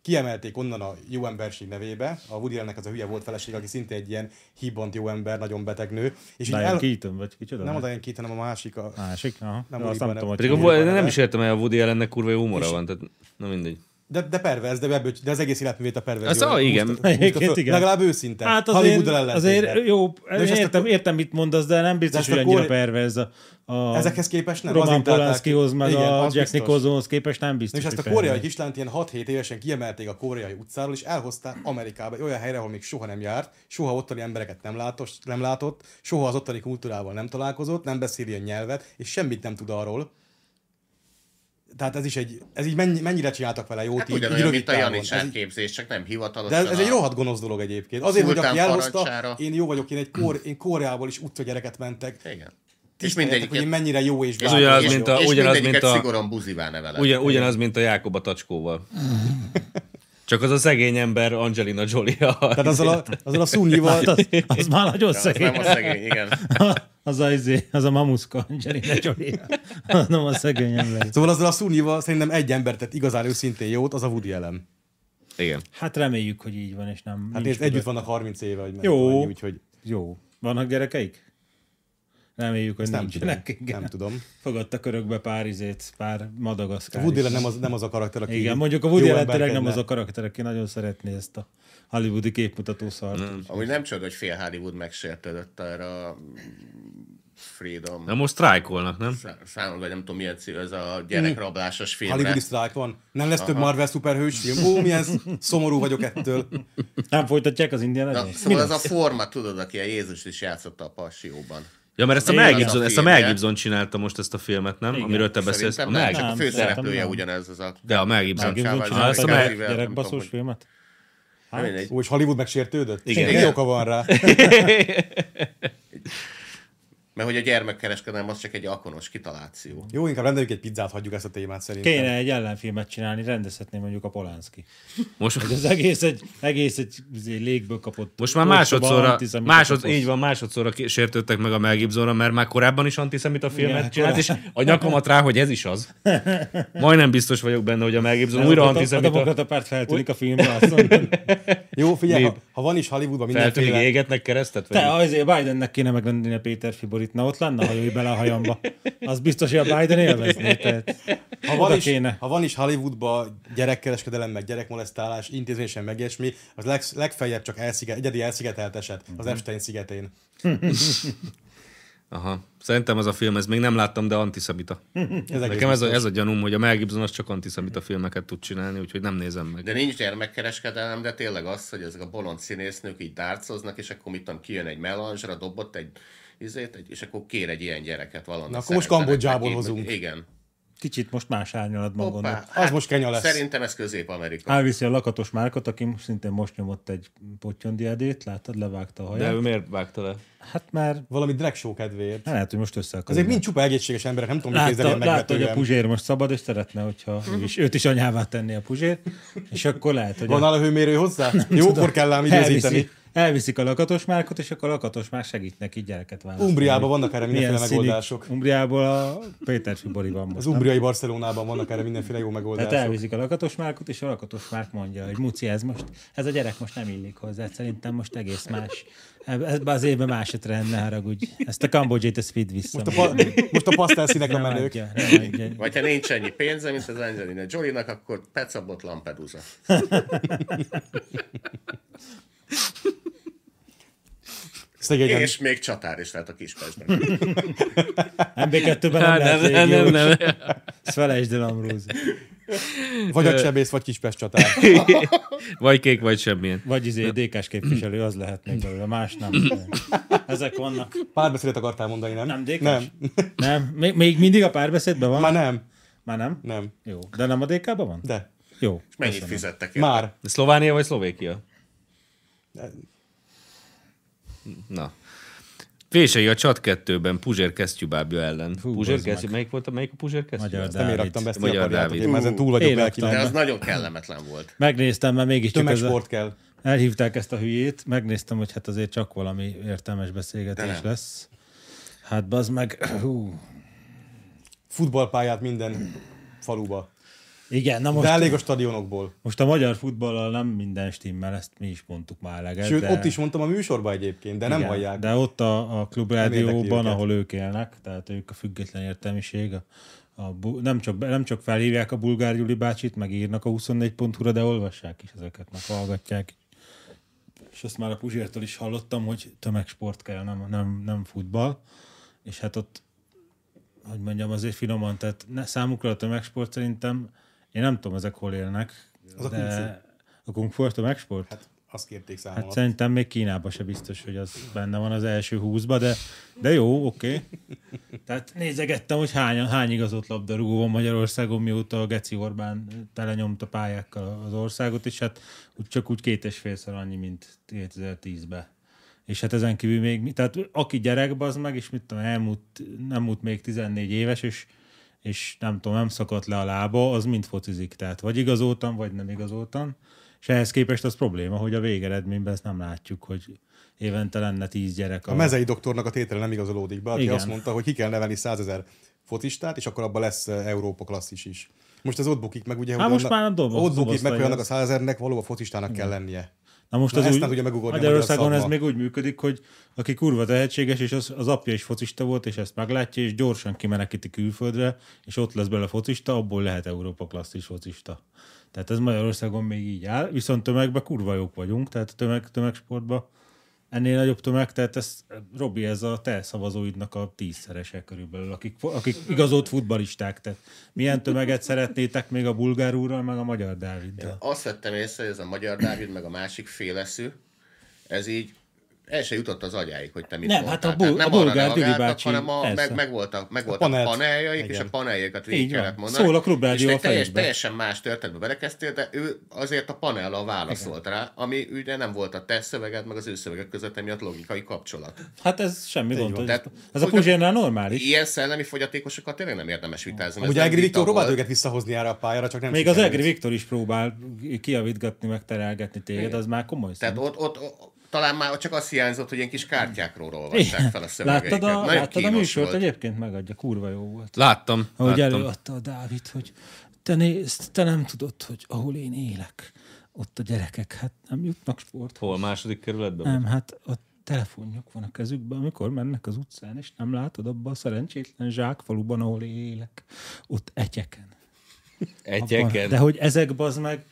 [SPEAKER 4] kiemelték onnan a jó emberség nevébe, a Woody Allennek az a hülye volt feleség, aki szintén egy ilyen hibbant jó ember, nagyon beteg nő. És így
[SPEAKER 2] Diane
[SPEAKER 4] el...
[SPEAKER 2] Keaton vagy kicsoda?
[SPEAKER 4] Nem a Diane Keaton, hanem a másik, a...
[SPEAKER 2] Másik? Aha. Nem,
[SPEAKER 4] Nem
[SPEAKER 2] azt
[SPEAKER 4] Oliver,
[SPEAKER 2] nem tudom,
[SPEAKER 1] Pedig a,
[SPEAKER 2] hogy
[SPEAKER 1] Wo- nem is értem el, a Woody Allennek kurva jó humora van, tehát na mindegy.
[SPEAKER 4] De, de pervers, de, ebből, de az egész életművét a perverz.
[SPEAKER 1] Ez a- igen.
[SPEAKER 2] Egyébként igen.
[SPEAKER 4] Legalább őszinte.
[SPEAKER 2] Hát
[SPEAKER 4] Hollywood
[SPEAKER 2] azért,
[SPEAKER 4] ellentétben.
[SPEAKER 2] azért jó,
[SPEAKER 4] De és ezt
[SPEAKER 2] értem,
[SPEAKER 4] a-
[SPEAKER 2] értem, mit mondasz, de nem biztos,
[SPEAKER 4] ezt
[SPEAKER 2] hogy
[SPEAKER 4] a
[SPEAKER 2] annyira
[SPEAKER 4] kor-
[SPEAKER 2] perverz a, a
[SPEAKER 4] Ezekhez képest nem,
[SPEAKER 2] Roman
[SPEAKER 4] azért találták
[SPEAKER 2] Polanskihoz,
[SPEAKER 4] ki.
[SPEAKER 2] meg
[SPEAKER 4] Igen,
[SPEAKER 2] a
[SPEAKER 4] az
[SPEAKER 2] Jack
[SPEAKER 4] biztos.
[SPEAKER 2] Nicholsonhoz képest nem biztos,
[SPEAKER 4] És ezt a
[SPEAKER 2] hogy
[SPEAKER 4] koreai
[SPEAKER 2] perverz.
[SPEAKER 4] kislányt ilyen 6-7 évesen kiemelték a koreai utcáról, és elhozták Amerikába, egy olyan helyre, ahol még soha nem járt, soha ottani embereket nem látott, nem látott, soha az ottani kultúrával nem találkozott, nem beszél ilyen nyelvet, és semmit nem tud arról. Tehát ez is egy, ez így mennyi, mennyire csináltak vele jót,
[SPEAKER 3] Hát
[SPEAKER 4] így, így
[SPEAKER 3] ugyanolyan,
[SPEAKER 4] rövid
[SPEAKER 3] mint a
[SPEAKER 4] távon. Ez
[SPEAKER 3] Janicsár
[SPEAKER 4] így-
[SPEAKER 3] képzés, csak nem
[SPEAKER 4] De
[SPEAKER 3] hivatalosan.
[SPEAKER 4] ez, ez egy
[SPEAKER 3] a-
[SPEAKER 4] rohadt gonosz dolog egyébként. Azért, hogy
[SPEAKER 3] Szultán
[SPEAKER 4] aki elhozta,
[SPEAKER 3] parancsára.
[SPEAKER 4] én jó vagyok, én, egy kor, én Koreából is utca gyereket mentek.
[SPEAKER 3] Igen. És
[SPEAKER 4] Tiszteljetek, hogy én
[SPEAKER 3] mindegyiket
[SPEAKER 4] mennyire jó és
[SPEAKER 1] Ez
[SPEAKER 4] bátor
[SPEAKER 1] ugyanaz,
[SPEAKER 4] vagyok.
[SPEAKER 1] mint a-
[SPEAKER 3] és
[SPEAKER 1] ugyanaz,
[SPEAKER 3] mindegyiket
[SPEAKER 1] mint a-
[SPEAKER 3] szigorúan buzivá neveled.
[SPEAKER 1] Ugyan, ugyanaz, mint a Jákob a tacskóval. Csak az a szegény ember Angelina Jolie. A...
[SPEAKER 4] Tehát azzal a, azzal a szunyival,
[SPEAKER 2] Hát az, az már nagyon
[SPEAKER 3] Az nem
[SPEAKER 2] szegény.
[SPEAKER 3] a szegény, igen.
[SPEAKER 2] Az a, izé, az a mamuszka, Angelina Jolie. Az nem a szegény ember.
[SPEAKER 4] szóval azzal a szunyival szerintem egy ember tett igazán őszintén jót, az a Woody Allen.
[SPEAKER 1] Igen.
[SPEAKER 2] Hát reméljük, hogy így van, és nem...
[SPEAKER 4] Hát
[SPEAKER 2] nincs
[SPEAKER 4] nézd, együtt
[SPEAKER 2] mögött.
[SPEAKER 4] vannak 30 éve, vagy
[SPEAKER 2] Jó.
[SPEAKER 4] Annyi, úgyhogy
[SPEAKER 2] Jó. Vannak gyerekeik? Reméljük, hogy
[SPEAKER 4] ezt nem tudom.
[SPEAKER 2] nincsenek. Igen.
[SPEAKER 4] Nem tudom.
[SPEAKER 2] Fogadtak örökbe pár izét, pár
[SPEAKER 4] A
[SPEAKER 2] madagaszkár
[SPEAKER 4] Woody
[SPEAKER 2] is.
[SPEAKER 4] Allen nem az, nem az a karakter, aki
[SPEAKER 2] Igen, mondjuk a Woody
[SPEAKER 4] jó
[SPEAKER 2] Allen tényleg
[SPEAKER 4] emberként
[SPEAKER 2] nem az
[SPEAKER 4] le-
[SPEAKER 2] a karakter, aki nagyon szeretné ezt a hollywoodi képmutató szart.
[SPEAKER 1] Mm.
[SPEAKER 3] Amúgy nem csoda, hogy fél Hollywood megsértődött erre a Freedom.
[SPEAKER 1] Na most sztrájkolnak, nem?
[SPEAKER 3] szá- Számomra, vagy nem tudom, milyen cím, ez a gyerekrablásos filmre.
[SPEAKER 4] Hollywood strike van. Nem lesz több Marvel szuperhős film. Ó, milyen sz- szomorú vagyok ettől.
[SPEAKER 2] Nem folytatják az indián
[SPEAKER 3] Na,
[SPEAKER 2] Jones-t?
[SPEAKER 3] szóval az a forma, tudod, aki a Jézus is játszotta a Passióban.
[SPEAKER 1] Ja, mert ezt a
[SPEAKER 2] Én
[SPEAKER 1] Mel
[SPEAKER 2] az a
[SPEAKER 1] Gibson, ezt a
[SPEAKER 3] filmje.
[SPEAKER 1] Mel Gibson csinálta most ezt a filmet, nem? Amiről te beszélsz. A
[SPEAKER 3] Szerintem nem,
[SPEAKER 1] Mel
[SPEAKER 3] csak a
[SPEAKER 2] Nem,
[SPEAKER 3] főszereplője
[SPEAKER 2] szerintem nem.
[SPEAKER 3] ugyanez az a...
[SPEAKER 1] De a Mel Gibson.
[SPEAKER 2] Mel Gibson
[SPEAKER 3] Sává-
[SPEAKER 2] csinálta
[SPEAKER 1] Sává-
[SPEAKER 2] a
[SPEAKER 3] Sává- nem
[SPEAKER 2] gyerekbaszós
[SPEAKER 3] tudom,
[SPEAKER 2] filmet?
[SPEAKER 3] Na, mindegy.
[SPEAKER 4] Ó, és Hollywood megsértődött?
[SPEAKER 1] Igen.
[SPEAKER 4] Mi
[SPEAKER 3] Igen.
[SPEAKER 4] oka van rá?
[SPEAKER 3] Mert hogy a gyermekkereskedelem az csak egy alkonos kitaláció.
[SPEAKER 4] Jó, inkább rendeljük egy pizzát, hagyjuk ezt a témát szerintem.
[SPEAKER 2] Kéne egy ellenfilmet csinálni, rendezhetné mondjuk a Polánszki.
[SPEAKER 1] Most,
[SPEAKER 2] Ez egész egy, egész egy izé, légből kapott.
[SPEAKER 1] most már
[SPEAKER 2] ostoba
[SPEAKER 1] másodszorra,
[SPEAKER 2] antiszemita
[SPEAKER 1] másod,
[SPEAKER 2] koposz.
[SPEAKER 1] így van, másodszorra ki- sértődtek meg a Mel Gibsonra, mert már korábban is antiszemita filmet
[SPEAKER 2] Igen,
[SPEAKER 1] csinált, és
[SPEAKER 2] korábban.
[SPEAKER 1] a nyakamat rá, hogy ez is az. Majdnem biztos vagyok benne, hogy a Mel Gibson
[SPEAKER 2] Nem,
[SPEAKER 1] újra
[SPEAKER 2] a- A
[SPEAKER 1] antiszemita
[SPEAKER 2] demokrata párt feltűnik a filmbe, azt mondom.
[SPEAKER 4] Jó, figyelj, ha,
[SPEAKER 1] Nép.
[SPEAKER 4] ha, van is Hollywoodban
[SPEAKER 1] feltűnik,
[SPEAKER 4] mindenféle...
[SPEAKER 1] égetnek keresztet? Vagy
[SPEAKER 2] Te, azért Bidennek kéne megrendelni a Péter Fiborit, na ott lenne, ha jöjj bele a hajamba. Az biztos, hogy a Biden élvezné. Tehát,
[SPEAKER 4] Ha van,
[SPEAKER 2] oda
[SPEAKER 4] is,
[SPEAKER 2] kéne.
[SPEAKER 4] ha van is Hollywoodban gyerekkereskedelem, meg gyerekmolesztálás, intézményesen meg ilyesmi, az leg, legfeljebb csak elsziget, egyedi elszigetelt eset
[SPEAKER 2] Mhm.
[SPEAKER 4] az Epstein szigetén.
[SPEAKER 1] Aha. Szerintem ez a film, ez még nem láttam, de antiszemita.
[SPEAKER 4] Ez egész
[SPEAKER 1] Nekem ez a, ez a gyanúm, hogy a Mel Gibson az csak antiszemita filmeket tud csinálni, úgyhogy nem nézem meg.
[SPEAKER 3] De nincs gyermekkereskedelem, de tényleg az, hogy ezek a bolond színésznők így dárcoznak, és akkor mit tudom, kijön egy melanzsra, dobott egy izét, egy, és akkor kér egy ilyen gyereket valami.
[SPEAKER 4] Na, akkor most Kambodzsából hozunk.
[SPEAKER 3] Igen.
[SPEAKER 2] Kicsit most más árnyalatban gondolok.
[SPEAKER 4] Az most kenya lesz.
[SPEAKER 3] hát Szerintem ez Közép-Amerika.
[SPEAKER 2] Elviszi a lakatos márkot, aki most szintén most nyomott egy pottyondi edét, láttad, levágta a
[SPEAKER 1] De
[SPEAKER 2] haját.
[SPEAKER 1] ő
[SPEAKER 2] De...
[SPEAKER 1] miért vágta le?
[SPEAKER 2] Hát már
[SPEAKER 4] Valami drag show kedvéért.
[SPEAKER 2] Hát lehet, hogy most össze akar.
[SPEAKER 4] Azért mind csupa egészséges emberek, nem tudom, hogy
[SPEAKER 2] Látta,
[SPEAKER 4] kézzel
[SPEAKER 2] látta, hogy a
[SPEAKER 4] megvetően.
[SPEAKER 2] Puzsér most szabad, és szeretne, hogyha ő is, őt is anyává tenni a Puzsér, és akkor lehet, hogy
[SPEAKER 4] Van
[SPEAKER 2] a,
[SPEAKER 4] nála hőmérő hozzá? Jókor kell ám időzíteni.
[SPEAKER 2] elviszi, elviszik a lakatos márkot, és akkor a lakatos már segít neki gyereket választani.
[SPEAKER 4] Umbriában vannak erre
[SPEAKER 2] Milyen
[SPEAKER 4] mindenféle
[SPEAKER 2] színi-
[SPEAKER 4] megoldások.
[SPEAKER 2] Umbriából a Péter Fibori van most.
[SPEAKER 4] Az
[SPEAKER 2] nem?
[SPEAKER 4] umbriai Barcelonában vannak erre mindenféle jó
[SPEAKER 2] Tehát
[SPEAKER 4] megoldások.
[SPEAKER 2] elviszik a lakatos márkot, és a lakatos márk mondja, hogy Muci, ez most, ez a gyerek most nem illik hozzá, szerintem most egész más. Ebben az évben más a trend, ne haragudj. Ezt a kambodzsét, ezt vidd vissza.
[SPEAKER 4] Most a, pa- most a pasztel színek a
[SPEAKER 2] Nem
[SPEAKER 4] menők.
[SPEAKER 2] adja, nem adja.
[SPEAKER 3] Vagy ha nincs ennyi pénze, mint az Angelina Jolie-nak, akkor Petsabot Lampedusa.
[SPEAKER 4] Szegényen.
[SPEAKER 3] És még csatár is lehet a Kispestben.
[SPEAKER 2] MB2-ben nem
[SPEAKER 1] Hát,
[SPEAKER 2] lehet
[SPEAKER 1] nem,
[SPEAKER 2] nem,
[SPEAKER 1] nem, nem, nem.
[SPEAKER 2] Ezt felejtsd el, Amrózi.
[SPEAKER 4] Vagy a csebész, vagy kispest csatár.
[SPEAKER 1] Vagy kék, vagy semmilyen.
[SPEAKER 2] Vagy izé, DK-s képviselő, az lehet még belőle, más nem. Ezek vannak.
[SPEAKER 4] Párbeszédet akartál mondani, nem?
[SPEAKER 2] Nem DK-s?
[SPEAKER 4] Nem.
[SPEAKER 2] Nem? Még, még mindig a párbeszédben van?
[SPEAKER 4] Már
[SPEAKER 2] Már,
[SPEAKER 4] nem.
[SPEAKER 2] Már nem?
[SPEAKER 4] Nem.
[SPEAKER 2] Jó. De nem a DK-ban van?
[SPEAKER 4] De.
[SPEAKER 2] Jó.
[SPEAKER 3] Mennyit fizettek érte?
[SPEAKER 4] Már.
[SPEAKER 1] Szlovánia vagy Szlovékia? Na. Vései a csat kettőben Puzsér kesztyűbábja ellen.
[SPEAKER 2] Hú,
[SPEAKER 1] Puzsér
[SPEAKER 2] bazd meg.
[SPEAKER 1] kesztyű, melyik volt a, melyik a Puzsér kesztyű?
[SPEAKER 2] Magyar
[SPEAKER 4] Nem
[SPEAKER 2] Dávid.
[SPEAKER 4] én raktam be ezt a
[SPEAKER 1] Magyar
[SPEAKER 4] japarjátot,
[SPEAKER 1] Dávid.
[SPEAKER 4] én már ezen túl vagyok
[SPEAKER 2] Én
[SPEAKER 3] De
[SPEAKER 4] lelkileg.
[SPEAKER 3] az nagyon kellemetlen volt.
[SPEAKER 2] Megnéztem, mert mégiscsak ez a...
[SPEAKER 4] Tömegsport kell.
[SPEAKER 2] elhívták ezt a hülyét, megnéztem, hogy hát azért csak valami értelmes beszélgetés lesz. Hát bazd meg, hú.
[SPEAKER 4] Futballpályát minden faluba.
[SPEAKER 2] Igen, na
[SPEAKER 4] De
[SPEAKER 2] most,
[SPEAKER 4] elég a stadionokból.
[SPEAKER 2] most a magyar futballal nem minden stimmel, ezt mi is mondtuk már legalább.
[SPEAKER 4] Sőt, ott is mondtam a műsorba egyébként, de nem
[SPEAKER 2] Igen,
[SPEAKER 4] hallják.
[SPEAKER 2] De ott a, a
[SPEAKER 4] érdekli
[SPEAKER 2] klubrádióban,
[SPEAKER 4] őket.
[SPEAKER 2] ahol ők élnek, tehát ők a független értelmiség, a, a, bu- nem, csak, nem csak felhívják a bulgár Gyuli bácsit, meg írnak a 24.hu-ra, de olvassák is ezeket, meg hallgatják. És azt már a Puzsértől is hallottam, hogy tömegsport kell, nem, nem, nem futball. És hát ott, hogy mondjam, azért finoman, tehát ne, számukra a tömegsport szerintem, én nem tudom, ezek hol élnek.
[SPEAKER 4] Az a kung
[SPEAKER 2] de... A kung fu a tömegsport?
[SPEAKER 4] Hát azt kérték számon.
[SPEAKER 2] Hát szerintem még Kínában se biztos, hogy az benne van az első húszba, de, de jó, oké. Okay. Tehát nézegettem, hogy hány, hány igazolt labdarúgó van Magyarországon, mióta a Geci Orbán telenyomta pályákkal az országot, és hát úgy, csak úgy két és félszer annyi, mint 2010-ben. És hát ezen kívül még, mi- tehát aki gyerek, az meg, és mit tudom, elmúlt, nem múlt még 14 éves, és és nem tudom, nem szakadt le a lába, az mind focizik. Tehát vagy igazoltan, vagy nem igazoltan. És ehhez képest az probléma, hogy a végeredményben ezt nem látjuk, hogy évente lenne tíz gyerek.
[SPEAKER 4] A mezei doktornak a tétele nem igazolódik be, aki
[SPEAKER 2] Igen.
[SPEAKER 4] azt mondta, hogy ki kell nevelni 100 ezer focistát, és akkor abban lesz eh, Európa klasszis is. Most ez ott bukik meg, ugye?
[SPEAKER 2] Há,
[SPEAKER 4] hogy
[SPEAKER 2] most
[SPEAKER 4] annak-
[SPEAKER 2] már a doboz-
[SPEAKER 4] Ott bukik meg,
[SPEAKER 2] dobosztai
[SPEAKER 4] hogy annak a
[SPEAKER 2] lesz.
[SPEAKER 4] 100 ezernek valóban focistának kell lennie.
[SPEAKER 2] Na most
[SPEAKER 4] Na,
[SPEAKER 2] az
[SPEAKER 4] ezt
[SPEAKER 2] úgy,
[SPEAKER 4] nem tudja megugorni a
[SPEAKER 2] Magyarországon
[SPEAKER 4] magyar
[SPEAKER 2] ez
[SPEAKER 4] szakma.
[SPEAKER 2] még úgy működik, hogy aki kurva tehetséges, és az, az apja is focista volt, és ezt meglátja, és gyorsan kimenekíti külföldre, és ott lesz bele focista, abból lehet Európa klasszis focista. Tehát ez Magyarországon még így áll, viszont tömegben kurva jók vagyunk, tehát a tömeg, tömegsportban ennél nagyobb tömeg, tehát ez, Robi, ez a te szavazóidnak a tízszerese körülbelül, akik, fo- akik igazolt futbalisták. Tehát milyen tömeget szeretnétek még a bulgár úrral, meg a magyar Dáviddal?
[SPEAKER 3] Azt vettem észre, hogy ez a magyar Dávid, meg a másik féleszű, ez így el se jutott az agyáig, hogy te mit
[SPEAKER 2] Nem,
[SPEAKER 3] mondtál.
[SPEAKER 2] hát a bul-
[SPEAKER 3] Tehát
[SPEAKER 2] a
[SPEAKER 3] arra
[SPEAKER 2] bulgár Gyuri
[SPEAKER 3] reagáltak,
[SPEAKER 2] bácsi,
[SPEAKER 3] hanem a,
[SPEAKER 2] persze.
[SPEAKER 3] meg, meg voltak, meg voltak
[SPEAKER 4] panelt.
[SPEAKER 3] paneljaik, és
[SPEAKER 2] Igen.
[SPEAKER 3] a paneljaikat
[SPEAKER 2] Így
[SPEAKER 3] végig
[SPEAKER 2] van.
[SPEAKER 3] kellett mondani.
[SPEAKER 2] Szól a Klubrádió
[SPEAKER 3] És te
[SPEAKER 2] a
[SPEAKER 3] teljes,
[SPEAKER 2] fejedbe.
[SPEAKER 3] teljesen más történetbe belekezdtél, de ő azért a panellal válaszolt rá, ami ugye nem volt a te szöveged, meg az ő szövegek között emiatt logikai kapcsolat.
[SPEAKER 2] Hát ez semmi gond. hogy-
[SPEAKER 3] Tehát-
[SPEAKER 2] Ez a Puzsérnál normális.
[SPEAKER 3] Ilyen szellemi fogyatékosokkal tényleg nem érdemes vitázni.
[SPEAKER 4] Amúgy
[SPEAKER 3] Ez nem
[SPEAKER 4] Egri
[SPEAKER 3] vita
[SPEAKER 4] Viktor próbált
[SPEAKER 3] volt.
[SPEAKER 4] őket visszahozni erre a pályára, csak nem
[SPEAKER 2] Még az
[SPEAKER 4] sikerült.
[SPEAKER 2] Egri Viktor is próbál kiavítgatni, meg terelgetni téged, az már komoly szó.
[SPEAKER 3] Tehát ott, ott, ott talán már csak azt hiányzott, hogy ilyen kis kártyákról olvassák fel a szövegeiket.
[SPEAKER 2] Láttad a,
[SPEAKER 3] Nagyon
[SPEAKER 2] láttad a
[SPEAKER 3] kínos
[SPEAKER 2] műsort?
[SPEAKER 3] volt.
[SPEAKER 2] Egyébként megadja, kurva jó volt.
[SPEAKER 1] Láttam.
[SPEAKER 2] Ahogy
[SPEAKER 1] láttam.
[SPEAKER 2] előadta a Dávid, hogy te nézd, te nem tudod, hogy ahol én élek, ott a gyerekek, hát nem jutnak sport.
[SPEAKER 1] Hol? Második kerületben?
[SPEAKER 2] Nem, hát a telefonjuk van a kezükben, amikor mennek az utcán, és nem látod abba a szerencsétlen zsákfaluban, ahol én élek, ott egyeken.
[SPEAKER 1] Egyeken.
[SPEAKER 2] De hogy ezek bazd meg,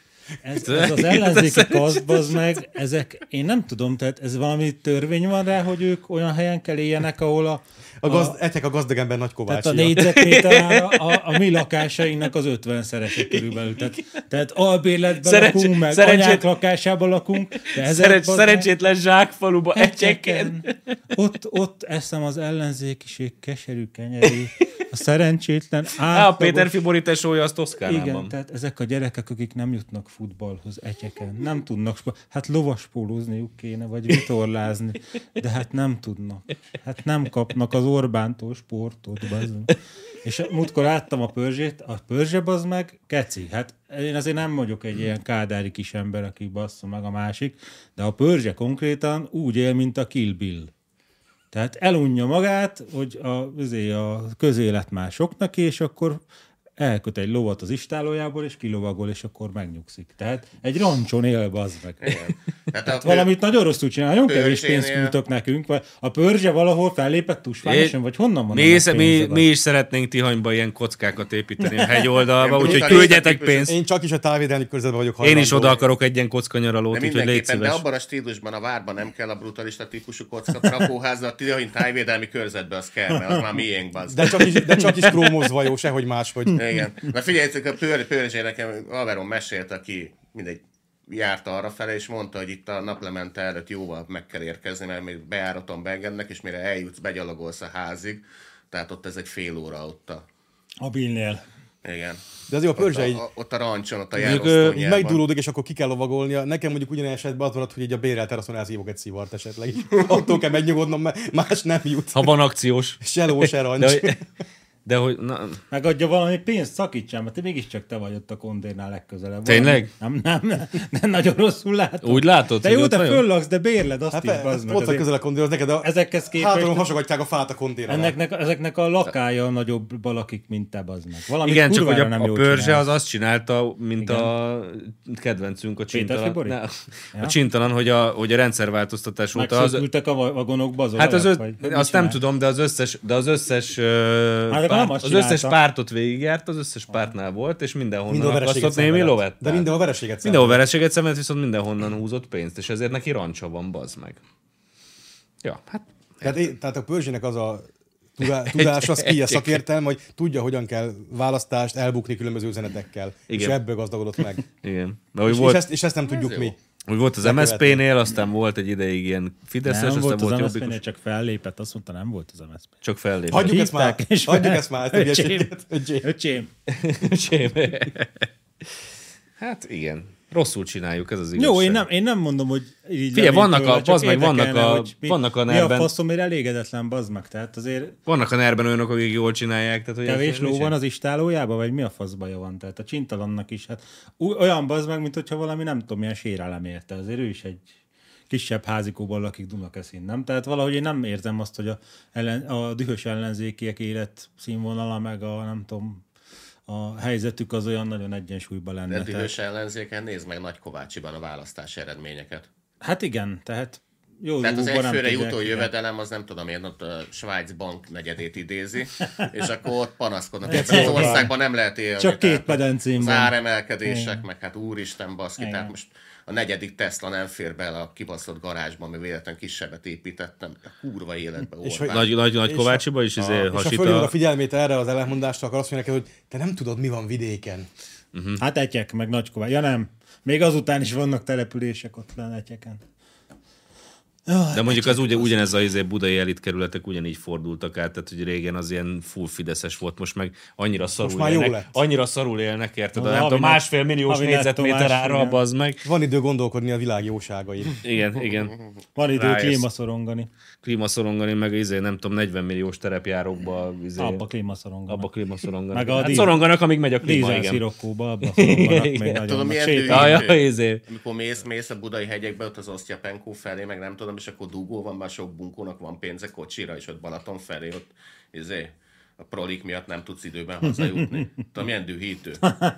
[SPEAKER 2] Ez, ez az ellenzéki kaszt, az meg, ezek, én nem tudom, tehát ez valami törvény van rá, hogy ők olyan helyen kell éljenek, ahol a,
[SPEAKER 4] A gazd, Egyek a gazdag ember nagy
[SPEAKER 2] tehát a
[SPEAKER 4] kovácsia.
[SPEAKER 2] négyzetméter ára a, a mi lakásainknak az 50 szerese körülbelül. Tehát, tehát albérletben
[SPEAKER 1] Szerencsé-
[SPEAKER 2] lakunk, meg
[SPEAKER 1] szerencsét-
[SPEAKER 2] anyák lakásában lakunk. De ezek
[SPEAKER 1] Szerencs,
[SPEAKER 2] bazd meg-
[SPEAKER 1] szerencsétlen zsákfaluba egyeken.
[SPEAKER 2] Egyeken. Ott, ott eszem az ellenzékiség keserű kenyerét. A szerencsétlen
[SPEAKER 1] Á, a
[SPEAKER 2] átlagos-
[SPEAKER 1] Péter Fibori tesója az Toszkánában.
[SPEAKER 2] Hát, Igen, tehát ezek a gyerekek, akik nem jutnak futballhoz egyeken, nem tudnak, spo- hát lovaspólózniuk kéne, vagy vitorlázni, de hát nem tudnak. Hát nem kapnak az Orbántól sportot, bazen. És múltkor láttam a pörzsét, a pörzse az meg keci. Hát én azért nem vagyok egy ilyen kádári kis ember, aki bassza meg a másik, de a pörzse konkrétan úgy él, mint a Kill Bill. Tehát elunja magát, hogy a, azért a közélet már soknak, és akkor elköt egy lovat az istálójából, és kilovagol, és akkor megnyugszik. Tehát egy roncson él, bazd meg.
[SPEAKER 3] Tehát a,
[SPEAKER 2] Valamit nagyon rosszul csinál, nagyon kevés
[SPEAKER 3] Pörzsénél.
[SPEAKER 2] pénzt nyújtok nekünk, vagy a pörzse valahol fellépett tusványosan, vagy honnan van
[SPEAKER 1] mi,
[SPEAKER 2] ennek
[SPEAKER 1] ész, mi,
[SPEAKER 2] pénze,
[SPEAKER 1] mi, is szeretnénk Tihanyba ilyen kockákat építeni a hegyoldalba,
[SPEAKER 3] Ilyen
[SPEAKER 1] úgyhogy
[SPEAKER 3] brutális
[SPEAKER 1] küldjetek
[SPEAKER 3] típusú-
[SPEAKER 1] pénzt.
[SPEAKER 4] Én csak is a távvédelmi körzetben vagyok
[SPEAKER 1] Én is
[SPEAKER 4] hajlandó.
[SPEAKER 1] oda akarok egy ilyen kockanyaralót,
[SPEAKER 3] de
[SPEAKER 1] úgyhogy légy
[SPEAKER 3] mindenképpen, de
[SPEAKER 1] szíves.
[SPEAKER 3] abban a stílusban a várban nem kell a brutalista típusú kocka rakóházra, a Tihain tájvédelmi körzetbe az kell, mert az már miénk, bazd.
[SPEAKER 4] De csak is, de csak is krómozva jó, sehogy máshogy.
[SPEAKER 3] Igen. Na figyeljétek, a pör, pörzsé nekem Averon mesélt, aki mindegy járta arra fele, és mondta, hogy itt a naplemente előtt jóval meg kell érkezni, mert még beáraton beengednek, és mire eljutsz, begyalogolsz a házig. Tehát ott ez egy fél óra ott a...
[SPEAKER 2] A Billnél.
[SPEAKER 3] Igen.
[SPEAKER 4] De az jó, a
[SPEAKER 3] Ott
[SPEAKER 4] pörzse
[SPEAKER 3] a,
[SPEAKER 4] így
[SPEAKER 3] a, ott a rancson, ott a
[SPEAKER 4] mondjuk, ö,
[SPEAKER 3] járósztónyában.
[SPEAKER 4] megdurulódik, és akkor ki kell lovagolnia. Nekem mondjuk ugyanilyen esetben az maradt, hogy így a bérelt teraszon elszívok egy szivart esetleg. is. Attól kell megnyugodnom, mert más nem jut.
[SPEAKER 1] Ha van akciós.
[SPEAKER 4] Se ló, se rancs.
[SPEAKER 1] De, hogy- de hogy, na,
[SPEAKER 2] Megadja valami pénzt, szakítsam, mert te mégiscsak te vagy ott a kondérnál legközelebb.
[SPEAKER 1] Tényleg?
[SPEAKER 2] Valami- Nem, nem, nem, nagyon rosszul látom.
[SPEAKER 1] Úgy látod,
[SPEAKER 2] De
[SPEAKER 1] hogy
[SPEAKER 2] jó,
[SPEAKER 1] ott
[SPEAKER 2] te
[SPEAKER 1] nagyon-
[SPEAKER 2] föllaksz, de bérled azt
[SPEAKER 4] Hát
[SPEAKER 2] hát, is, bazd
[SPEAKER 4] persze,
[SPEAKER 2] meg.
[SPEAKER 4] ott van
[SPEAKER 2] azért.
[SPEAKER 4] közel a kondér, az neked a
[SPEAKER 2] Ezekhez képest-
[SPEAKER 4] hátulon hasogatják a fát a kondér alá.
[SPEAKER 2] Ennek, ezeknek a lakája a nagyobb balakik, mint te, bazd meg. Valami
[SPEAKER 1] igen, csak hogy a,
[SPEAKER 2] nem
[SPEAKER 1] a
[SPEAKER 2] jól
[SPEAKER 1] pörzse
[SPEAKER 2] csinálsz.
[SPEAKER 1] az azt csinálta, mint a kedvencünk, a csintalan.
[SPEAKER 2] Fibori?
[SPEAKER 1] Ne, a csintalan, hogy a, hogy a rendszerváltoztatás óta az,
[SPEAKER 2] Megszökültek a va- vagonokba az
[SPEAKER 1] Hát az
[SPEAKER 2] olajak,
[SPEAKER 1] öt,
[SPEAKER 2] vagy-
[SPEAKER 1] azt
[SPEAKER 2] mit
[SPEAKER 1] nem
[SPEAKER 2] csinál?
[SPEAKER 1] tudom, de az összes, de az összes, ö,
[SPEAKER 2] Hát akkor
[SPEAKER 1] párt,
[SPEAKER 2] nem azt
[SPEAKER 1] az összes
[SPEAKER 2] csinálta.
[SPEAKER 1] pártot végigjárt, az összes pártnál volt, és
[SPEAKER 4] Mindenhol
[SPEAKER 1] mindenhonnan
[SPEAKER 4] vereséget
[SPEAKER 1] akasztott némi
[SPEAKER 4] szenvedett.
[SPEAKER 1] lovat.
[SPEAKER 4] De mindenhol vereséget
[SPEAKER 1] Mindenhol vereséget szemelt, viszont mindenhonnan húzott pénzt, és ezért neki rancsa van, bazd meg. Ja, hát
[SPEAKER 4] Tehát, én, tehát a pörzsének az a tudá- tudás, az ki a szakértelme, hogy tudja, hogyan kell választást elbukni különböző üzenetekkel. Igen. És
[SPEAKER 1] Igen.
[SPEAKER 4] ebből gazdagodott meg.
[SPEAKER 1] igen. De hogy
[SPEAKER 4] És, és,
[SPEAKER 1] volt,
[SPEAKER 4] ezt, és ezt nem tudjuk mi.
[SPEAKER 1] hogy volt az MSZP-nél, aztán volt egy ideig ilyen Fideszes,
[SPEAKER 2] Nem
[SPEAKER 1] aztán
[SPEAKER 2] volt
[SPEAKER 1] volt,
[SPEAKER 2] az
[SPEAKER 1] Jobbikus,
[SPEAKER 2] MSZP-nél, csak fellépett, azt mondta, nem volt az MSZP.
[SPEAKER 1] csak fellépett.
[SPEAKER 4] Hagyjuk ezt már,
[SPEAKER 2] Hívták, és
[SPEAKER 4] hagyjuk
[SPEAKER 2] fel-
[SPEAKER 4] ezt már, ezt a
[SPEAKER 2] Öcsém,
[SPEAKER 4] hülyeséget. Öcsém.
[SPEAKER 2] öcsém.
[SPEAKER 1] Öcsém. hát igen, rosszul csináljuk, ez az igazság.
[SPEAKER 2] Jó, én nem, én nem mondom, hogy így
[SPEAKER 1] Figyelj,
[SPEAKER 2] levén
[SPEAKER 1] vannak a-
[SPEAKER 2] tőle, csak
[SPEAKER 1] bazd meg, vannak
[SPEAKER 2] érdekelne,
[SPEAKER 1] a-
[SPEAKER 2] hogy mi,
[SPEAKER 1] vannak a
[SPEAKER 2] mi a
[SPEAKER 1] nerben-
[SPEAKER 2] faszomért elégedetlen, bazd meg. Tehát azért
[SPEAKER 1] Vannak a nerben olyanok, akik jól csinálják. Tehát, hogy
[SPEAKER 2] Kevés
[SPEAKER 1] ezt-
[SPEAKER 2] ló van az istálójában, vagy mi a fasz baja van? Tehát a csintalannak is, hát ú- olyan bazd meg, mint hogyha valami nem tudom, milyen sérelem érte. Azért ő is egy kisebb házikóban lakik Dunakeszin, nem? Tehát valahogy én nem érzem azt, hogy a, ellen, a dühös ellenzékiek élet színvonala, meg a nem tudom, a helyzetük az olyan nagyon egyensúlyban lenne.
[SPEAKER 3] De
[SPEAKER 2] Tehát-
[SPEAKER 3] dühös ellenzéken nézd meg Nagykovácsiban a választás eredményeket.
[SPEAKER 2] Hát igen, tehát jó
[SPEAKER 3] Tehát az
[SPEAKER 2] rúgóban nem
[SPEAKER 3] egyfőre
[SPEAKER 2] tudják,
[SPEAKER 3] jutó
[SPEAKER 2] igen.
[SPEAKER 3] jövedelem, az nem tudom én, ott a Svájc bank negyedét idézi, és akkor ott panaszkodnak. Ebben az országban nem lehet élni.
[SPEAKER 2] Csak
[SPEAKER 3] tehát
[SPEAKER 2] két pedencén
[SPEAKER 3] Az
[SPEAKER 2] van.
[SPEAKER 3] áremelkedések, meg hát úristen baszki,
[SPEAKER 2] Igen.
[SPEAKER 3] tehát most a negyedik Tesla nem fér bele a kibaszott garázsba, mert véletlen kisebbet építettem. A kurva életbe
[SPEAKER 4] És
[SPEAKER 3] Orbán.
[SPEAKER 1] Nagy, nagy, nagy Kovácsiba is izé
[SPEAKER 4] És ha
[SPEAKER 1] hasít
[SPEAKER 4] fölhívod a
[SPEAKER 1] a...
[SPEAKER 4] figyelmét erre az ellentmondásra, akkor azt mondja neked, hogy te nem tudod, mi van vidéken.
[SPEAKER 2] Hát egyek, meg nagyková. Ja nem, még azután is vannak települések ott lenne egyeken.
[SPEAKER 1] De mondjuk az ugye, ugyanez a izé budai elitkerületek ugyanígy fordultak át, tehát hogy régen az ilyen full fideszes volt, most meg annyira szarul
[SPEAKER 4] már jó
[SPEAKER 1] élnek.
[SPEAKER 4] lett.
[SPEAKER 1] Annyira szarul élnek, érted?
[SPEAKER 2] Na,
[SPEAKER 1] nem
[SPEAKER 2] havi
[SPEAKER 1] tudom,
[SPEAKER 2] net-
[SPEAKER 1] másfél milliós
[SPEAKER 2] havi nettó
[SPEAKER 1] négyzetméter
[SPEAKER 2] másfél,
[SPEAKER 1] ára,
[SPEAKER 2] igen.
[SPEAKER 1] bazd meg.
[SPEAKER 4] Van idő gondolkodni a világ jóságain.
[SPEAKER 1] Igen, igen.
[SPEAKER 2] Van idő
[SPEAKER 1] Rájössz.
[SPEAKER 2] klímaszorongani.
[SPEAKER 1] Klímaszorongani, meg izé, nem tudom, 40 milliós terepjárókba, izé,
[SPEAKER 2] Abba
[SPEAKER 1] abba,
[SPEAKER 2] klímaszoronganak.
[SPEAKER 1] abba klímaszoronganak.
[SPEAKER 2] Meg a
[SPEAKER 1] hát
[SPEAKER 2] díz-
[SPEAKER 1] szoronganak, amíg megy a klíma,
[SPEAKER 2] Dízel
[SPEAKER 1] igen.
[SPEAKER 2] szirokkóba, abba szoronganak még
[SPEAKER 1] Igen.
[SPEAKER 2] nagyon.
[SPEAKER 3] Tudom,
[SPEAKER 2] Meg
[SPEAKER 3] milyen
[SPEAKER 2] sétál-
[SPEAKER 1] Ja, ja, izé.
[SPEAKER 3] Amikor mész, mész a budai hegyekbe, ott az Osztyapenkó felé, meg nem tudom, és akkor dugó van, már sok bunkónak van pénze kocsira, és ott Balaton felé, ott izé, a prolik miatt nem tudsz időben hazajutni. Tudom, milyen dühítő.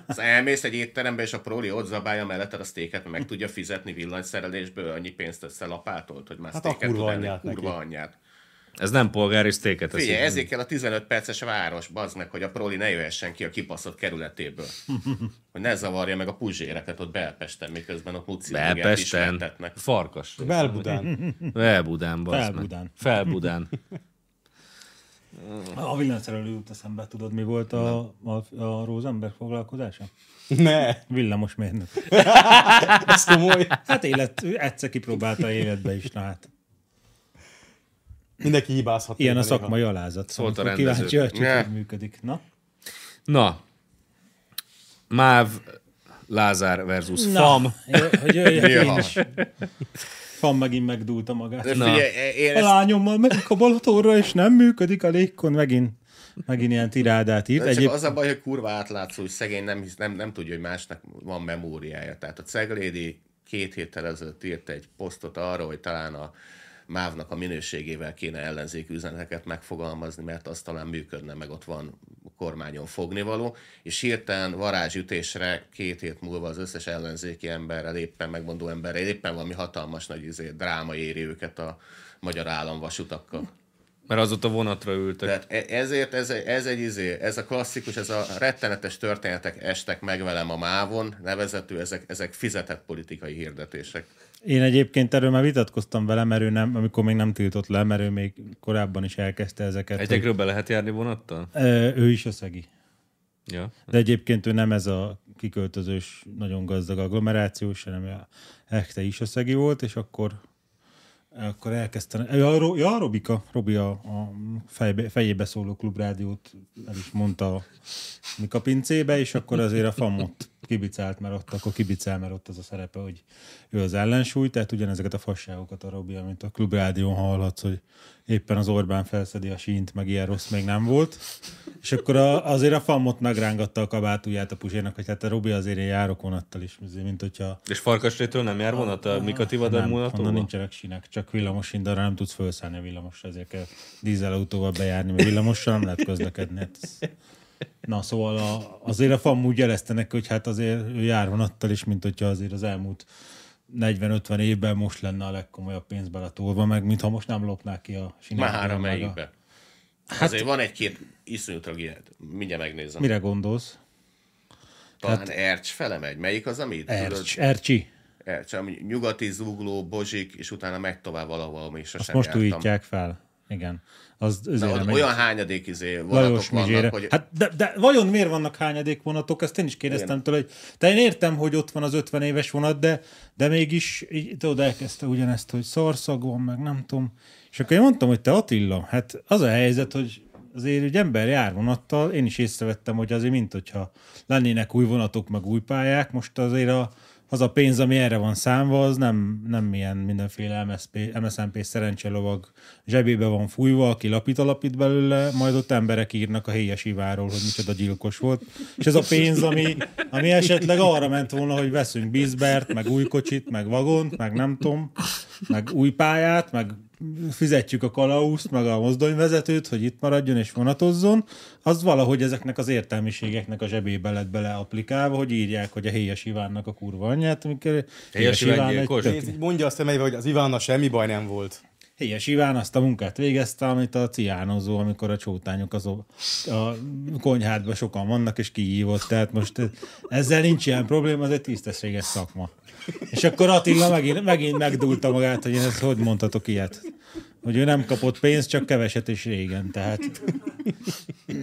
[SPEAKER 3] Az elmész egy étterembe, és a proli ott zabálja melletted a sztéket, mert meg tudja fizetni villanyszerelésből, annyi pénzt összelapátolt, hogy már
[SPEAKER 4] Hát a
[SPEAKER 3] sztéket
[SPEAKER 4] kurva
[SPEAKER 3] tud enni.
[SPEAKER 4] anyját neki.
[SPEAKER 3] Kurva anyját.
[SPEAKER 1] Ez nem polgári sztéket eszik.
[SPEAKER 3] Figyelj, ezért kell a 15 perces város, bazd meg, hogy a proli ne jöhessen ki a kipaszott kerületéből. hogy ne zavarja meg a puzséreket ott Belpesten, miközben ott mucilingert
[SPEAKER 1] Belpesten.
[SPEAKER 3] ismertetnek.
[SPEAKER 1] Farkas.
[SPEAKER 4] Belbudán.
[SPEAKER 1] Felbudán, bassz meg.
[SPEAKER 2] Felbudán.
[SPEAKER 1] Felbudán.
[SPEAKER 2] A villanyszerelő jut eszembe, tudod, mi volt a, a, a Rosenberg foglalkozása?
[SPEAKER 4] ne,
[SPEAKER 2] Villamos mérnök.
[SPEAKER 4] ez komoly.
[SPEAKER 2] Hát élet, ő egyszer kipróbálta életbe is, na hát.
[SPEAKER 4] Mindenki hibázhat.
[SPEAKER 2] Ilyen a
[SPEAKER 4] néha.
[SPEAKER 2] szakmai alázat.
[SPEAKER 1] Szólt a
[SPEAKER 2] Amikor
[SPEAKER 1] rendező.
[SPEAKER 2] Kíváncsi, hogy
[SPEAKER 3] Ne.
[SPEAKER 2] hogy működik. Na,
[SPEAKER 1] Na. Máv Lázár versus Na. Fam.
[SPEAKER 2] Jó, Hogy jöjjek
[SPEAKER 3] Jöjjön
[SPEAKER 2] én
[SPEAKER 3] a
[SPEAKER 2] is. Fan megint megdúlta
[SPEAKER 3] De
[SPEAKER 2] magát.
[SPEAKER 3] Figyelj, én
[SPEAKER 2] A
[SPEAKER 3] ezt
[SPEAKER 2] lányommal megyünk a Balatonra, és nem működik a légkon. Megint, megint ilyen tirádát írt.
[SPEAKER 3] Egyéb... Csak
[SPEAKER 2] Egyéb...
[SPEAKER 3] az a baj, hogy kurva átlátszó, hogy szegény nem, hisz- nem, nem tudja, hogy másnak van memóriája. Tehát a Ceglédi két héttel ezelőtt írt egy posztot arra, hogy talán a mávnak a minőségével kéne ellenzéki üzeneteket megfogalmazni, mert az talán működne, meg ott van a kormányon fognivaló, és hirtelen varázsütésre két hét múlva az összes ellenzéki emberrel, éppen megmondó emberrel, éppen valami hatalmas nagy izé, dráma éri őket a magyar államvasutakkal.
[SPEAKER 1] Mert azóta vonatra ültek.
[SPEAKER 3] Tehát e- ezért ez, ez egy izé, ez a klasszikus, ez a rettenetes történetek estek meg velem a mávon, nevezető, ezek, ezek fizetett politikai hirdetések.
[SPEAKER 2] Én egyébként erről már vitatkoztam vele, mert ő nem, amikor még nem tiltott le, mert ő még korábban is elkezdte ezeket. hogy-
[SPEAKER 1] Egyekről be lehet járni vonattal?
[SPEAKER 2] Ö, ő is a szegi.
[SPEAKER 1] Ja.
[SPEAKER 2] De egyébként ő nem ez a kiköltözős, nagyon gazdag agglomerációs, hanem a Echte is a szegi volt, és akkor akkor elkezdtem. Ja, a Ro- ja, a Robika, Robi a, a fejbe, fejébe szóló klubrádiót el is mondta a Mika pincébe, és akkor azért a famot kibicált, mert ott akkor kibicál, mert ott az a szerepe, hogy ő az ellensúly, tehát ugyanezeket a fasságokat a Robi, amit a klubrádión hallhatsz, hogy éppen az Orbán felszedi a sínt, meg ilyen rossz még nem volt. És akkor a, azért a famot megrángatta a kabátúját a pusénak, hogy hát a Robi azért én járok vonattal is, mint hogyha
[SPEAKER 1] És Farkasrétől nem jár vonat a Mika Tivadar
[SPEAKER 2] nem, onnan
[SPEAKER 1] vonatóba?
[SPEAKER 2] nincsenek sinek, csak villamos indarra nem tudsz felszállni a villamosra, ezért kell dízelautóval bejárni, mert villamossal nem lehet közlekedni. Hát ez- Na szóval a, azért a FAM úgy jelezte neki, hogy hát azért ő jár vonattal is, mint hogyha azért az elmúlt 40-50 évben most lenne a legkomolyabb pénz beletolva, meg mintha most nem lopnák ki a sinek.
[SPEAKER 3] Már
[SPEAKER 2] meg
[SPEAKER 3] a
[SPEAKER 2] a-
[SPEAKER 3] melyikbe. Hát, Azért van egy-két iszonyú tragiát, mindjárt megnézem.
[SPEAKER 2] Mire gondolsz?
[SPEAKER 3] Talán hát... Ercs felemegy. Melyik az, amit?
[SPEAKER 2] Ercs, Ercsi.
[SPEAKER 3] Ercs, ami nyugati zugló, bozsik, és utána megy tovább valahova, ami sosem
[SPEAKER 2] Azt most
[SPEAKER 3] jártam.
[SPEAKER 2] újítják fel. Igen. Az,
[SPEAKER 3] Na,
[SPEAKER 2] azért
[SPEAKER 3] ott
[SPEAKER 2] nem egy-
[SPEAKER 3] olyan hányadék izé vonatok
[SPEAKER 2] Lajos
[SPEAKER 3] vannak,
[SPEAKER 2] Mizsére.
[SPEAKER 3] hogy...
[SPEAKER 2] Hogy... Hát de, de vajon miért vannak hányadékvonatok? Ezt én is kérdeztem tőle, hogy te én értem, hogy ott van az 50 éves vonat, de, de mégis így, tudod, elkezdte ugyanezt, hogy szarszag van, meg nem tudom. És akkor én mondtam, hogy te Attila, hát az a helyzet, hogy azért egy ember jár vonattal, én is észrevettem, hogy azért mint hogyha lennének új vonatok, meg új pályák, most azért a, az a pénz, ami erre van számva, az nem, nem ilyen mindenféle MSZP, MSZNP szerencselovag zsebébe van fújva, aki lapít alapít belőle, majd ott emberek írnak a héjas iváról, hogy micsoda gyilkos volt. És ez a pénz, ami, ami esetleg arra ment volna, hogy veszünk bízbert, meg új kocsit, meg vagont, meg nem tudom, meg új pályát, meg fizetjük a kalauzt, meg a mozdonyvezetőt, hogy itt maradjon és vonatozzon, az valahogy ezeknek az értelmiségeknek a zsebébe lett bele applikálva, hogy írják, hogy a Héjas Ivánnak a kurva anyját, amikor
[SPEAKER 1] Héjas Iván gyilkos?
[SPEAKER 2] tök-
[SPEAKER 4] Nézd, így mondja azt emelve, hogy az Ivánna semmi baj nem volt.
[SPEAKER 2] Héjas Iván azt a munkát végezte, amit a ciánozó, amikor a csótányok az a konyhádban sokan vannak, és kihívott. Tehát most ezzel nincs ilyen probléma, ez egy tisztességes szakma. És akkor Attila megint, megint megdúlta magát, hogy én ezt hogy mondhatok ilyet. Hogy ő nem kapott pénzt, csak keveset és régen. Tehát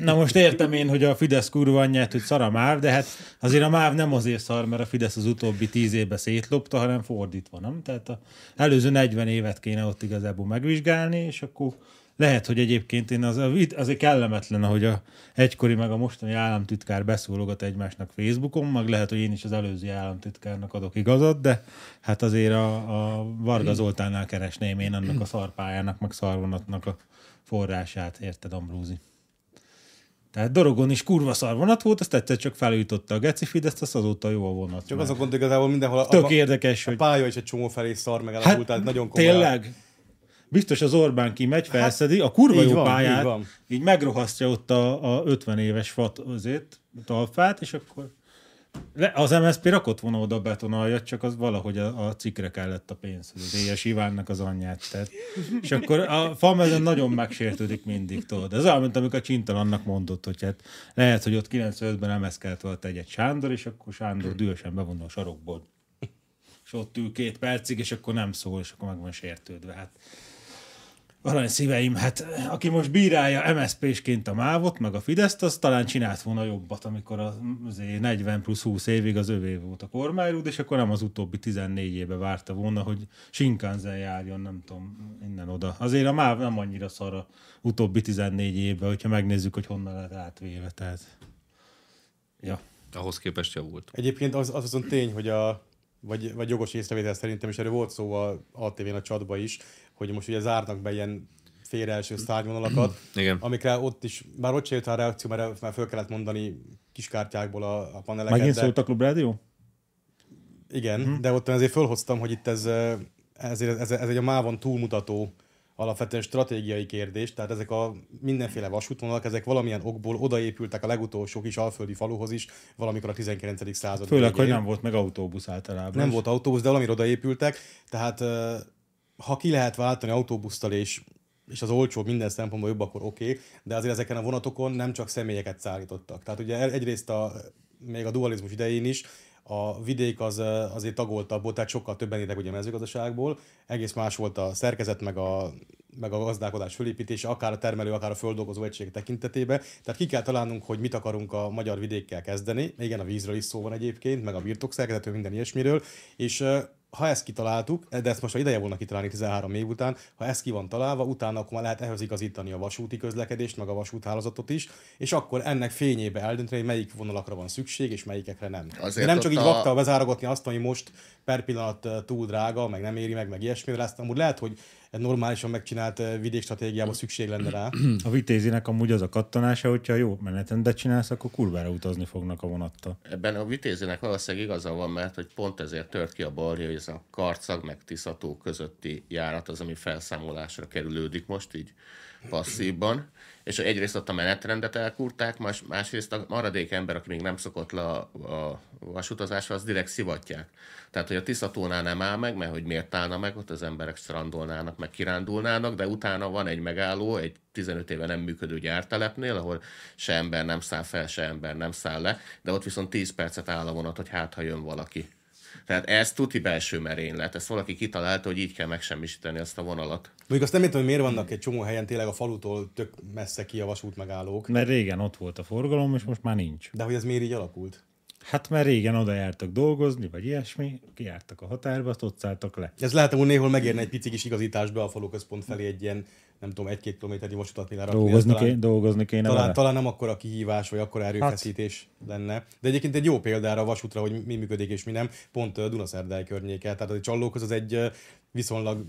[SPEAKER 2] Na most értem én, hogy a Fidesz kurva anyját, hogy szar a MÁV, de hát azért a MÁV nem azért szar, mert a Fidesz az utóbbi tíz évben szétlopta, hanem fordítva, nem? Tehát a előző 40 évet kéne ott igazából megvizsgálni, és akkor lehet, hogy egyébként én az, azért kellemetlen, ahogy a egykori meg a mostani államtitkár beszólogat egymásnak Facebookon, meg lehet, hogy én is az előző államtitkárnak adok igazat, de hát azért a, a Varga Zoltánnál keresném én annak a szarpályának, meg szarvonatnak a forrását, érted, Ambrúzi? Tehát Dorogon is kurva szar vonat volt, azt egyszer csak felütötte a geci Fideszt, azt azóta jó a vonat.
[SPEAKER 4] Csak az a gond, hogy igazából mindenhol a,
[SPEAKER 2] Tök
[SPEAKER 4] a,
[SPEAKER 2] érdekes,
[SPEAKER 4] a
[SPEAKER 2] hogy...
[SPEAKER 4] pálya is egy csomó felé szar meg hát, tehát nagyon komoly.
[SPEAKER 2] Tényleg? Biztos az Orbán kimegy, felszedi, a kurva
[SPEAKER 4] Hát, így
[SPEAKER 2] jó
[SPEAKER 4] van,
[SPEAKER 2] pályát,
[SPEAKER 4] így
[SPEAKER 2] így,
[SPEAKER 4] van.
[SPEAKER 2] így megrohasztja ott a, a 50 éves fat azért, talfát, és akkor Le, az MSZP rakott volna oda betonaljat, csak az valahogy a, a cikre kellett a pénz, az éjes Ivánnak az anyját. Tehát. És akkor a Famezen nagyon megsértődik mindig, tudod. Ez olyan, mint amikor Csintalannak mondott, hogy hát lehet, hogy ott 95-ben emeszkelt volt egy, egy Sándor, és akkor Sándor dühösen bevonul a sarokból. És ott ül két percig, és akkor nem szól, és akkor meg van sértődve. Hát Arany szíveim, hát aki most bírálja MSZP-sként a mávot, meg a Fideszt, az talán csinált volna jobbat, amikor az azért 40 plusz 20 évig az övé volt a kormányrúd, és akkor nem az utóbbi 14 éve várta volna, hogy Shinkansen járjon, nem tudom, innen oda. Azért a máv nem annyira szar a utóbbi 14 évben, hogyha megnézzük, hogy honnan lett átvéve, tehát... Ja.
[SPEAKER 1] Ahhoz képest javult.
[SPEAKER 4] Egyébként az, az azon tény, hogy a vagy, vagy jogos észrevétel szerintem, és erről volt szó a ATV-n a csatba is, hogy most ugye zárnak be ilyen félre első szárnyvonalakat,
[SPEAKER 1] Igen.
[SPEAKER 4] amikre ott is, bár ott se jött a reakció, mert már föl kellett mondani kiskártyákból a, a paneleket.
[SPEAKER 2] Megint Mhm.
[SPEAKER 4] de-
[SPEAKER 2] szólt a klubrádió?
[SPEAKER 4] Igen, mm-hmm. de ott azért fölhoztam, hogy itt ez, ö, ezért, ez, ez egy a mávon túlmutató alapvetően stratégiai kérdés, tehát ezek a mindenféle vasútvonalak, ezek valamilyen okból odaépültek a legutolsó kis alföldi faluhoz is, valamikor a 19. század
[SPEAKER 2] Főleg, hogy
[SPEAKER 4] végén.
[SPEAKER 2] nem volt meg autóbusz általában.
[SPEAKER 4] Nem volt autóbusz, de valamire odaépültek, tehát ö, ha ki lehet váltani autóbusztal és, és az olcsó minden szempontból jobb, akkor oké, okay, de azért ezeken a vonatokon nem csak személyeket szállítottak. Tehát ugye el- egyrészt a, még a dualizmus idején is a vidék az ö, azért tagoltabb volt, tehát sokkal többen értek ugye mezőgazdaságból, egész más volt a szerkezet, meg a, meg a gazdálkodás fölépítése, akár a termelő, akár a földolgozó egység tekintetében. Tehát ki kell találnunk, hogy mit akarunk a magyar vidékkel kezdeni. Igen, a vízről is szó van egyébként, meg a birtokszerkezetről, minden ilyesmiről. És ö, ha ezt kitaláltuk, de ezt most már ideje volna kitalálni 13 év után, ha ez ki van találva, utána akkor már lehet ehhez igazítani a vasúti közlekedést, meg a vasúthálózatot is, és akkor ennek fényébe eldönteni, hogy melyik vonalakra van szükség, és melyikekre nem.
[SPEAKER 3] Azért
[SPEAKER 4] Azért nem csak
[SPEAKER 3] ott
[SPEAKER 4] így
[SPEAKER 3] a-
[SPEAKER 4] vaktal bezárogatni azt, ami most per pillanat ö, túl drága, meg nem éri meg, meg ilyesmivel, ezt amúgy lehet, hogy egy normálisan megcsinált ö, vidékstratégiában szükség lenne rá.
[SPEAKER 2] A vitézinek amúgy az a kattanása, hogyha jó meneten, de csinálsz, akkor kurvára utazni fognak a vonattal.
[SPEAKER 3] Ebben a vitézének valószínűleg igaza van, mert hogy pont ezért tört ki a balja, hogy ez a karcag meg tiszató közötti járat az, ami felszámolásra kerülődik most így passzívban. És egyrészt ott a menetrendet elkúrták, más, másrészt a maradék ember, aki még nem szokott le a, a vasutazásra, az direkt szivatják. Tehát, hogy a Tiszatónál nem áll meg, mert hogy miért állna meg, ott az emberek strandolnának, meg kirándulnának, de utána van egy megálló, egy 15 éve nem működő gyártelepnél, ahol se ember nem száll fel, se ember nem száll le, de ott viszont 10 percet áll a vonat, hogy hát, ha jön valaki. Tehát ez tuti belső merénylet, ezt valaki kitalálta, hogy így kell megsemmisíteni ezt a vonalat.
[SPEAKER 4] Mondjuk azt nem értem, hogy miért vannak egy csomó helyen tényleg a falutól tök messze ki a vasút megállók,
[SPEAKER 2] Mert régen ott volt a forgalom, és most már nincs.
[SPEAKER 4] de hogy ez miért így alakult?
[SPEAKER 2] Hát mert régen oda jártak dolgozni, vagy ilyesmi, kijártak a határba, azt ott szálltak le.
[SPEAKER 4] Ez lehet, hogy néhol megérne egy pici kis igazítás be a falu központ felé egy ilyen, nem tudom, egy-két kilométernyi vasutat mi lerakni. Ez
[SPEAKER 2] Dolgozni,
[SPEAKER 4] talán,
[SPEAKER 2] ké, dolgozni kéne
[SPEAKER 4] talán,
[SPEAKER 2] vele.
[SPEAKER 4] talán nem akkora kihívás, vagy akkora erőfeszítés hát. lenne. De egyébként egy jó példára a vasútra, hogy mi működik és mi nem, pont ö, Dunaszerdai környéke. Tehát a Csallókhoz az egy ö, viszonylag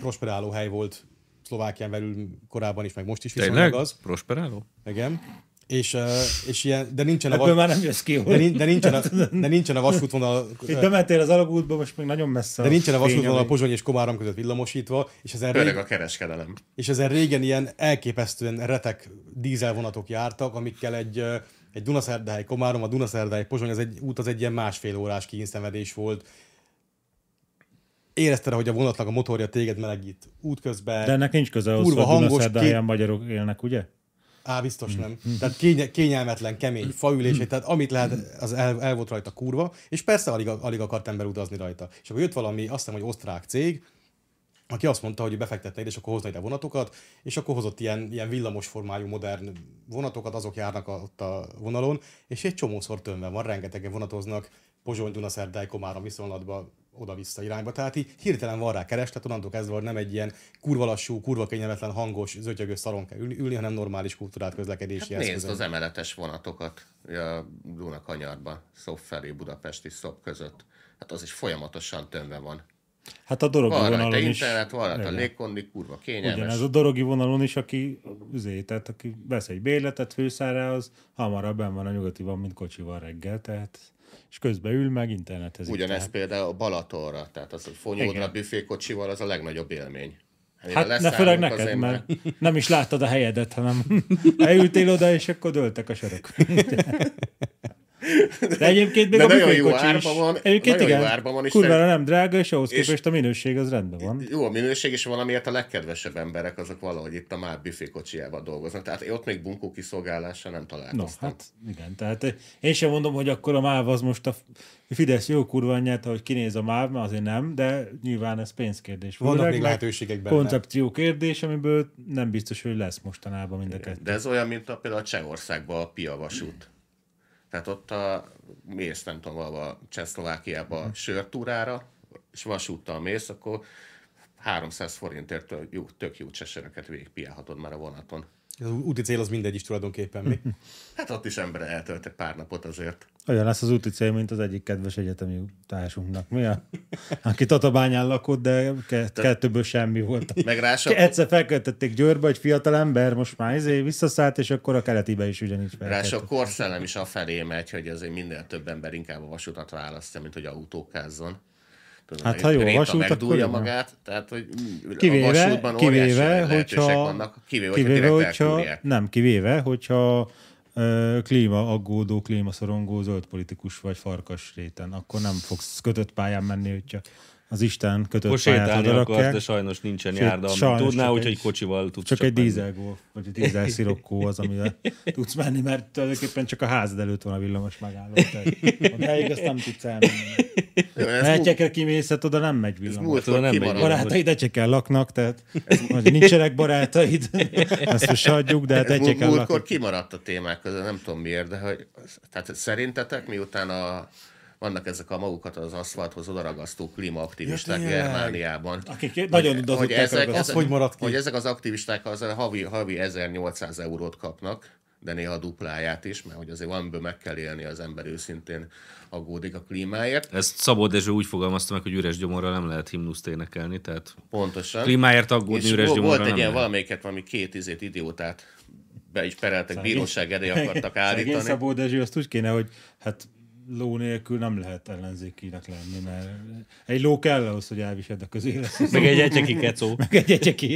[SPEAKER 4] prosperáló hely volt Szlovákián belül korábban is, meg most is viszonylag
[SPEAKER 1] Tényleg?
[SPEAKER 4] az.
[SPEAKER 1] Prosperáló?
[SPEAKER 4] Igen. És, ö, és ilyen, de nincsen a,
[SPEAKER 2] Ebből
[SPEAKER 4] va-
[SPEAKER 2] már nem jössz ki,
[SPEAKER 4] de,
[SPEAKER 2] hogy
[SPEAKER 4] nin- de, nincsen a, de nincsen a vasútvonal
[SPEAKER 2] itt bementél az alagútba, most még nagyon messze.
[SPEAKER 4] de nincsen a
[SPEAKER 2] fény,
[SPEAKER 4] vasútvonal a
[SPEAKER 2] ami-
[SPEAKER 4] Pozsony és Komárom között villamosítva, és ezen, rég,
[SPEAKER 3] Főleg a kereskedelem.
[SPEAKER 4] és ezen régen ilyen elképesztően retek dízelvonatok jártak, amikkel egy, ö, egy Dunaszerdahely Komárom, a Dunaszerdahely Pozsony, az egy út az egy ilyen másfél órás kínszenvedés volt. Érezted, -e, hogy a vonatnak a motorja téged melegít útközben.
[SPEAKER 2] De ennek nincs köze ahhoz,
[SPEAKER 4] Kurva
[SPEAKER 2] hogy
[SPEAKER 4] hangos,
[SPEAKER 2] Dunaszerdáján
[SPEAKER 4] ki-
[SPEAKER 2] magyarok élnek, ugye?
[SPEAKER 4] Á, biztos nem.
[SPEAKER 2] Mm.
[SPEAKER 4] Tehát kény- kényelmetlen, kemény, faülésé, tehát amit lehet, az el, el volt rajta kurva, és persze alig, alig akart ember utazni rajta. És akkor jött valami, azt hiszem, hogy osztrák cég, aki azt mondta, hogy befektetne ide, és akkor hozna ide vonatokat, és akkor hozott ilyen, ilyen villamos formájú modern vonatokat, azok járnak a, ott a vonalon, és egy csomószor tömve van, rengetegen vonatoznak Pozsony, Dunaszerdály, Komárom viszonylatba oda-vissza irányba. Tehát így hirtelen van rá kereslet, onnantól kezdve hogy nem egy ilyen kurva lassú, kurva kényelmetlen, hangos, zötyögös szaron kell ülni, ülni, hanem normális kultúrát közlekedési
[SPEAKER 3] Hát nézd
[SPEAKER 4] eszközön.
[SPEAKER 3] az emeletes vonatokat a Dunakanyarban, Szop felé, Budapesti Szop között. Hát az is folyamatosan tömve van.
[SPEAKER 2] Hát a dorogi
[SPEAKER 3] Van rajta
[SPEAKER 2] vonalon is.
[SPEAKER 3] internet, van rajta
[SPEAKER 2] Igen.
[SPEAKER 3] légkondi, kurva kényelmes.
[SPEAKER 2] Ugyanez a dorogi vonalon is, aki, üzé, tehát aki vesz egy bérletet főszára, az hamarabb benn van a nyugatiban, mint kocsival reggel, tehát és közben ül meg internetezik.
[SPEAKER 3] Ugyanez
[SPEAKER 2] tehát.
[SPEAKER 3] például a Balatonra, tehát az, hogy fonyódra
[SPEAKER 2] Igen.
[SPEAKER 3] büfékocsival, az a legnagyobb élmény. Mire
[SPEAKER 2] Hát ne
[SPEAKER 3] leszállunk,
[SPEAKER 2] főleg
[SPEAKER 3] azért
[SPEAKER 2] neked,
[SPEAKER 3] már-
[SPEAKER 2] mert nem is láttad a helyedet, hanem leültél oda, és akkor döltek a sarok. De egyébként még
[SPEAKER 3] De
[SPEAKER 2] a
[SPEAKER 3] nagyon jó
[SPEAKER 2] büfékocsi
[SPEAKER 3] árba
[SPEAKER 2] is.
[SPEAKER 3] van,
[SPEAKER 2] Egyébként
[SPEAKER 3] nagyon jó
[SPEAKER 2] igen,
[SPEAKER 3] árba van, és
[SPEAKER 2] kurvára
[SPEAKER 3] nem-
[SPEAKER 2] nem drága, és ahhoz
[SPEAKER 3] és-
[SPEAKER 2] képest a minőség az rendben van.
[SPEAKER 3] Jó a minőség, és valamiért a legkedvesebb emberek azok valahogy itt a már büfé kocsijával dolgoznak. Tehát ott még bunkó kiszolgálással nem
[SPEAKER 2] No,
[SPEAKER 3] találkoztam.
[SPEAKER 2] hát igen, tehát én sem mondom, hogy akkor a MÁV az most a Fidesz jó kurva anyját, hogy kinéz a MÁV, mert azért nem, de nyilván ez pénzkérdés.
[SPEAKER 4] Vannak
[SPEAKER 2] Főleg,
[SPEAKER 4] még
[SPEAKER 2] meg
[SPEAKER 4] lehetőségek benne.
[SPEAKER 2] Koncepció kérdés, amiből nem biztos, hogy lesz mostanában mind a kettő.
[SPEAKER 3] De ez olyan, mint a, például a Csehországban a Pia vasút. Tehát ott a, mész, nem tudom, valahol Csehszlovákiába sörtúrára, és vasúttal mész, akkor 300 forintért jó, tök jó csesöröket végigpiálhatod már a vonaton.
[SPEAKER 4] Az úti cél az mindegy is tulajdonképpen mi.
[SPEAKER 3] Hát ott is ember eltölt egy pár napot azért.
[SPEAKER 2] Olyan lesz az úti cél, mint az egyik kedves egyetemi társunknak. Mi a? Aki Tatabányán lakott, de ke- kettőből semmi volt.
[SPEAKER 3] Meg rása,
[SPEAKER 2] Egyszer felköltötték Győrbe egy fiatal ember, most már izé visszaszállt, és akkor a keletibe is ugyanígy
[SPEAKER 3] rása a
[SPEAKER 2] felköltött.
[SPEAKER 3] korszellem is a felé megy, hogy azért minden több ember inkább a vasutat választja, mint hogy autókázzon. Tudom,
[SPEAKER 2] Hát,
[SPEAKER 3] egy
[SPEAKER 2] ha jó a
[SPEAKER 3] Kréta
[SPEAKER 2] vasút,
[SPEAKER 3] megdúlja
[SPEAKER 2] akkor jó.
[SPEAKER 3] magát, tehát hogy mm, a
[SPEAKER 2] Kivéve,
[SPEAKER 3] vasútban
[SPEAKER 2] kivéve,
[SPEAKER 3] óriási lehetőségek
[SPEAKER 2] hogyha,
[SPEAKER 3] vannak, kivéve, kivéve hogyha, direkt elkúrják.
[SPEAKER 2] nem, kivéve, hogyha ö, klíma aggódó, klímaszorongó zöld politikus vagy farkas réten, akkor nem fogsz kötött pályán menni, hogyha az Isten kötött
[SPEAKER 1] Most
[SPEAKER 2] pályát
[SPEAKER 1] sétálni akart,
[SPEAKER 2] odarakják.
[SPEAKER 1] de sajnos nincsen
[SPEAKER 2] Sőt,
[SPEAKER 1] járda, amit
[SPEAKER 2] sajnos
[SPEAKER 1] tudná,
[SPEAKER 2] csak
[SPEAKER 1] úgyhogy
[SPEAKER 2] egy-
[SPEAKER 1] kocsival tudsz
[SPEAKER 2] Csak, csak egy
[SPEAKER 1] menni.
[SPEAKER 2] dízelgó, vagy egy dízel szirokkó az, amivel tudsz menni, mert tulajdonképpen csak a házad előtt van a villamos megálló. Tehát odáig azt nem tudsz elmenni.
[SPEAKER 3] Jó, ez múlt-
[SPEAKER 2] Mehetjekre kimészhet, hát oda nem megy
[SPEAKER 3] Ez
[SPEAKER 2] villamos.
[SPEAKER 3] múltkor
[SPEAKER 1] nem megy.
[SPEAKER 3] kimaradt.
[SPEAKER 2] Barátaid ecsekkel laknak, tehát vagy nincsenek barátaid, ezt most hagyjuk, de hát
[SPEAKER 3] Ez múlt-
[SPEAKER 2] ecsekkel
[SPEAKER 3] múltkor
[SPEAKER 2] laknak.
[SPEAKER 3] kimaradt a témák közül, nem tudom miért, de hogy, tehát szerintetek miután a, vannak ezek a magukat az aszfalthoz odaragasztó klímaaktivisták
[SPEAKER 4] Ja, tényleg.
[SPEAKER 3] Germániában.
[SPEAKER 2] Akik nagyon
[SPEAKER 3] Hogy-
[SPEAKER 2] dudozották
[SPEAKER 3] hogy ezek,
[SPEAKER 2] ragasztani.
[SPEAKER 4] Az hogy maradt ki?
[SPEAKER 3] Hogy ezek az aktivisták az havi, havi 1800 eurót kapnak, de néha a dupláját is, mert hogy azért valamiből meg kell élni az ember őszintén aggódik a klímáért.
[SPEAKER 1] Ezt Szabó Dezső úgy fogalmazta meg, hogy üres gyomorral nem lehet himnuszt énekelni, tehát
[SPEAKER 3] Pontosan.
[SPEAKER 1] klímáért aggódni
[SPEAKER 3] És
[SPEAKER 1] üres
[SPEAKER 3] vo-
[SPEAKER 1] gyomorral
[SPEAKER 3] Volt egy
[SPEAKER 1] nem
[SPEAKER 3] ilyen
[SPEAKER 1] lehet.
[SPEAKER 3] valamelyiket, valami két izét idiótát be is pereltek, bíróság elé akartak
[SPEAKER 2] Szegény
[SPEAKER 3] állítani.
[SPEAKER 2] Szabó Dezső, azt úgy kéne, hogy hát ló nélkül nem lehet ellenzékinek lenni, mert egy ló kell ahhoz, hogy elviseld a közélet.
[SPEAKER 1] Meg egy egyeki kecó.
[SPEAKER 2] Meg egy egyeki,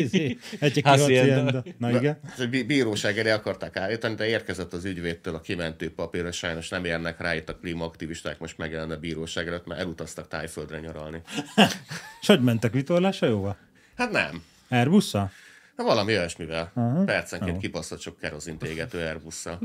[SPEAKER 2] egyeki
[SPEAKER 1] Hacienda.
[SPEAKER 2] hacienda. Na igen.
[SPEAKER 3] Ez egy bí- Bíróság elé akarták állítani, de érkezett az ügyvédtől a kimentő papír, hogy sajnos nem érnek rá itt a klímaaktivisták most megjelenne a bíróság előtt, mert elutaztak tájföldre nyaralni.
[SPEAKER 2] És hogy mentek vitorlásra jóval?
[SPEAKER 3] Hát nem.
[SPEAKER 2] Airbusszal?
[SPEAKER 3] Na, valami olyasmivel.
[SPEAKER 2] Aha.
[SPEAKER 3] Percenként
[SPEAKER 2] Jó.
[SPEAKER 3] kibaszott sok kerozint égető Airbusszal.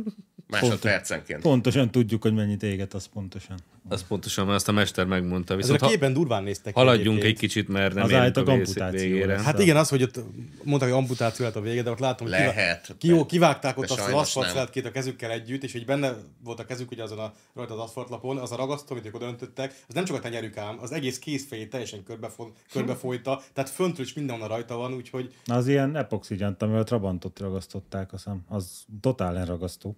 [SPEAKER 3] Másodpercenként.
[SPEAKER 2] Pontosan tudjuk, hogy mennyit éget az pontosan.
[SPEAKER 1] Az pontosan, mert azt a mester megmondta.
[SPEAKER 4] Ezek
[SPEAKER 1] Viszont
[SPEAKER 4] a
[SPEAKER 1] ha,
[SPEAKER 4] képen durván néztek ki
[SPEAKER 1] haladjunk egy
[SPEAKER 4] egyébként.
[SPEAKER 1] kicsit, mert nem
[SPEAKER 2] Az
[SPEAKER 1] érünk
[SPEAKER 2] állt a
[SPEAKER 1] a vész-
[SPEAKER 2] amputáció
[SPEAKER 1] végére.
[SPEAKER 2] lesz.
[SPEAKER 4] Hát igen, az, hogy ott mondták, hogy amputáció lett a vége, de ott látom, hogy
[SPEAKER 3] Lehet.
[SPEAKER 4] ki, jó, kivágták ott
[SPEAKER 3] De
[SPEAKER 4] azt az
[SPEAKER 3] sajnos nem.
[SPEAKER 4] aszfaltszelt két a kezükkel együtt, és hogy benne volt a kezük ugye azon a, rajta az aszfaltlapon, az a ragasztó, amit ők oda öntöttek, az nem csak a tenyerük ám, az egész kézfejét teljesen körbefo-
[SPEAKER 3] Hm.
[SPEAKER 4] körbefolyta, tehát föntről is mindenhol rajta van, úgyhogy
[SPEAKER 2] Na, Az ilyen epoxigyant, amivel a Trabantot ragasztották, azt hiszem, az totál ragasztó.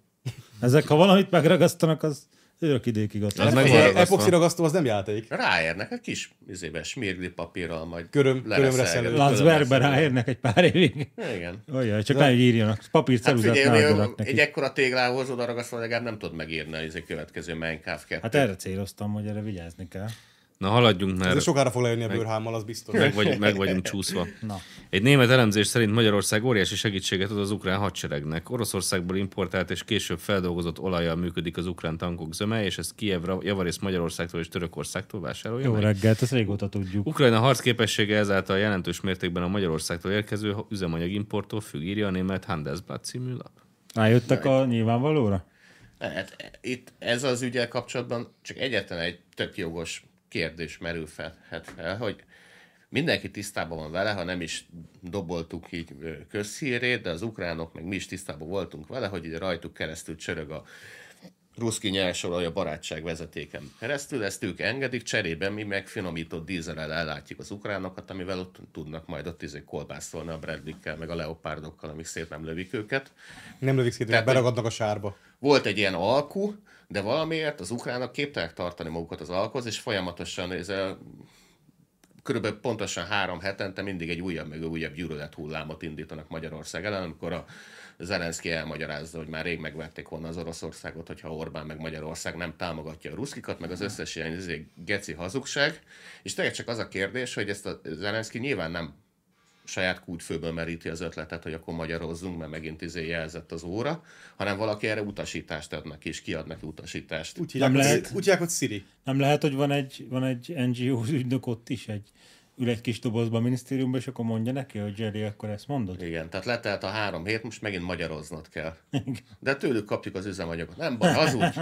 [SPEAKER 2] Ezek, ha valamit megragasztanak, az örök időkig ott
[SPEAKER 1] Az
[SPEAKER 2] lesz.
[SPEAKER 1] meg-
[SPEAKER 4] epoxi,
[SPEAKER 1] van ragasztva.
[SPEAKER 4] e- epoxi ragasztó az nem játék.
[SPEAKER 3] Ráérnek egy kis izébe, smirgli papírral, majd
[SPEAKER 4] Köröm- körömre
[SPEAKER 3] lereszelgetik.
[SPEAKER 4] szelő.
[SPEAKER 2] Lanzbergbe ráérnek egy pár évig.
[SPEAKER 3] Igen.
[SPEAKER 2] Olyan, csak nem, hogy írjanak. Papír
[SPEAKER 3] Hát
[SPEAKER 2] ceruzát
[SPEAKER 3] figyelj,
[SPEAKER 2] hát,
[SPEAKER 3] egy-
[SPEAKER 2] ne
[SPEAKER 3] egy
[SPEAKER 2] nekik.
[SPEAKER 3] ekkora téglához odaragasztva legalább nem tudod megírni az egy következő Minecraft 2
[SPEAKER 2] Hát erre céloztam, hogy erre vigyázni kell.
[SPEAKER 1] Na haladjunk,
[SPEAKER 4] Ez
[SPEAKER 1] mert
[SPEAKER 4] sokára fog lejönni a bőrhámmal, az biztos.
[SPEAKER 1] meg, vagy, meg vagyunk csúszva.
[SPEAKER 2] Na.
[SPEAKER 1] Egy német elemzés szerint Magyarország óriási segítséget ad az ukrán hadseregnek. Oroszországból importált és később feldolgozott olajjal működik az ukrán tankok zöme, és ezt Kijevra, javarészt Magyarországtól és Törökországtól vásárolja
[SPEAKER 2] Jó
[SPEAKER 1] meg.
[SPEAKER 2] reggelt, ezt régóta tudjuk.
[SPEAKER 1] Ukrajna harcképessége ezáltal jelentős mértékben a Magyarországtól érkező üzemanyagimporttól függ, írja a német Handelsblatt című lap.
[SPEAKER 2] Rájöttek a nyilvánvalóra?
[SPEAKER 3] Hát itt ez az ügyel kapcsolatban csak egyetlen egy tök jogos kérdés merül fel, hát fel, hogy mindenki tisztában van vele, ha nem is doboltuk így ö, közhírét, de az ukránok, meg mi is tisztában voltunk vele, hogy így rajtuk keresztül csörög a ruszki nyersolaj a barátság vezetéken keresztül, ezt ők engedik, cserében mi meg finomított dízelel ellátjuk az ukránokat, amivel ott tudnak majd ott izé kolbászolni a Bradley-kkel, meg a leopárdokkal, amik szét nem lövik őket
[SPEAKER 4] Nem lövik szét,
[SPEAKER 3] Tehát,
[SPEAKER 4] beragadnak a sárba.
[SPEAKER 3] volt egy ilyen alkú, de valamiért az ukránok képtelenek tartani magukat az alkoz, és folyamatosan ez a, körülbelül pontosan három hetente mindig egy újabb meg újabb gyűlölet hullámot indítanak Magyarország ellen, amikor a Zelenszky elmagyarázza, hogy már rég megverték volna az Oroszországot, hogyha Orbán meg Magyarország nem támogatja a ruszkikat, meg az összes ilyen izé, geci hazugság. És tényleg csak az a kérdés, hogy ezt a Zelenszky nyilván nem saját kútfőből meríti az ötletet, hogy akkor magyarozzunk, mert megint izé jelzett az óra, hanem valaki erre utasítást ad neki, és kiad neki utasítást.
[SPEAKER 4] Úgy hívják,
[SPEAKER 2] Nem
[SPEAKER 4] hogy-
[SPEAKER 2] lehet.
[SPEAKER 4] úgy hívják, hogy Siri.
[SPEAKER 2] Nem lehet, hogy van egy, van egy NGO ügynök ott is, egy ül egy kis dobozban a minisztériumban, és akkor mondja neki, hogy Jerry, akkor ezt mondod?
[SPEAKER 3] Igen, tehát letelt a három hét, most megint magyaroznod kell. De tőlük kapjuk az üzemanyagot. Nem baj, hazudj.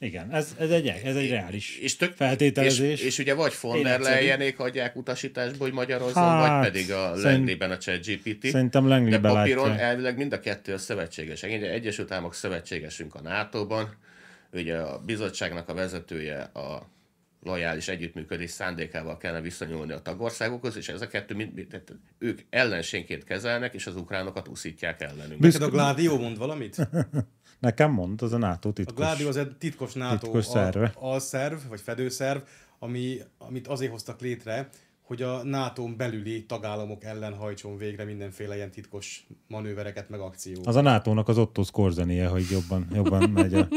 [SPEAKER 2] Igen, ez, ez egy, ez egy reális
[SPEAKER 3] És tök
[SPEAKER 2] feltételezés.
[SPEAKER 3] És, és ugye vagy von der
[SPEAKER 2] Életszerű.
[SPEAKER 3] Leyenék adják utasításba, hogy magyarozzon,
[SPEAKER 2] Hát,
[SPEAKER 3] vagy pedig a
[SPEAKER 2] szerint-
[SPEAKER 3] Lenglében a ChatGPT.
[SPEAKER 2] Szerintem Langley
[SPEAKER 3] De papíron
[SPEAKER 2] belátja.
[SPEAKER 3] elvileg mind a kettő a szövetséges. Egy Egyesült Államok szövetségesünk a NATO-ban, ugye a bizottságnak a vezetője a lojális együttműködés szándékával kellene visszanyúlni a tagországokhoz, és ez a kettő mind, mind, tehát ők ellenségként kezelnek, és az ukránokat úszítják ellenünk.
[SPEAKER 4] Neked a Gládió mond valamit?
[SPEAKER 2] Nekem mond, az a NATO
[SPEAKER 4] A
[SPEAKER 2] titkos.
[SPEAKER 4] Gládió az egy titkos NATO
[SPEAKER 2] Titkos
[SPEAKER 4] a-
[SPEAKER 2] szerve.
[SPEAKER 4] alszerv, vagy fedőszerv, ami, amit azért hoztak létre, hogy a nato belüli tagállamok ellen hajtson végre mindenféle ilyen titkos manővereket, meg akciót.
[SPEAKER 2] Az a NATO-nak az Otto Scorzenie, hogy jobban, jobban megy a...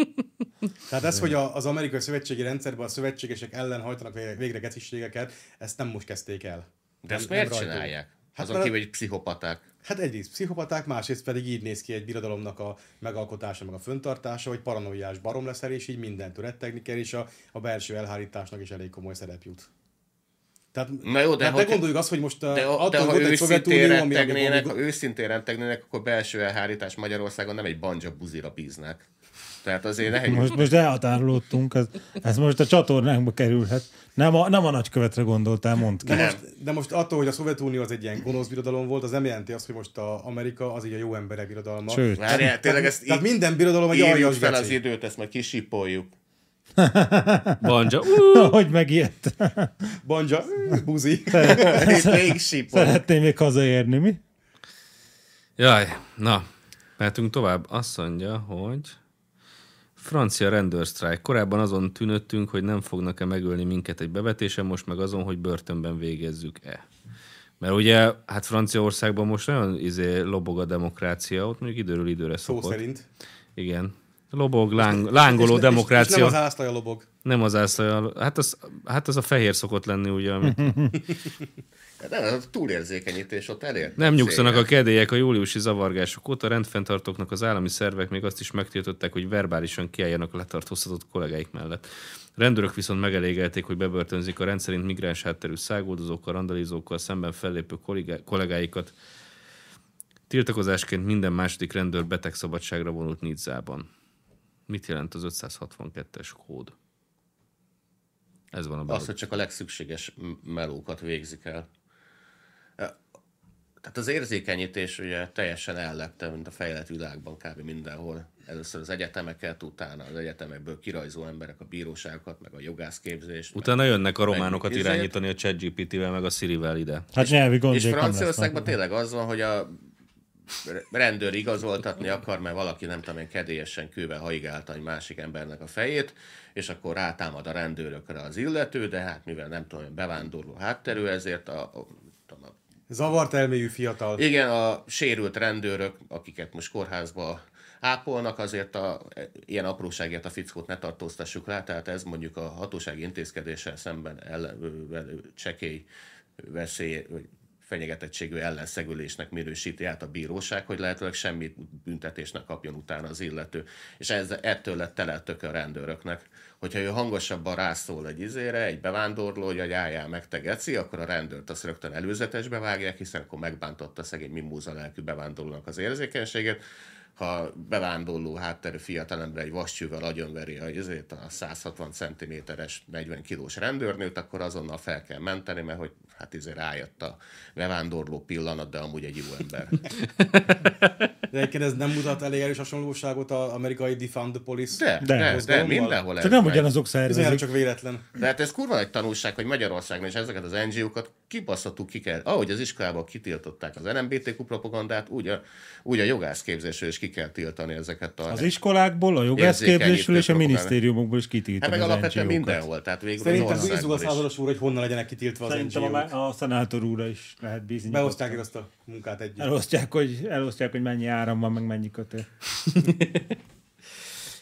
[SPEAKER 4] Tehát ez, hogy a, az amerikai szövetségi rendszerben a szövetségesek ellen hajtanak végre, végre geciségeket, ezt nem most kezdték el.
[SPEAKER 3] De ezt
[SPEAKER 4] Nem-
[SPEAKER 3] miért
[SPEAKER 4] nem rajtunk.
[SPEAKER 3] csinálják?
[SPEAKER 4] Hát,
[SPEAKER 3] Azon
[SPEAKER 4] mert-
[SPEAKER 3] kívül, hogy pszichopaták.
[SPEAKER 4] Hát egyrészt pszichopaták, másrészt pedig így néz ki egy birodalomnak a megalkotása, meg a föntartása, hogy paranoiás barom leszel, és így mindentől rettegni kell, és a, a belső elhárításnak is elég komoly szerep jut. Tehát,
[SPEAKER 3] Na jó, de
[SPEAKER 4] tehát
[SPEAKER 3] hogy-
[SPEAKER 4] ne gondoljuk azt, hogy most de,
[SPEAKER 3] De,
[SPEAKER 4] attól
[SPEAKER 3] de ha
[SPEAKER 4] volt egy
[SPEAKER 3] őszintén
[SPEAKER 4] Szovjetunió, ami, ami,
[SPEAKER 3] rettegnének,
[SPEAKER 4] ami
[SPEAKER 3] ha őszintén rettegnének, akkor belső elhárítás Magyarországon nem egy banja buzira bíznak. Tehát azért ne hegyünk.
[SPEAKER 2] Most, most elhatárolódtunk, ez, ez most a csatornánkba kerülhet. Nem a, nem a nagykövetre gondoltál, mondd ki.
[SPEAKER 4] de most, de most attól, hogy a Szovjetunió az egy ilyen gonosz birodalom volt, az nem jelenti azt, hogy most a Amerika az így a jó emberek birodalma.
[SPEAKER 2] Sőt.
[SPEAKER 3] Várjál, tényleg ezt
[SPEAKER 4] Tehát
[SPEAKER 3] így
[SPEAKER 4] minden birodalom egy
[SPEAKER 3] írjuk
[SPEAKER 4] aljas
[SPEAKER 3] fel az
[SPEAKER 4] geci.
[SPEAKER 3] időt, ezt majd kisipoljuk.
[SPEAKER 1] Banja.
[SPEAKER 2] Hogy megijedt.
[SPEAKER 4] Banja, buzi.
[SPEAKER 3] Itt még sipoljuk.
[SPEAKER 2] Szeretném még hazaérni, mi?
[SPEAKER 1] Jaj, na, mehetünk tovább. Azt mondja, hogy francia rendőrsztrájk. Korábban azon tűnöttünk, hogy nem fognak-e megölni minket egy bevetésen, most meg azon, hogy börtönben végezzük-e. Mert ugye, hát Franciaországban most nagyon izé lobog a demokrácia, ott mondjuk időről időre
[SPEAKER 4] Szó
[SPEAKER 1] szokott.
[SPEAKER 4] szerint.
[SPEAKER 1] Igen. Lobog, láng, lángoló
[SPEAKER 4] És ne- és- És
[SPEAKER 1] demokrácia.
[SPEAKER 4] nem az ászlaja lobog.
[SPEAKER 1] Nem az ászlajal. Hát az, hát az a fehér szokott lenni, ugye, amit
[SPEAKER 3] Nem, az túlérzékenyítés ott elér.
[SPEAKER 1] Nem nyugszanak a kedélyek a júliusi zavargások óta, rendfenntartóknak az állami szervek még azt is megtiltották, hogy verbálisan kiálljanak a letartóztatott kollégáik mellett. Rendőrök viszont megelégelték, hogy bebörtönzik a rendszerint migráns hátterű száguldozókkal, randalízókkal szemben fellépő kollégá- kollégáikat. Tiltakozásként minden második rendőr betegszabadságra vonult Nidzában. Mit jelent az 562-es kód? Ez van a
[SPEAKER 3] Az,
[SPEAKER 1] belőle.
[SPEAKER 3] hogy csak a legszükséges m- melókat végzik el. Ö, Tehát az érzékenyítés ugye teljesen ellepte, mint a fejlett világban kb. mindenhol. Először az egyetemeket, utána az egyetemekből kirajzó emberek a bíróságokat, meg a jogászképzést.
[SPEAKER 1] Utána jönnek a románokat
[SPEAKER 3] Izért-
[SPEAKER 1] irányítani a ChatGPT-vel, meg a Sirivel ide.
[SPEAKER 2] Hát nyelvi
[SPEAKER 3] És
[SPEAKER 2] gondjék nem lesznek.
[SPEAKER 3] Franciaországban tényleg az van, hogy a rendőr igazoltatni akar, mert valaki nem tudom én kedélyesen kővel haigálta egy másik embernek a fejét, és akkor rátámad a rendőrökre az illető, de hát mivel nem tudom, én, bevándorló hátterű, ezért a, a, tudom, a
[SPEAKER 4] Zavart elméjű fiatal.
[SPEAKER 3] igen, a sérült rendőrök, akiket most kórházba ápolnak, azért a, ilyen apróságért a fickót ne tartóztassuk le, tehát ez mondjuk a hatósági intézkedéssel szemben ellen, ö, velő csekély veszély, vagy fenyegetettségű ellenszegülésnek minősíti át a bíróság, hogy lehetőleg semmi büntetésnek kapjon utána az illető. És ez, ettől lett tele a töke a rendőröknek. Hogyha ő hangosabban rászól egy izére, egy bevándorló, hogy álljál meg te geci, akkor a rendőrt azt rögtön előzetesbe vágják, hiszen akkor megbántotta szegény mimóza lelkű bevándorlónak az érzékenységet. Ha bevándorló hátterű fiatalember egy vascsővel agyonveri a, izét, a 160 cm-es 40 kilós rendőrnőt, akkor azonnal fel kell menteni, mert hogy hát izé rájött a bevándorló pillanat, de amúgy egy jó ember.
[SPEAKER 4] De egyébként ez nem mutat elég erős hasonlóságot az amerikai Defund the Police?
[SPEAKER 3] De, de, de, de
[SPEAKER 4] mozgalommal?
[SPEAKER 3] mindenhol
[SPEAKER 2] Csak nem
[SPEAKER 3] ez megy.
[SPEAKER 2] ugyanazok
[SPEAKER 4] Bizonyára
[SPEAKER 2] szervezik.
[SPEAKER 4] csak véletlen.
[SPEAKER 3] De hát ez kurva egy tanulság, hogy Magyarországon és ezeket az NGO-kat kibaszható ki kell. Ahogy az iskolában kitiltották az LMBTQ propagandát, úgy a, úgy a jogászképzésről is ki kell tiltani ezeket a...
[SPEAKER 2] Az iskolákból, a jogászképzésről és a
[SPEAKER 3] Érzékenyítő
[SPEAKER 2] minisztériumokból is
[SPEAKER 3] hát
[SPEAKER 2] kitiltják
[SPEAKER 3] meg
[SPEAKER 2] az
[SPEAKER 3] alapvetően
[SPEAKER 2] NGO-kat.
[SPEAKER 3] mindenhol, tehát végül
[SPEAKER 4] Szerintem
[SPEAKER 3] az
[SPEAKER 4] bízunk a
[SPEAKER 3] országban is.
[SPEAKER 4] százados úr, hogy honnan legyenek kitiltva az
[SPEAKER 2] Szerintem
[SPEAKER 4] NGO-k.
[SPEAKER 2] a, a szenátor úra is lehet bízni.
[SPEAKER 4] Beosztják ezt a munkát együtt.
[SPEAKER 2] Elosztják hogy, elosztják, hogy mennyi áram van, meg mennyi kötél.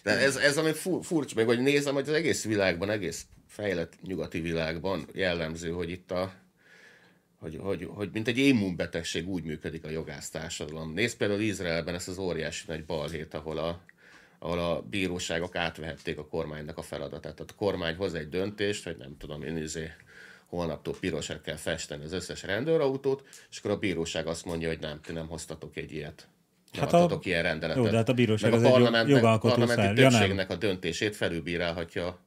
[SPEAKER 3] De ez, ez ami fur, furcsa, meg hogy nézem, hogy az egész világban, egész fejlett nyugati világban jellemző, hogy itt a hogy, hogy, hogy mint egy immunbetegség úgy működik a jogásztársadalom. Nézd például Izraelben ezt az óriási nagy balhét, ahol a, ahol a bíróságok átvehették a kormánynak a feladatát. Tehát a kormány hoz egy döntést, hogy nem tudom én izé, holnaptól pirosra kell festeni az összes rendőrautót, és akkor a bíróság azt mondja, hogy nem, ti nem hoztatok egy ilyet. Nem
[SPEAKER 2] Hát
[SPEAKER 3] hát
[SPEAKER 2] a-
[SPEAKER 3] adtatok ilyen rendeletet.
[SPEAKER 2] Jó, de hát a bíróság
[SPEAKER 3] Meg
[SPEAKER 2] az
[SPEAKER 3] a
[SPEAKER 2] egy jog-
[SPEAKER 3] parlamentnek,
[SPEAKER 2] jogalkotó
[SPEAKER 3] parlamenti
[SPEAKER 2] szerv. Ja, nem.
[SPEAKER 3] többségnek a döntését felülbírálhatja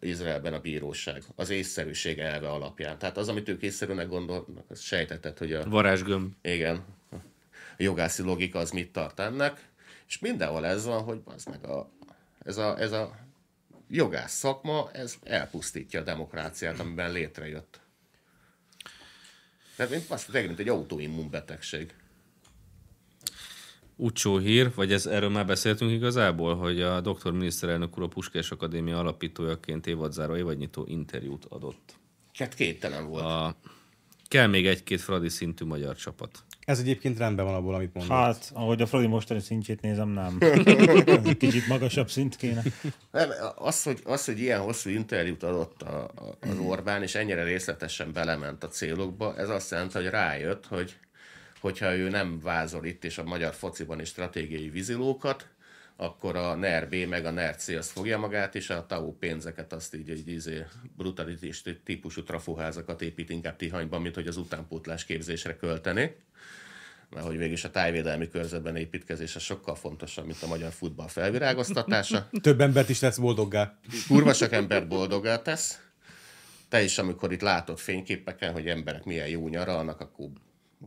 [SPEAKER 3] Izraelben a bíróság az észszerűség elve alapján. Tehát az, amit ők észszerűnek gondolnak, az sejtetett, hogy a,
[SPEAKER 1] Varázsgömb.
[SPEAKER 3] igen, a jogászi logika az mit tart ennek, és mindenhol ez van, hogy az meg a, ez, a, ez a jogász szakma, ez elpusztítja a demokráciát, amiben létrejött. Tehát mint, azt mondják, mint egy autoimmunbetegség.
[SPEAKER 1] Úcsó hír, vagy ez, erről már beszéltünk igazából, hogy a doktor miniszterelnök úr a Puskás Akadémia alapítójaként évadzáró évadnyitó interjút adott.
[SPEAKER 3] Hát képtelen volt.
[SPEAKER 1] A, kell még egy-két fradi szintű magyar csapat.
[SPEAKER 4] Ez egyébként rendben van abból, amit mondok.
[SPEAKER 2] Hát, ahogy a Fradi mostani szintjét nézem, nem. Kicsit magasabb szint kéne.
[SPEAKER 3] Nem, az, hogy, az, hogy ilyen hosszú interjút adott a, a, az Orbán, és ennyire részletesen belement a célokba, ez azt jelenti, hogy rájött, hogy hogyha ő nem vázol itt és a magyar fociban is stratégiai vízilókat, akkor a NERB meg a NERC az fogja magát, és a TAO pénzeket azt így egy izé, brutalitás típusú trafuházakat épít inkább Tihanyban, mint hogy az utánpótlás képzésre költeni mert hogy végülis a tájvédelmi körzetben építkezése sokkal fontosabb, mint a magyar futball felvirágoztatása
[SPEAKER 4] Több embert is lesz boldoggá.
[SPEAKER 3] kurva sok ember boldogá tesz. Te is, amikor itt látod fényképeken, hogy emberek milyen jó nyaralnak, akkor,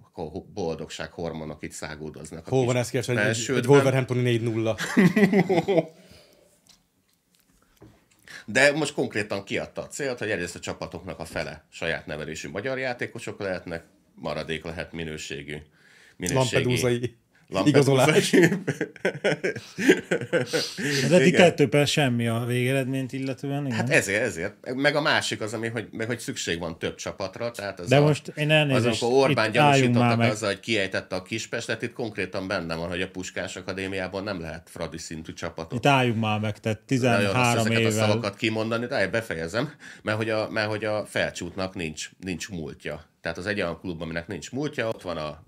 [SPEAKER 3] akkor boldogság hormonok itt száguldoznak. a
[SPEAKER 4] Hol
[SPEAKER 3] kis
[SPEAKER 4] van ez kérdés? Egy, egy
[SPEAKER 3] felsődben.
[SPEAKER 4] Wolverhamptoni 4-0.
[SPEAKER 3] De most konkrétan kiadta a célt, hogy egyrészt a csapatoknak a fele saját nevelésű magyar játékosok lehetnek, maradék lehet minőségű.
[SPEAKER 4] Lampedusai
[SPEAKER 3] Lampedusai.
[SPEAKER 4] igazolás.
[SPEAKER 2] Az eddig
[SPEAKER 3] Igen.
[SPEAKER 2] kettő perc semmi a végeredményt illetően, igen.
[SPEAKER 3] Hát ezért, ezért. Meg a másik az, ami, hogy, meg hogy szükség van több csapatra. Tehát ez
[SPEAKER 2] De
[SPEAKER 3] a,
[SPEAKER 2] most én
[SPEAKER 3] az,
[SPEAKER 2] elnézést,
[SPEAKER 3] amikor Orbán
[SPEAKER 2] itt álljunk már
[SPEAKER 3] gyanúsítottak
[SPEAKER 2] meg.
[SPEAKER 3] azzal, hogy kiejtette a Kispestet, itt konkrétan benne van, hogy a Puskás Akadémiában nem lehet fradi szintű csapatot.
[SPEAKER 2] Itt álljunk már meg, tehát
[SPEAKER 3] Nagyon rossz
[SPEAKER 2] 13
[SPEAKER 3] ezeket a
[SPEAKER 2] évvel.
[SPEAKER 3] szavakat kimondani, de befejezem, mert hogy a, mert hogy a felcsútnak nincs, nincs múltja. Tehát az egy olyan klub, aminek nincs múltja, ott van a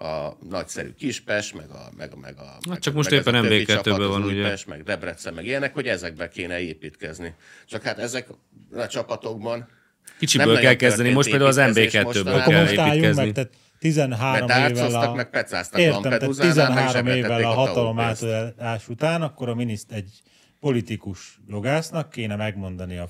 [SPEAKER 3] a nagyszerű Kispest, meg a... Meg, a- meg a meg-
[SPEAKER 1] Hát csak most
[SPEAKER 3] meg ez
[SPEAKER 1] éppen
[SPEAKER 3] a többi
[SPEAKER 1] MB2-ben
[SPEAKER 3] csapat, az
[SPEAKER 1] van, ugye.
[SPEAKER 3] Újpest, meg Debrecen, meg ilyenek, hogy ezekbe kéne építkezni. Csak hát ezek a csapatokban... nem
[SPEAKER 1] Kicsiből
[SPEAKER 3] nagyon
[SPEAKER 1] kell kezdeni, most például az
[SPEAKER 3] történt építkezés
[SPEAKER 1] MB2-ből
[SPEAKER 3] mostanában.
[SPEAKER 2] Akkor
[SPEAKER 1] kell
[SPEAKER 2] most álljunk meg,
[SPEAKER 1] építkezni.
[SPEAKER 2] tehát 13
[SPEAKER 3] Mert
[SPEAKER 2] évvel
[SPEAKER 3] tárcoztak,
[SPEAKER 2] a...
[SPEAKER 3] meg pecáztak
[SPEAKER 2] Értem, tehát
[SPEAKER 3] Lampedusánál, meg
[SPEAKER 2] 13
[SPEAKER 3] zsebeltették
[SPEAKER 2] évvel a
[SPEAKER 3] a
[SPEAKER 2] hatalom
[SPEAKER 3] taulpénzt.
[SPEAKER 2] átadás után, akkor a miniszt egy politikus jogásznak kéne megmondani a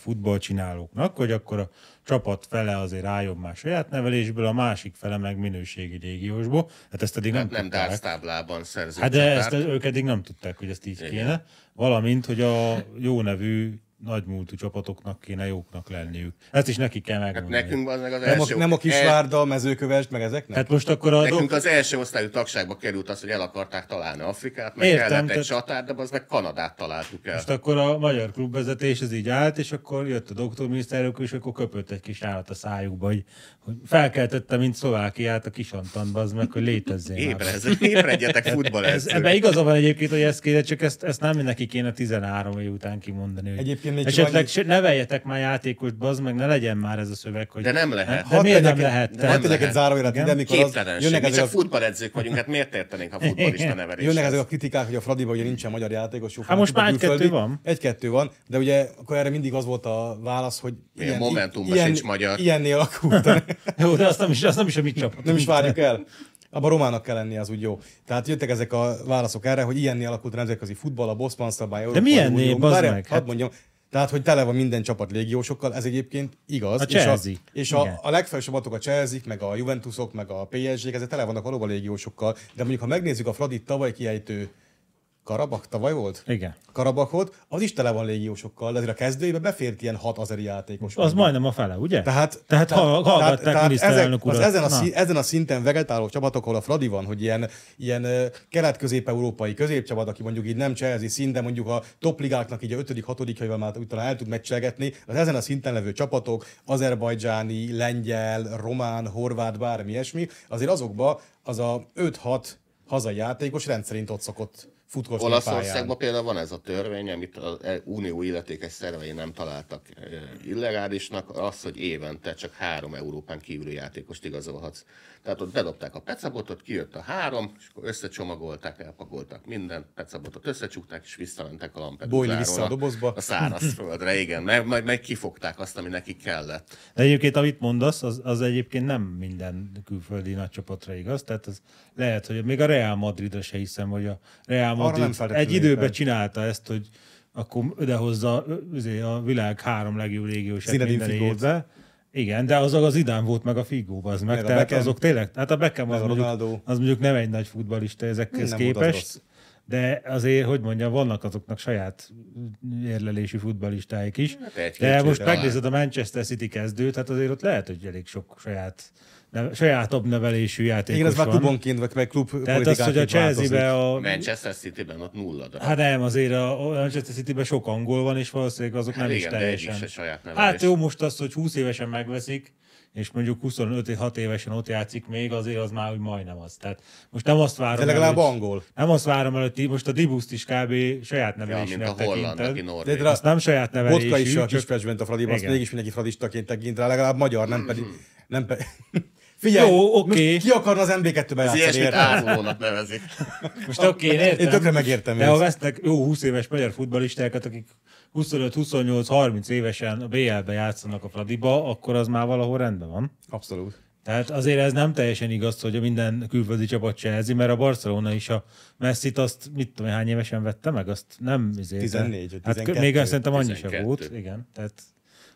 [SPEAKER 2] futballcsinálóknak, hogy akkor a csapat fele azért álljon már saját nevelésből, a másik fele meg minőségi régiósból. Hát ezt eddig nem,
[SPEAKER 3] Nem, nem
[SPEAKER 2] tudták.
[SPEAKER 3] dárctáblában szerző
[SPEAKER 2] Hát de ezt ők eddig nem tudták, hogy ezt így Igen. kéne. Valamint, hogy a jó nevű nagymúltú csapatoknak kéne jóknak lenniük. Ezt is neki kell
[SPEAKER 3] Hát
[SPEAKER 2] megmondani.
[SPEAKER 3] nekünk az meg az
[SPEAKER 4] Nem a,
[SPEAKER 3] első...
[SPEAKER 4] nem a
[SPEAKER 3] Eh,
[SPEAKER 4] Kisvárda, Mezőkövesd, meg ezek nem?
[SPEAKER 2] Hát most akkor a...
[SPEAKER 3] Nekünk az első osztályú tagságba került az, hogy el akarták találni Afrikát, meg
[SPEAKER 2] Értem,
[SPEAKER 3] Értem, kellett egy
[SPEAKER 2] tehát-
[SPEAKER 3] csatár, de az meg Kanadát találtuk el.
[SPEAKER 2] Most akkor a magyar klubvezetés az így állt, és akkor jött a doktorminiszterük, és akkor köpött egy kis állat a szájukba, hogy, hogy felkeltette, mint Szlovákiát a kisantanba, az meg, hogy létezzél már.
[SPEAKER 3] Ébrez,
[SPEAKER 4] Hát
[SPEAKER 2] Ez,
[SPEAKER 3] ébredjetek
[SPEAKER 2] ebben
[SPEAKER 3] futballedzők.
[SPEAKER 2] igaza van egyébként, hogy ezt kéne, csak ezt, ezt nem neki kéne 13 év után kimondani. Hogy
[SPEAKER 4] Egyébként még csak
[SPEAKER 2] esetleg
[SPEAKER 4] annyi-
[SPEAKER 2] annyi... neveljetek már játékost, bazd meg, ne legyen már ez a szöveg, hogy
[SPEAKER 3] De nem lehet.
[SPEAKER 2] De
[SPEAKER 4] Hadd
[SPEAKER 2] hát miért nem
[SPEAKER 4] tegyek egy-
[SPEAKER 2] lehet?
[SPEAKER 4] de Hadd
[SPEAKER 2] Tehát-
[SPEAKER 3] nem
[SPEAKER 4] tegyek egy
[SPEAKER 3] lehet.
[SPEAKER 4] zárójelet ide, amikor az,
[SPEAKER 3] Képtelenség.
[SPEAKER 4] jönnek
[SPEAKER 3] Mi
[SPEAKER 4] ezek,
[SPEAKER 3] csak
[SPEAKER 4] a,
[SPEAKER 3] futballedzők vagyunk, hát miért értenénk a futballista neveléshez?
[SPEAKER 4] jönnek ezek a kritikák, hogy a Fradiba ugye nincsen magyar játékos. Jó,
[SPEAKER 2] Hát most már
[SPEAKER 4] külföldi.
[SPEAKER 2] egy-kettő van.
[SPEAKER 4] Egy-kettő van, de ugye akkor erre mindig az volt a válasz, hogy
[SPEAKER 3] Ilyen Momentumban sincs magyar.
[SPEAKER 4] Ilyennél alakult.
[SPEAKER 2] Jó, de azt nem is, azt nem is a mi csapatunk.
[SPEAKER 4] Nem is várjuk el. Abban romának kell lenni, az úgy jó. Tehát jöttek ezek a válaszok erre, hogy ilyenné alakult a nemzetközi futball, a Boszman szabály, Európai
[SPEAKER 2] milyenné,
[SPEAKER 4] Unió.
[SPEAKER 2] bazd
[SPEAKER 4] Várjál,
[SPEAKER 2] meg,
[SPEAKER 4] Hadd
[SPEAKER 2] hát-
[SPEAKER 4] mondjam, tehát, hogy tele van minden csapat légiósokkal, ez egyébként igaz.
[SPEAKER 2] A
[SPEAKER 4] És a,
[SPEAKER 2] Chelsea.
[SPEAKER 4] és
[SPEAKER 2] Igen.
[SPEAKER 4] a, a legfelsőbbatok a Chelsea, meg a Juventusok, meg a PSG-k, ezek tele vannak valóban légiósokkal. De mondjuk, ha megnézzük a Fradit tavaly kiejtő Karabak tavaly volt?
[SPEAKER 2] Igen.
[SPEAKER 4] Karabakot, az is tele van légiósokkal, de azért a kezdőjébe befért ilyen hat azeri játékos.
[SPEAKER 2] Az majdnem a fele, ugye?
[SPEAKER 4] Tehát,
[SPEAKER 2] tehát, tehát hallgatták tehát, miniszterelnök
[SPEAKER 4] ezek,
[SPEAKER 2] urat.
[SPEAKER 4] az ezen, a
[SPEAKER 2] Na.
[SPEAKER 4] szín, ezen a szinten vegetáló csapatok, ahol a Fradi van, hogy ilyen, ilyen ö, kelet-közép-európai középcsapat, aki mondjuk így nem Chelsea szín, de mondjuk a topligáknak így a ötödik, hatodik helyvel már úgy talán el tud meccselgetni, az ezen a szinten levő csapatok, azerbajdzsáni, lengyel, román, horvát, bármi ilyesmi, azért azokba az a 5-6 hazai játékos rendszerint ott szokott futkosni a pályán.
[SPEAKER 3] Olaszországban például van ez a törvény, amit az E- unió illetékes szervei nem találtak eh, illegálisnak, az, hogy évente csak három Európán kívüli játékost igazolhatsz. Tehát ott bedobták a pecabotot, kijött a három, és akkor összecsomagolták, elpakolták mindent, pecabotot összecsukták, és visszamentek a Lampedusáról.
[SPEAKER 4] Bojli vissza a dobozba.
[SPEAKER 3] A szárazföldre, igen. Meg, meg, meg kifogták azt, ami neki kellett.
[SPEAKER 2] De egyébként, amit mondasz, az, az egyébként nem minden külföldi nagy csapatra igaz. Tehát az lehet, hogy még a Real Madridra se hiszem, hogy a Real
[SPEAKER 4] nem
[SPEAKER 2] Madrid egy
[SPEAKER 4] feltétlenül
[SPEAKER 2] időben
[SPEAKER 4] éppen.
[SPEAKER 2] csinálta ezt, hogy akkor odahozza ö, izé, a világ három legjobb légiósát
[SPEAKER 4] Zinedine
[SPEAKER 2] minden
[SPEAKER 4] Figót.
[SPEAKER 2] évben. Igen, de azok az idán volt meg a Figó, az meg.
[SPEAKER 4] Meg a
[SPEAKER 2] tehát
[SPEAKER 4] Beckham.
[SPEAKER 2] azok tényleg, hát a Beckham az,
[SPEAKER 4] Meg a
[SPEAKER 2] mondjuk,
[SPEAKER 4] Ronaldo.
[SPEAKER 2] az mondjuk nem egy nagy futbalista ezekhez
[SPEAKER 4] Nem volt az
[SPEAKER 2] képest.
[SPEAKER 4] rossz.
[SPEAKER 2] De azért, hogy mondjam, vannak azoknak saját érlelési futbalistáik is.
[SPEAKER 3] egy-két
[SPEAKER 2] De most
[SPEAKER 3] talán.
[SPEAKER 2] megnézed a Manchester City kezdőt, hát azért ott lehet, hogy elég sok saját, neve, sajátabb nevelésű játékos
[SPEAKER 4] Igen, ez már
[SPEAKER 2] van.
[SPEAKER 4] klubonként, vagy, vagy klub
[SPEAKER 2] Tehát az, hogy a
[SPEAKER 4] politikánként változik.
[SPEAKER 2] Chelsea-be
[SPEAKER 3] A
[SPEAKER 2] a...
[SPEAKER 3] Manchester City-ben ott nulla darab.
[SPEAKER 2] Hát nem, azért a a Manchester City-ben sok angol van, és valószínűleg azok
[SPEAKER 3] Hát
[SPEAKER 2] nem
[SPEAKER 3] igen, de
[SPEAKER 2] is
[SPEAKER 3] egyik
[SPEAKER 2] teljesen.
[SPEAKER 3] se saját nevelés.
[SPEAKER 2] hát jó, most az, hogy 20 évesen megveszik, és mondjuk 25-6 évesen ott játszik még, azért az már úgy majdnem az. Tehát most nem azt várom
[SPEAKER 4] De legalább
[SPEAKER 2] el, hogy-
[SPEAKER 4] angol.
[SPEAKER 2] Nem azt várom el, hogy ti most a Dibuszt is kb. saját
[SPEAKER 3] Ja, mint
[SPEAKER 2] nevelésnek
[SPEAKER 3] a holland, aki
[SPEAKER 2] tekinted.
[SPEAKER 3] norvég.
[SPEAKER 4] De- de-
[SPEAKER 2] Azt nem saját nevelésű,
[SPEAKER 4] Vodka is a
[SPEAKER 2] csak-
[SPEAKER 4] kispecsben a Fradiba, azt
[SPEAKER 2] Igen.
[SPEAKER 4] mégis mindenki fradistaként tekint rá, legalább magyar, nem pedig... Nem pe... Figyelj,
[SPEAKER 2] Jó, oké.
[SPEAKER 4] most ki akarna az MB2-be
[SPEAKER 3] Ez
[SPEAKER 4] játszani,
[SPEAKER 3] ilyesmit
[SPEAKER 4] érted?
[SPEAKER 3] ázolónak nevezik.
[SPEAKER 2] Most oké, én értem.
[SPEAKER 4] Én tökre megértem
[SPEAKER 2] De ha
[SPEAKER 4] őt.
[SPEAKER 2] vesznek jó 20 éves magyar futbalistákat, akik 25-28-30 évesen a BL-be játszanak a Fradiba, akkor az már valahol rendben van.
[SPEAKER 4] Abszolút.
[SPEAKER 2] Tehát azért ez nem teljesen igaz, hogy minden külföldi csapat Chelsea, mert a Barcelona is a messi azt mit tudom, én, hány évesen vette meg, azt nem izé.
[SPEAKER 4] 14 vagy
[SPEAKER 2] hát
[SPEAKER 4] 12.
[SPEAKER 2] még azt szerintem annyi se
[SPEAKER 3] 12.
[SPEAKER 2] volt, igen. Tehát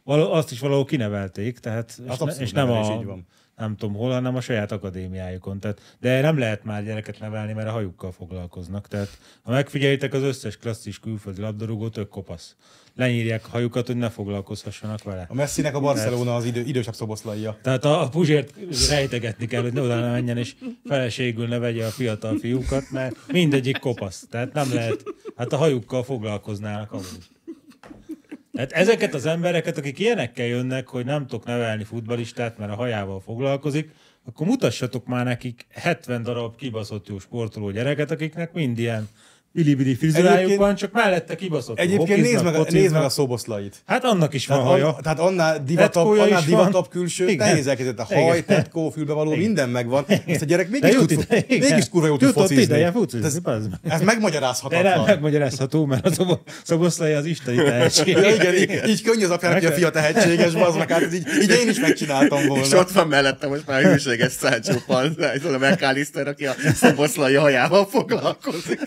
[SPEAKER 2] való, azt is valahol kinevelték, tehát és,
[SPEAKER 4] Hát abszolút
[SPEAKER 2] ne, és nem
[SPEAKER 4] nevelés,
[SPEAKER 2] a,
[SPEAKER 4] így van.
[SPEAKER 2] nem tudom hol, hanem a saját akadémiájukon. Tehát, de nem lehet már gyereket nevelni, mert a hajukkal foglalkoznak. Tehát ha megfigyeljétek, az összes klasszis külföldi labdarúgó tök kopasz. Lenyírják a hajukat, hogy ne foglalkozhassanak vele.
[SPEAKER 4] A Messinek a Barcelona az idő, idősebb szoboszlaia.
[SPEAKER 2] Tehát a, a Puzsért rejtegetni kell, hogy ne oda ne menjen, és feleségül ne vegye a fiatal fiúkat, mert mindegyik kopasz. Tehát nem lehet, hát a hajukkal foglalkoznának amúgy. Tehát ezeket az embereket, akik ilyenekkel jönnek, hogy nem tudok nevelni futbalistát, mert a hajával foglalkozik, akkor mutassatok már nekik 70 darab kibaszott jó sportoló gyereket, akiknek mind ilyen ilibidi frizurájuk
[SPEAKER 4] Egyébként-
[SPEAKER 2] van, csak mellette kibaszott
[SPEAKER 4] Egyébként nézd meg, a- nézd meg a szoboszlait.
[SPEAKER 2] Hát annak is van
[SPEAKER 4] Tehát,
[SPEAKER 2] haja.
[SPEAKER 4] an, tehát annál divatabb,
[SPEAKER 2] Tetkója
[SPEAKER 4] annál
[SPEAKER 2] is van.
[SPEAKER 4] divatabb külső,
[SPEAKER 2] Igen.
[SPEAKER 4] Igen. nehéz elkezdett a
[SPEAKER 2] Igen.
[SPEAKER 4] haj, tetkó, fülbevaló, minden megvan. Ezt a gyerek
[SPEAKER 2] De
[SPEAKER 4] mégis,
[SPEAKER 2] jut
[SPEAKER 4] tud,
[SPEAKER 2] ide, igen.
[SPEAKER 4] mégis kurva jól tud
[SPEAKER 2] Jutott
[SPEAKER 4] focizni.
[SPEAKER 2] ideje focizni,
[SPEAKER 4] Ez,
[SPEAKER 2] bazd meg.
[SPEAKER 4] ez
[SPEAKER 2] De nem
[SPEAKER 4] megmagyarázhatatlan.
[SPEAKER 2] megmagyarázható, mert a szobo- szoboszlai az isteni tehetség.
[SPEAKER 4] Ja, igen, így, így könnyű az apjának, hogy a
[SPEAKER 2] Meg-
[SPEAKER 4] fia tehetséges, bazd meg, hát ez így, így én is megcsináltam volna.
[SPEAKER 3] És ott van mellette most már a hűséges Sancho Panza, ez a McAllister, aki a szoboszlai hajával foglalkozik.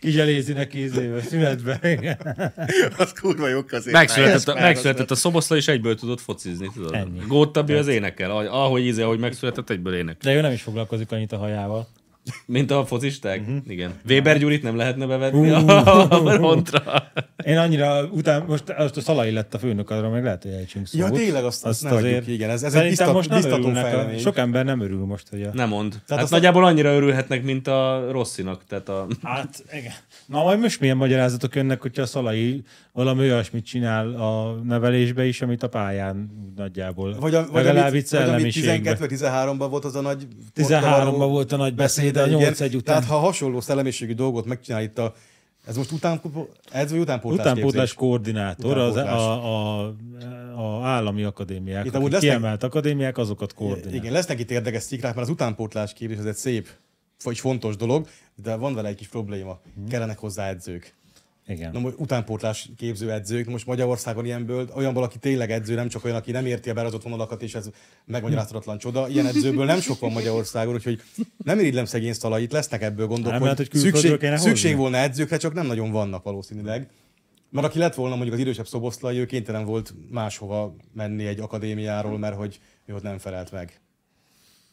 [SPEAKER 2] Kizselézi neki ízébe, születbe. Igen.
[SPEAKER 3] Az kurva jó közé.
[SPEAKER 1] Megszületett, a, megszületett a szoboszla, és egyből tudott focizni, tudod?
[SPEAKER 2] Ennyi.
[SPEAKER 1] Góttabi az énekel, ahogy- ahogy íze, ahogy megszületett, egyből ének.
[SPEAKER 2] De ő nem is foglalkozik annyit a hajával.
[SPEAKER 1] Mint a focisták?
[SPEAKER 2] Mhm.
[SPEAKER 1] Igen. Weber Gyurit nem lehetne bevetni a pontra.
[SPEAKER 2] Én annyira után, most, most a Szalai lett a főnök, arra meg lehet, hogy ejtsünk szót.
[SPEAKER 4] Ja, tényleg, azt- azt ne hagyjuk ki, igen, ez- ez egy
[SPEAKER 2] Szerintem
[SPEAKER 4] biztat-
[SPEAKER 2] most nem
[SPEAKER 4] biztató
[SPEAKER 2] örülnek a-
[SPEAKER 4] fejlemény.
[SPEAKER 2] Sok ember nem örül most, hogy a...
[SPEAKER 1] Nem mond. Tehát hát
[SPEAKER 4] azt-
[SPEAKER 1] nagyjából annyira örülhetnek, mint a Rosszinak. Tehát a...
[SPEAKER 2] Hát, igen. Na, majd most milyen magyarázatok jönnek, hogyha a Szalai valami olyasmit csinál a nevelésbe is, amit a pályán úgy nagyjából.
[SPEAKER 4] Vagy, a, vagy
[SPEAKER 2] legalább itt
[SPEAKER 4] amit, vagy amit
[SPEAKER 2] szellemiségben.
[SPEAKER 4] 12-13-ban volt az a nagy...
[SPEAKER 2] 13-ban volt a nagy beszéde, a
[SPEAKER 4] Igen.
[SPEAKER 2] 8-1 után.
[SPEAKER 4] Tehát ha hasonló szellemiségű dolgot megcsinál itt a... Ez most után, ez vagy utánpótlás,
[SPEAKER 2] Utánpótlás
[SPEAKER 4] képzés?
[SPEAKER 2] koordinátor, az, a,
[SPEAKER 4] Utánpótlás.
[SPEAKER 2] a, a állami akadémiák,
[SPEAKER 4] Itt
[SPEAKER 2] akik
[SPEAKER 4] amúgy lesznek-
[SPEAKER 2] kiemelt akadémiák, azokat koordinál.
[SPEAKER 4] Igen, lesznek itt érdekes szikrák, mert az utánpótlás képzés ez egy szép vagy fontos dolog, de van vele egy kis probléma.
[SPEAKER 2] Mhm.
[SPEAKER 4] Kellenek hozzá edzők.
[SPEAKER 2] Igen.
[SPEAKER 4] Na, most utánpótlás képző edzők, most Magyarországon ilyenből, olyanból, aki tényleg edző, nem csak olyan, aki nem érti a berázott vonalakat, és ez megmagyarázhatatlan csoda. Ilyen edzőből nem sok van Magyarországon, úgyhogy nem irigylem szegény szalait, lesznek ebből gondok,
[SPEAKER 2] Nem
[SPEAKER 4] hogy,
[SPEAKER 2] lehet, hogy külföldről
[SPEAKER 4] szükség,
[SPEAKER 2] kéne hozni?
[SPEAKER 4] szükség volna edzőkre, csak nem nagyon vannak valószínűleg. Mert aki lett volna mondjuk az idősebb szoboszlai, ő kénytelen volt máshova menni egy akadémiáról, mert hogy ő ott nem felelt meg.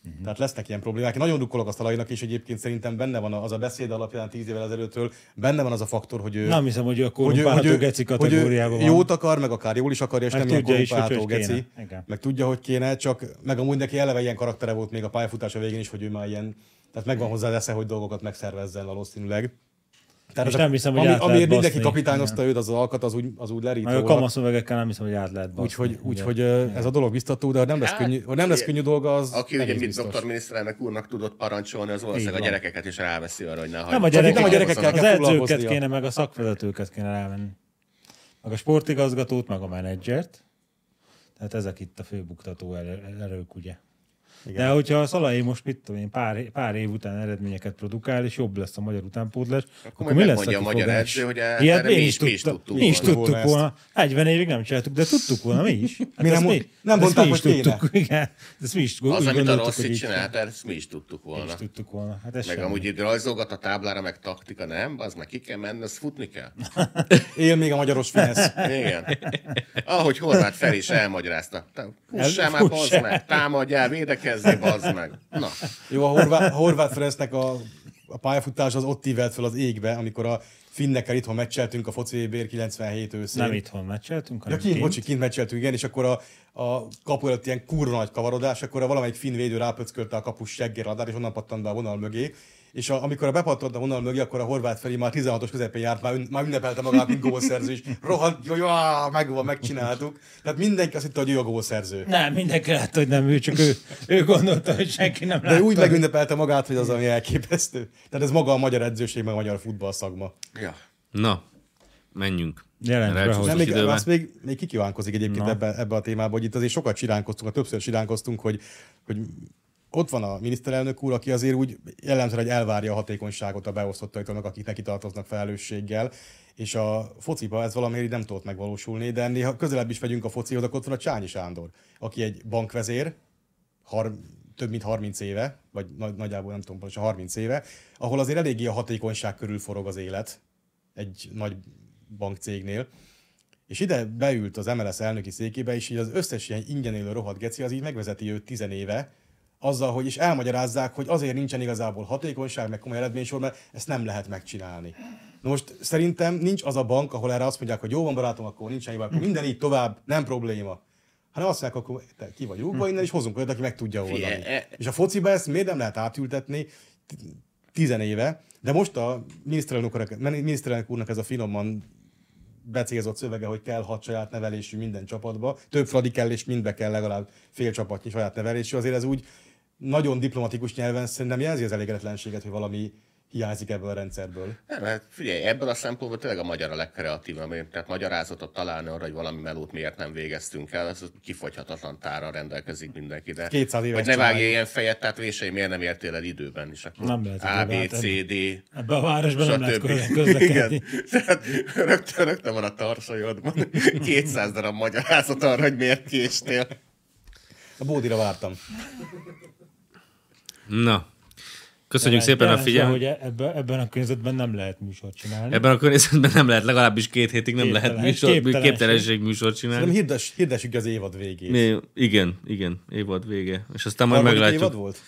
[SPEAKER 2] Mhm.
[SPEAKER 4] Tehát lesznek ilyen problémák. Én nagyon drukkolok a szalainak, és egyébként szerintem benne van az a beszéd alapján tíz évvel ezelőttől, benne van az a faktor, hogy ő
[SPEAKER 2] Nem hiszem, hogy ő a
[SPEAKER 4] hogy ő, hogy,
[SPEAKER 2] korrumpálható
[SPEAKER 4] ő,
[SPEAKER 2] geci
[SPEAKER 4] hogy ő
[SPEAKER 2] kategóriában van.
[SPEAKER 4] jót akar, meg akár jól is akarja, és
[SPEAKER 2] Meg
[SPEAKER 4] nem ilyen
[SPEAKER 2] tudja is, hogy
[SPEAKER 4] korrumpálható
[SPEAKER 2] hogy kéne.
[SPEAKER 4] geci.
[SPEAKER 2] Igen.
[SPEAKER 4] Meg tudja, hogy kéne, csak meg amúgy neki eleve ilyen karaktere volt még a pályafutása végén is, hogy ő már ilyen, tehát megvan hozzá az esze, hogy dolgokat megszervezzen valószínűleg. Tehát
[SPEAKER 2] És
[SPEAKER 4] ezek-
[SPEAKER 2] nem hiszem, hogy
[SPEAKER 4] ami,
[SPEAKER 2] át lehet
[SPEAKER 4] amiért mindenki
[SPEAKER 2] baszni.
[SPEAKER 4] kapitányozta őt, az az alkat, az úgy, az úgy lerít
[SPEAKER 2] Meg a
[SPEAKER 4] róla.
[SPEAKER 2] kamaszövegekkel nem hiszem, hogy át lehet baszni.
[SPEAKER 4] Úgyhogy,
[SPEAKER 2] ugye.
[SPEAKER 4] úgyhogy ö, ez a dolog biztató, de ha nem lesz
[SPEAKER 3] Hát,
[SPEAKER 4] könnyű, ha nem lesz
[SPEAKER 3] ugye,
[SPEAKER 4] könnyű dolga, az
[SPEAKER 3] Aki ugye,
[SPEAKER 4] nehéz
[SPEAKER 3] mint
[SPEAKER 4] biztos.
[SPEAKER 3] doktor miniszterelnök úrnak tudott parancsolni, az valószínűleg a
[SPEAKER 2] van.
[SPEAKER 3] gyerekeket is ráveszi arra, hogy ne
[SPEAKER 2] Nem a
[SPEAKER 3] hagyják.
[SPEAKER 2] gyerekekkel,
[SPEAKER 4] gyerekek- nem a
[SPEAKER 2] gyerekekkel
[SPEAKER 4] gyerekekkel
[SPEAKER 2] az
[SPEAKER 4] kell
[SPEAKER 2] edzőket
[SPEAKER 4] foglalkoznia.
[SPEAKER 2] kéne, meg a szakvezetőket kéne rávenni. Meg a sportigazgatót, meg a menedzsert. Tehát ezek itt a fő buktató erő- erők, ugye. Igen. De hogyha a Szalai most mit tudom én, pár, pár év után eredményeket produkál, és jobb lesz a magyar utánpótlás, akkor,
[SPEAKER 3] majd
[SPEAKER 2] mi lesz a
[SPEAKER 3] megmondja a magyar
[SPEAKER 2] kifogás?
[SPEAKER 3] edző, hogy e- erre
[SPEAKER 2] Ilyet
[SPEAKER 3] mi
[SPEAKER 2] én
[SPEAKER 3] is- mi is
[SPEAKER 2] tudta-
[SPEAKER 3] tudtuk
[SPEAKER 2] Mi is
[SPEAKER 4] volna.
[SPEAKER 2] tudtuk
[SPEAKER 4] Volna ezt.
[SPEAKER 2] volna. 40 évig nem csináltuk, de tudtuk volna mi is. Hát
[SPEAKER 4] Mi nem
[SPEAKER 2] ezt
[SPEAKER 4] mond- nem
[SPEAKER 2] ezt
[SPEAKER 4] mondták,
[SPEAKER 2] mi
[SPEAKER 4] hogy kéne.
[SPEAKER 2] tudtuk, Igen, ezt mi is úgy
[SPEAKER 3] Az, amit a
[SPEAKER 2] gondoltuk, hogy
[SPEAKER 3] Rossi
[SPEAKER 2] így kell.
[SPEAKER 3] csinált, ezt mi is tudtuk volna.
[SPEAKER 2] Is tudtuk volna. Hát ez
[SPEAKER 3] Meg
[SPEAKER 2] semmi.
[SPEAKER 3] amúgy itt rajzolgat a táblára, meg taktika, nem? Az meg ki kell menni, az futni kell.
[SPEAKER 4] Él még a magyaros finesz.
[SPEAKER 3] Igen. Ahogy Horváth fel is elmagyarázta. Te Fussál már,
[SPEAKER 2] Fuss
[SPEAKER 3] bazd
[SPEAKER 2] el.
[SPEAKER 3] meg, támadjál, védekezzél, bazd meg. Na,
[SPEAKER 4] Jó, a horvát, a horvát Ferencnek a, a pályafutás az ott ívelt fel az égbe, amikor a finnekkel itthon meccseltünk a foci BR 97 őszén.
[SPEAKER 2] Nem itthon meccseltünk,
[SPEAKER 4] Ja,
[SPEAKER 2] hanem
[SPEAKER 4] kint,
[SPEAKER 2] kint.
[SPEAKER 4] bocsi, kint meccseltünk, igen, és akkor a, a kapu előtt ilyen kurva nagy kavarodás, akkor a valamelyik finn védő rápöckölte a kapus seggér radár, és onnan pattant be a vonal mögé. És a, amikor a bepattant a vonal mögé, akkor a horvát felé már 16-os közepén járt, már, ün, már ünnepelte magát, mint gólszerző, és rohant, hogy "Á, megvan, megcsináltuk. Tehát mindenki azt hitte, hogy ő a gólszerző.
[SPEAKER 2] Nem, mindenki látta, hogy nem ő, csak ő, ő gondolta, hogy senki nem
[SPEAKER 4] De ő
[SPEAKER 2] látta.
[SPEAKER 4] úgy megünnepelte magát, hogy az ami elképesztő. Tehát ez maga a magyar edzőség, meg a magyar futballszakma.
[SPEAKER 3] ja.
[SPEAKER 1] Na, menjünk.
[SPEAKER 2] Jelent
[SPEAKER 1] Mert
[SPEAKER 2] be,
[SPEAKER 1] elcsúszott
[SPEAKER 2] hogy-
[SPEAKER 4] Nem, még,
[SPEAKER 1] időben.
[SPEAKER 4] azt még, még kikívánkozik egyébként ebbe, ebbe a témába, hogy itt azért sokat siránkoztunk, a többször siránkoztunk, hogy, hogy ott van a miniszterelnök úr, aki azért úgy jellemzően hogy elvárja a hatékonyságot a beosztottaitól, akik neki tartoznak felelősséggel, és a fociba ez valamiért így nem tudott megvalósulni, de ennél ha közelebb is megyünk a focihoz, akkor ott van a Csányi Sándor, aki egy bankvezér, har, több mint 30 éve, vagy nagy, nagyjából nem tudom, pontosan 30 éve, ahol azért eléggé a hatékonyság körül forog az élet egy nagy bankcégnél. És ide beült az MLS elnöki székébe, és így az összes ilyen ingyen élő rohadt geci, az így megvezeti őt tizenéve, azzal, hogy is elmagyarázzák, hogy azért nincsen igazából hatékonyság, meg komoly eredménysor, mert ezt nem lehet megcsinálni. Na most szerintem nincs az a bank, ahol erre azt mondják, hogy jó van barátom, akkor nincsen hiba, akkor minden így tovább, nem probléma. Hanem azt mondják, akkor te ki vagy rúgva innen, és hozunk olyat, aki meg tudja oldani.
[SPEAKER 3] Figyelj, e-
[SPEAKER 4] És a fociba ezt miért nem lehet átültetni t- tizenéve, de most a miniszterelnök úrnak- miniszterelnök úrnak ez a finoman becélzott szövege, hogy kell hat saját nevelésű minden csapatba, több fradi kell, és mindbe kell legalább fél csapatnyi saját nevelésű, azért ez úgy nagyon diplomatikus nyelven szerintem jelzi az elégedetlenséget, hogy valami hiányzik ebből a rendszerből.
[SPEAKER 3] Nem, hát figyelj, ebből a szempontból tényleg a magyar a legkreatívabb, én- tehát magyarázatot találni arra, hogy valami melót miért nem végeztünk el, az kifogyhatatlan tára rendelkezik mindenki. De
[SPEAKER 4] 200 éves
[SPEAKER 3] Vagy ne vágj
[SPEAKER 4] csináljuk.
[SPEAKER 3] ilyen fejet, tehát vései, miért nem értél el időben is. Akkor
[SPEAKER 2] Nem lehet
[SPEAKER 3] A, B, C,
[SPEAKER 2] időbe
[SPEAKER 3] D,
[SPEAKER 2] Ebbe a városban nem lehet
[SPEAKER 3] stb.
[SPEAKER 2] közel közlekedni.
[SPEAKER 3] Igen. Tehát rögtön, rögtön van a tarsajodban 200 darab magyarázat arra, hogy miért késtél.
[SPEAKER 4] A bódira vártam.
[SPEAKER 1] Na, köszönjük szépen a
[SPEAKER 2] Jelent be,
[SPEAKER 1] figyelmet.
[SPEAKER 2] hogy e- ebbe, ebben a környezetben nem lehet műsort csinálni.
[SPEAKER 1] Ebben a környezetben nem lehet, legalábbis két hétig nem
[SPEAKER 2] Képtelen-
[SPEAKER 1] lehet műsor,
[SPEAKER 2] képtelenség.
[SPEAKER 1] képtelenség műsort csinálni.
[SPEAKER 4] Nem hirdes, hirdessük az évad végét.
[SPEAKER 1] Mi- Igen, igen, évad vége. És aztán majd
[SPEAKER 4] Harmadik
[SPEAKER 1] meglátjuk.
[SPEAKER 4] évad volt?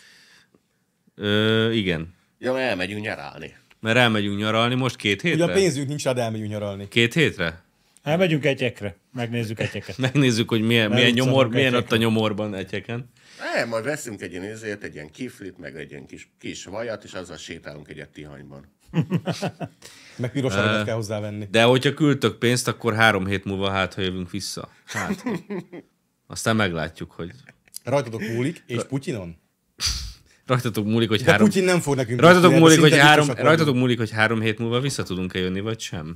[SPEAKER 1] Ö, igen,
[SPEAKER 3] Ja, mert elmegyünk nyaralni.
[SPEAKER 1] mert elmegyünk nyaralni most két
[SPEAKER 4] Ugye a
[SPEAKER 1] hétre.
[SPEAKER 4] pénzünk nincs rá, de elmegyünk nyaralni.
[SPEAKER 1] Két hétre?
[SPEAKER 2] Elmegyünk Hát egyekre, megnézzük egyeket.
[SPEAKER 1] Megnézzük, hogy milyen, milyen,
[SPEAKER 2] utcanak
[SPEAKER 1] nyomor, milyen
[SPEAKER 2] egyeken.
[SPEAKER 1] ott a nyomorban egyeken.
[SPEAKER 3] Nem, majd veszünk egy ilyen izért, egy ilyen kiflit, meg egy ilyen kis, kis vajat, és azzal sétálunk egyet Tihanyban.
[SPEAKER 4] Meg piros uh, kell hozzávenni.
[SPEAKER 1] De hogyha küldtök pénzt, akkor három hét múlva hát, ha jövünk vissza. Hát. ha. Aztán meglátjuk, hogy
[SPEAKER 4] Rajtatok múlik, és Putyinon?
[SPEAKER 1] rajtatok múlik, hogy
[SPEAKER 4] De
[SPEAKER 1] három...
[SPEAKER 4] Putyin nem fog nekünk
[SPEAKER 1] Rajtatok
[SPEAKER 4] beszélni,
[SPEAKER 1] múlik,
[SPEAKER 4] szinte
[SPEAKER 1] hogy három,
[SPEAKER 4] biztosak
[SPEAKER 1] rajtatok múlik, hogy három hét múlva vissza tudunk-e jönni, vagy sem.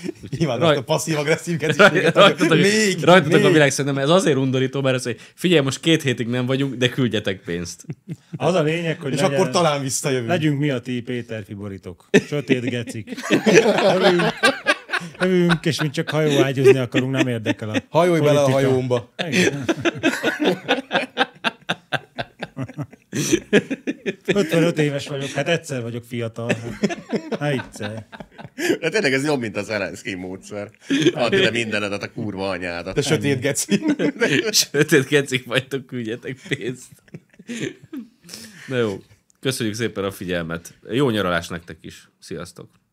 [SPEAKER 4] vagyunk. Imádom ezt a
[SPEAKER 1] Raj-
[SPEAKER 4] passzív-agresszív kezűséget.
[SPEAKER 1] Rajtatok,
[SPEAKER 4] Még,
[SPEAKER 1] rajtatok a
[SPEAKER 4] még.
[SPEAKER 1] világ, szerintem ez azért undorító, mert az, hogy figyelj, most két hétig nem vagyunk, de küldjetek pénzt.
[SPEAKER 2] Az a lényeg, hogy
[SPEAKER 4] És
[SPEAKER 2] legyen-
[SPEAKER 4] akkor talán visszajövünk.
[SPEAKER 2] Legyünk mi a ti Péter Fiboritok. Sötét gecik. Övünk, övünk, és mi csak hajóágyozni akarunk, nem érdekel a
[SPEAKER 4] Hajolj bele a
[SPEAKER 2] politika.
[SPEAKER 4] hajómba.
[SPEAKER 2] Igen. 55 éves vagyok, hát egyszer vagyok fiatal. Hát egyszer.
[SPEAKER 3] De tényleg ez jobb, mint az Zelenszky módszer. Add ide mindenedet, a kurva anyádat.
[SPEAKER 4] Te sötét geci.
[SPEAKER 1] Sötét kecik vagytok, küldjetek pénzt. Na jó, köszönjük szépen a figyelmet. Jó nyaralás nektek is. Sziasztok!